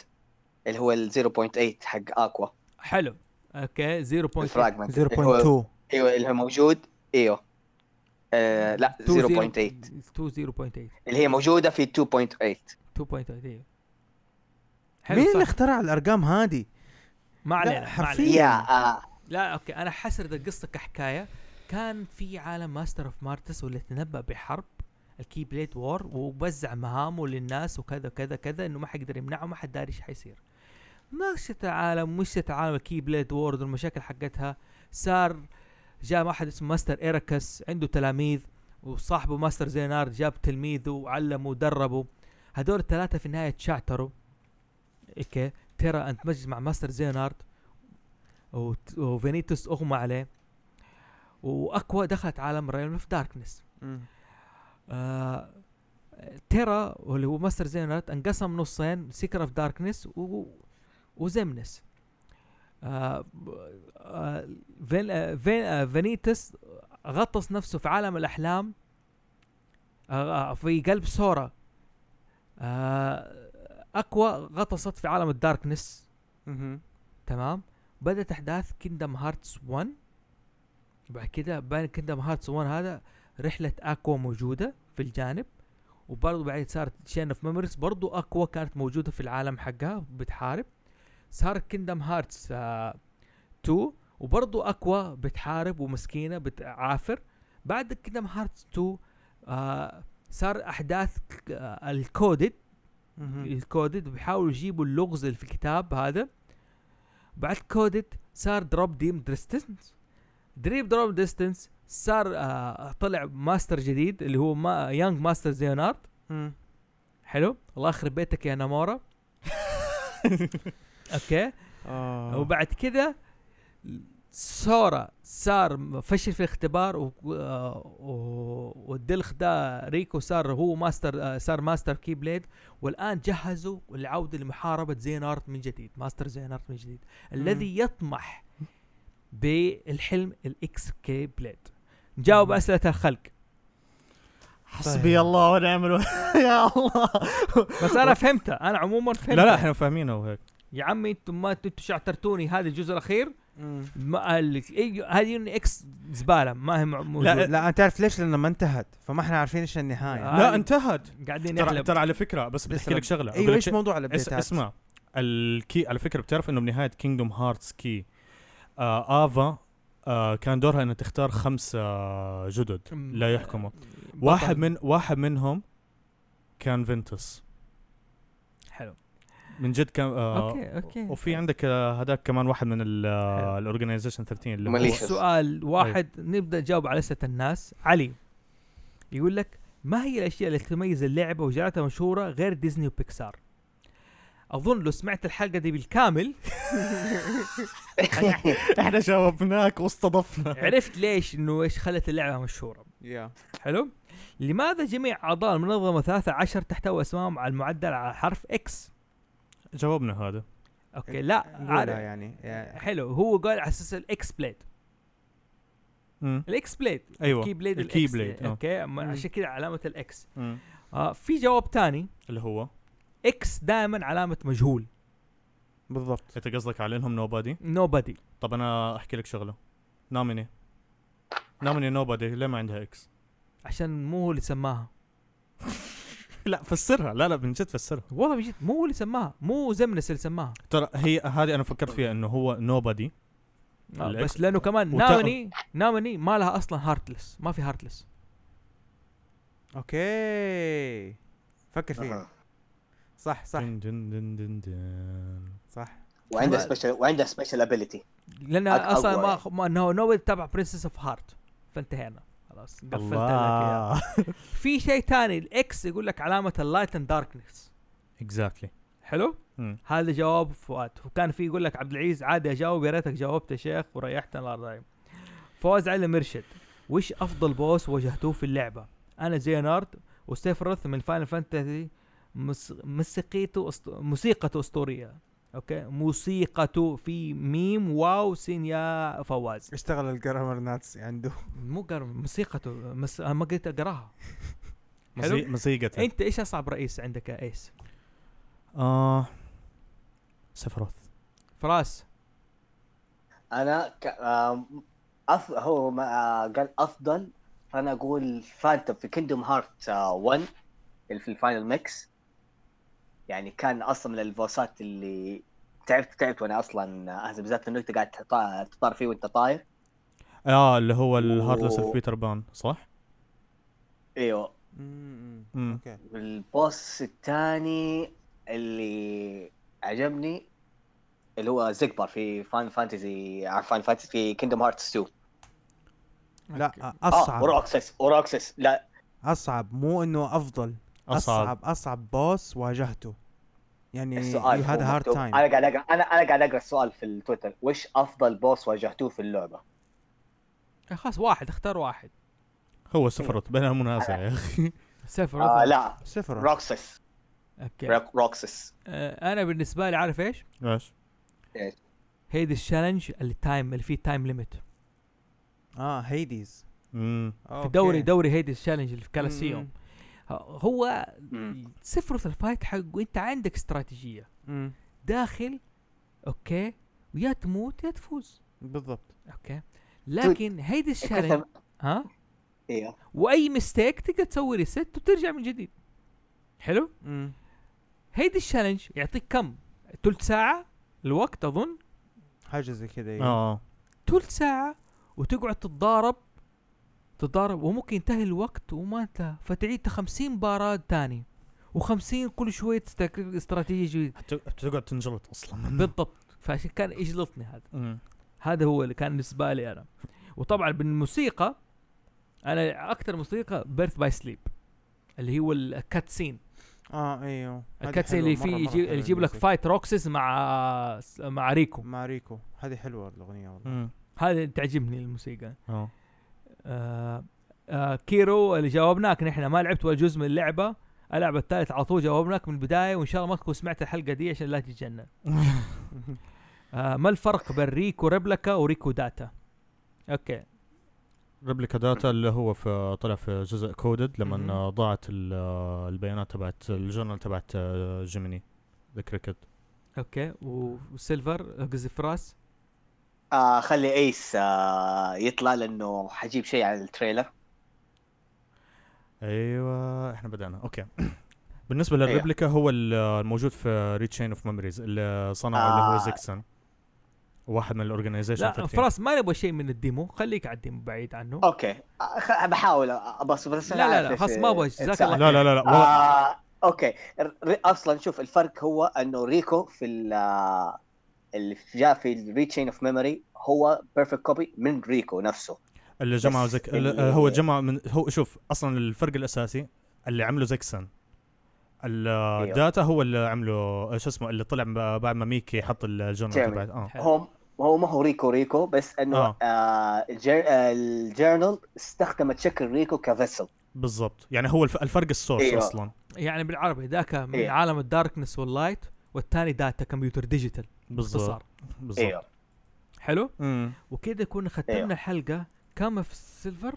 اللي هو ال 0.8 حق اكوا
حلو اوكي 0.8
الفراغمنت اللي هو
0.2
ايوه اللي هو موجود ايوه آه لا 0.8 اللي
2 0.8
هي موجوده في 2.8
2.8 إيه. حلو
مين اللي
صح.
اخترع الارقام هذه؟
ما علينا
لا،
ما علينا
حرفياً.
يا آه
لا اوكي انا حسرد القصه كحكايه كان في عالم ماستر اوف مارتس واللي تنبأ بحرب الكي بليد وور ووزع مهامه للناس وكذا كذا كذا انه ما حيقدر يمنعه ما حد داري ايش حيصير مشت العالم مشت عالم الكي بليد وورد والمشاكل حقتها صار جاء واحد اسمه ماستر ايركس عنده تلاميذ وصاحبه ماستر زينارد جاب تلميذه وعلمه ودربه هذول الثلاثه في النهايه تشعتروا اوكي ترى انت مجلس مع ماستر زينارد وت- وفينيتوس اغمى عليه واكوا دخلت عالم ريلم اوف داركنس آه، تيرا واللي هو ماستر زينات انقسم نصين سيكر اوف داركنس و... وزمنس آه، آه، فين آه، فين آه، فينيتس غطس نفسه في عالم الاحلام آه، آه، في قلب سورا آه، اكوا غطست في عالم الداركنس تمام بدات احداث كيندم هارتس 1 بعد كده بين كيندم هارتس 1 هذا رحله اكوا موجوده في الجانب وبرضه بعدين صارت شين اوف ميموريز برضه اكوا كانت موجوده في العالم حقها بتحارب صار آه، كيندم هارتس 2 وبرضه اكوا بتحارب ومسكينه بتعافر بعد كيندم هارتس 2 آه صار احداث ك- آه الكودد إيه. الكودد بيحاولوا يجيبوا اللغز اللي في الكتاب هذا بعد كودد صار دروب ديم ديستنس دريب دروب ديستنس صار آه طلع ماستر جديد اللي هو ما يانج ماستر زيونارد حلو الله يخرب بيتك يا نامورا اوكي
آه.
وبعد كذا سورا صار فشل في الاختبار و- آه، و- والدلخ ده ريكو صار هو ماستر آه، صار ماستر كي بليد والان جهزوا العوده لمحاربه زينارت من جديد ماستر زينارت من جديد الذي يطمح بالحلم الاكس كي بليد نجاوب
مم.
اسئله الخلق
طيب.
حسبي الله ونعم الوكيل يا الله
بس انا فهمتها انا عموما
لا
فهمتها
لا احنا فاهمينه وهيك
يا عمي انتم ما انتم شعترتوني هذا الجزء الاخير
مم.
ما ال- أي- هذه يوني اكس زباله ما هي مع- موجودة.
لا لا تعرف ليش لانه ما انتهت فما احنا عارفين ايش النهايه
إيه. آه.
لا انتهت
قاعدين
ترى
نحلب
ترى على فكره بس
بس
بحكي لك شغله أقول
ايوه
لك
ايش
شيء-
موضوع
اس
الابديتات
اسمع الكي على فكره بتعرف انه بنهايه كينجدوم هارتس كي آه افا آه كان دورها انها تختار خمسه جدد
مم.
لا يحكموا
بطل.
واحد من واحد منهم كان فينتس
حلو
من جد كان آه
اوكي اوكي
وفي عندك آه، هذاك كمان واحد من
حلو.
الاورجنايزيشن 13 اللي هو
مليشة.
سؤال واحد
أيوه.
نبدا نجاوب على اسئله الناس علي يقول لك ما هي الاشياء اللي تميز اللعبه وجعلتها مشهوره غير ديزني وبيكسار اظن لو سمعت الحلقه دي بالكامل
احنا جاوبناك واستضفنا
عرفت ليش انه ايش خلت اللعبه مشهوره
يا
حلو لماذا جميع اعضاء المنظمه 13 تحتوي اسمائهم على المعدل على حرف اكس
جاوبنا هذا
اوكي لا
لا
عارف
يعني يا-
حلو هو قال على اساس الاكس بليد
مم.
الاكس بليد
ايوه
كي بليد
الكي
الإكس. إيه.
بليد، آه.
اوكي
مم.
ما- عشان كذا علامه الاكس
مم.
آه في جواب تاني
اللي هو
اكس دائما علامه مجهول
بالضبط
انت قصدك على انهم نوبادي
نوبادي
طب انا احكي لك شغله ناميني ناميني نوبادي ليه ما عندها اكس
عشان مو هو اللي سماها
لا فسرها لا لا من جد فسرها
والله بجد مو هو اللي سماها مو زمنس اللي سماها
ترى هي هذه انا فكرت فيها انه هو نوبادي
آه
الإكس.
بس لانه كمان
وت-
ناوني ناوني ما لها اصلا هارتلس ما في هارتلس
اوكي فكر فيها
أها.
صح صح
دن دن دن دن دن.
صح
وعنده
كمان.
سبيشل وعنده سبيشل ابيلتي
لانها
أق-
اصلا
أقوى
ما
يعني.
خ- ما انه نوبادي تبع برنسس اوف هارت فانتهينا خلاص قفلت لك إياها.
الله
في شيء تاني الاكس يقول لك علامه اللايت اند داركنس
اكزاكتلي
حلو
مم.
هذا جواب فؤاد وكان في يقول لك عبد العزيز عادي اجاوب يا ريتك جاوبت يا شيخ وريحتنا الله يرضى عليك. فواز علي مرشد وش افضل بوس واجهتوه في اللعبه انا زينارد وستيفرث من فاينل فانتسي مس... موسيقيته أسط... موسيقته اسطوريه اوكي موسيقته في ميم واو سين يا فواز
اشتغل الجرامر ناتس عنده
مو قر... موسيقته مس... أنا ما قلت اقراها حلو.
مزي- مزيقته
انت ايش اصعب رئيس عندك يا ايس
اه سفروث
فراس
انا ك... آم، أف... هو ما آه، قال افضل فانا اقول فانتوم في كيندوم هارت 1 اللي في الفاينل ميكس يعني كان اصلا من الفوسات اللي تعبت تعبت وانا اصلا آه، بالذات انه انت قاعد تطا- تطار فيه وانت طاير
اه اللي هو الهارتلس
أوه.
اوف بيتر بان صح؟
ايوه
مم.
مم.
اوكي
البوس الثاني اللي عجبني اللي هو زيجبار في فان فانتزي فان فانتزي في كيندوم هارتس 2
آه،
لا
اه
اصعب
وروكسس وروكسس لا
اصعب مو انه افضل
اصعب
اصعب اصعب بوس واجهته يعني
السؤال هو
هذا هارد
مكتوب.
تايم
انا قاعد اقرا انا انا قاعد اقرا السؤال في التويتر وش افضل بوس واجهتوه في اللعبه؟
خلاص واحد اختار واحد
هو سفروث بلا منازع يا اخي
سيفرث
آه لا
صفر
روكسس
اوكي
روك- روكسس
آه، انا بالنسبه لي عارف ايش؟
ايش؟
إيه.
هيدي الشالنج التايم اللي فيه تايم ليميت
اه هيديز
مم.
في دوري دوري هيدي الشالنج اللي في كالاسيوم هو
مم.
سفرة الفايت حقه انت عندك استراتيجيه داخل اوكي ويا تموت يا تفوز
بالضبط
اوكي لكن هيدي الشالنج
كتب-
ها
ايوه
واي ميستيك تقدر تسوي ريست وترجع من جديد حلو
مم.
هيدي الشالنج يعطيك كم ثلث ساعه الوقت اظن
حاجه زي كذا
آه.
إيه.
اه
ثلث ساعة وتقعد تتضارب تتضارب وممكن ينتهي الوقت وما انتهى فتعيد 50 مباراة تاني و50 كل شوية تستك- استراتيجية جديدة
حت- حتقعد تنجلط اصلا منه.
بالضبط فعشان كان يجلطني هذا
مم.
هذا هو اللي كان بالنسبة لي أنا وطبعا بالموسيقى أنا أكثر موسيقى بيرث باي سليب اللي هو الكاتسين
اه ايوه هذه
الكاتسين
حلوة،
اللي فيه
مرة- مرة
يجي-
حلوة
يجيب لك
الميوزك.
فايت روكسس مع مع ريكو
مع ريكو هذه حلوه الاغنيه والله
مم.
هذه تعجبني الموسيقى
اه
آه آه كيرو اللي جاوبناك نحن ما لعبت ولا جزء من اللعبه اللعبه الثالث على طول جاوبناك من البدايه وان شاء الله ما تكون سمعت الحلقه دي عشان لا تتجنن آه ما الفرق بين ريكو ريبلكا وريكو داتا اوكي
ريبليكا داتا اللي هو في طلع في جزء كودد
مهم.
لما ضاعت ال- البيانات تبعت الجورنال تبعت آه، جيميني ذا كريكت
اوكي و- وسيلفر آه، قصدي فراس
آه خلي ايس آه يطلع لانه حجيب شيء عن التريلر
ايوه احنا بدانا اوكي بالنسبه للريبليكا هو ال- الموجود في ريتشين اوف ميموريز اللي صنعه اللي هو
آه.
زيكسون واحد من الاورجنايزيشن
لا فراس ما نبغى شيء من الديمو خليك على الديمو بعيد عنه
اوكي آه، خ- بحاول آه، بس بس أنا
لا، لا،
عارف
لا،
إيش-
خلاص ما أبغى،
إيش
جزاك
صار.
الله
لا لا لا لا والله-
آه اوكي ر- ر- اصلا شوف الفرق هو انه ريكو في ال- آه، اللي جاء في ريتشين اوف ميموري هو بيرفكت كوبي من ريكو نفسه
اللي جمعه
بس
زك
ال-
ال- هو جمع من هو شوف اصلا الفرق الاساسي اللي عمله زيكسون
أيوه.
الداتا هو اللي عمله شو اسمه اللي طلع ب- بعد ما ميكي حط الجورنال
جميل.
تبعت اه
حلو.
هو هو ما هو ريكو ريكو بس انه
آه.
آه. آه الجر- آه، الجورنال استخدمت شكل ريكو كفيسل
بالضبط يعني هو الف- الفرق السورس
أيوة.
اصلا
يعني بالعربي ذاك من
إيه.
عالم الداركنس واللايت والثاني داتا كمبيوتر ديجيتال
بالضبط
باختصار
إيه.
بالضبط
حلو
مم.
وكذا كنا ختمنا
أيوه.
الحلقه كم في السيلفر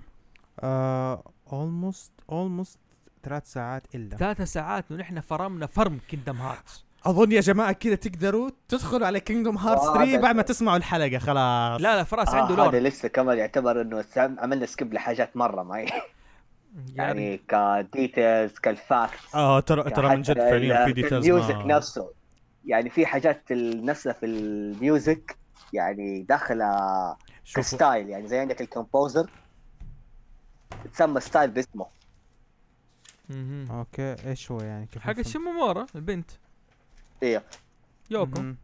اولموست اولموست آه، ثلاث ساعات الا
ثلاث ساعات ونحن فرمنا فرم كيندم هارتس
اظن يا جماعه كذا تقدروا تدخلوا على كينجدوم هارت
آه،
3
بس-
بعد ما تسمع
تسمعوا الحلقه خلاص
لا لا فراس عنده
آه هذا
لور
لسه كمان يعتبر انه سام- عملنا سكيب لحاجات مره معي
يعني
يعني كديتيلز كالفاكتس
اه ترى ترى من
حتى
جد فعليا
ال-
في ديتيلز
الميوزك نفسه يعني في حاجات ال- نفسها في الميوزك يعني داخله
شوفوا
كستايل يعني زي عندك الكومبوزر تسمى ستايل باسمه
مهم.
آه،
اوكي ايش هو يعني كيف
حق
نفهم؟
شيمومورا البنت
ايوه
يوكو
مهم.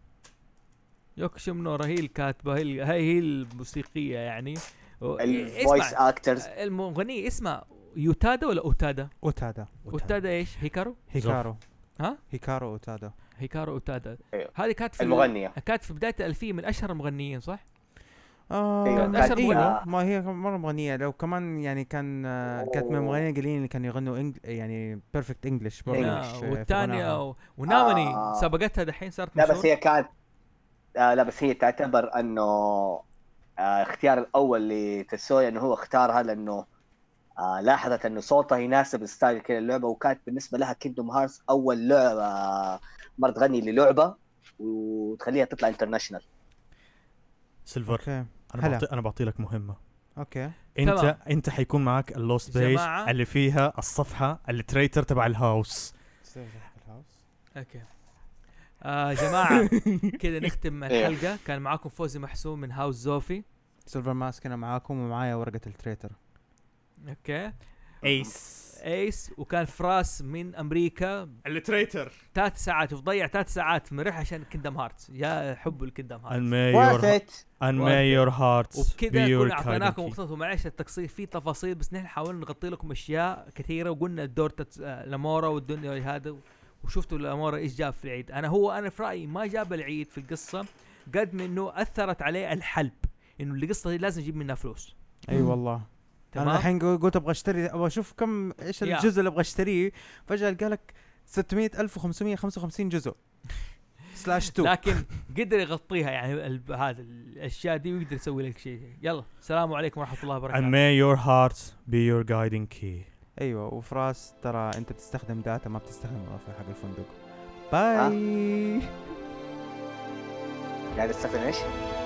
يوكو شيمونورا هي الكاتبه هي ال- هي هي الموسيقيه يعني و-
طيب.
إيه،
الفويس
اسمع آه،
اكترز
المغنيه اسمها يوتادا ولا اوتادا؟
اوتادا
اوتادا ايش؟ هيكارو؟
هيكارو
ها؟
هيكارو اوتادا
هيكارو اوتادا
أيوه.
هذه كانت في ال-
المغنيه
كانت في بدايه الالفيه من اشهر المغنيين صح؟
آه
أيوة،
كانت
كانت
أشهر
أشهر
مغنية.
ما هي مره مغنيه لو كمان يعني كان آه، كانت من
أوه.
المغنيين القليلين اللي كانوا يغنوا إنج... يعني بيرفكت انجلش برضه
لا،
في- في
والثانيه
غناها.
آه، و- ونامني
إيه. آه.
سبقتها دحين صارت
لا بس
مشهورة.
هي كانت آه لا بس هي تعتبر انه آه اختيار الاول لتسويا انه هو اختارها لانه آه لاحظت انه صوتها يناسب ستايل كده اللعبه وكانت بالنسبه لها كيندوم هارتس اول لعبه آه، مره تغني للعبه وتخليها تطلع انترناشونال
سيلفر
اوكي
انا
هلا.
بعطي انا بعطي لك مهمه
اوكي
انت
تمام.
انت حيكون معك اللوست بيج
جماعة.
اللي فيها الصفحه التريتر تبع الهاوس
اوكي آه جماعه كذا نختم الحلقه كان معاكم فوزي محسوم من هاوس زوفي
سيلفر ماسك انا معاكم ومعايا ورقه التريتر
اوكي
ايس
ايس وكان فراس من امريكا
التريتر
ثلاث ساعات وضيع ثلاث ساعات من رح عشان كندم هارتس يا حب الكندم هارتس
and may
worth
your
it
and
Worth
may your hearts be
وبكذا
your
كنا
guiding
اعطيناكم
key.
وقتكم معلش التقصير في تفاصيل بس نحن حاولنا نغطي لكم اشياء كثيره وقلنا الدور تت... آه، لامورا والدنيا هذا وشفتوا لامورا ايش جاب في العيد انا هو انا في رايي ما جاب العيد في القصه قد ما انه اثرت عليه الحلب انه القصه دي لازم نجيب منها فلوس
اي والله انا
تمام
الحين قو- قلت ابغى اشتري ابغى اشوف كم ايش
يا.
الجزء اللي ابغى اشتريه فجاه قال لك 600555 جزء سلاش 2
لكن قدر يغطيها يعني ال- هذا الاشياء دي ويقدر يسوي لك شيء يلا السلام عليكم ورحمه الله
and
وبركاته
may your hearts be your guiding key
ايوه وفراس ترى انت بتستخدم داتا ما بتستخدم في حق الفندق باي
قاعد تستخدم ايش؟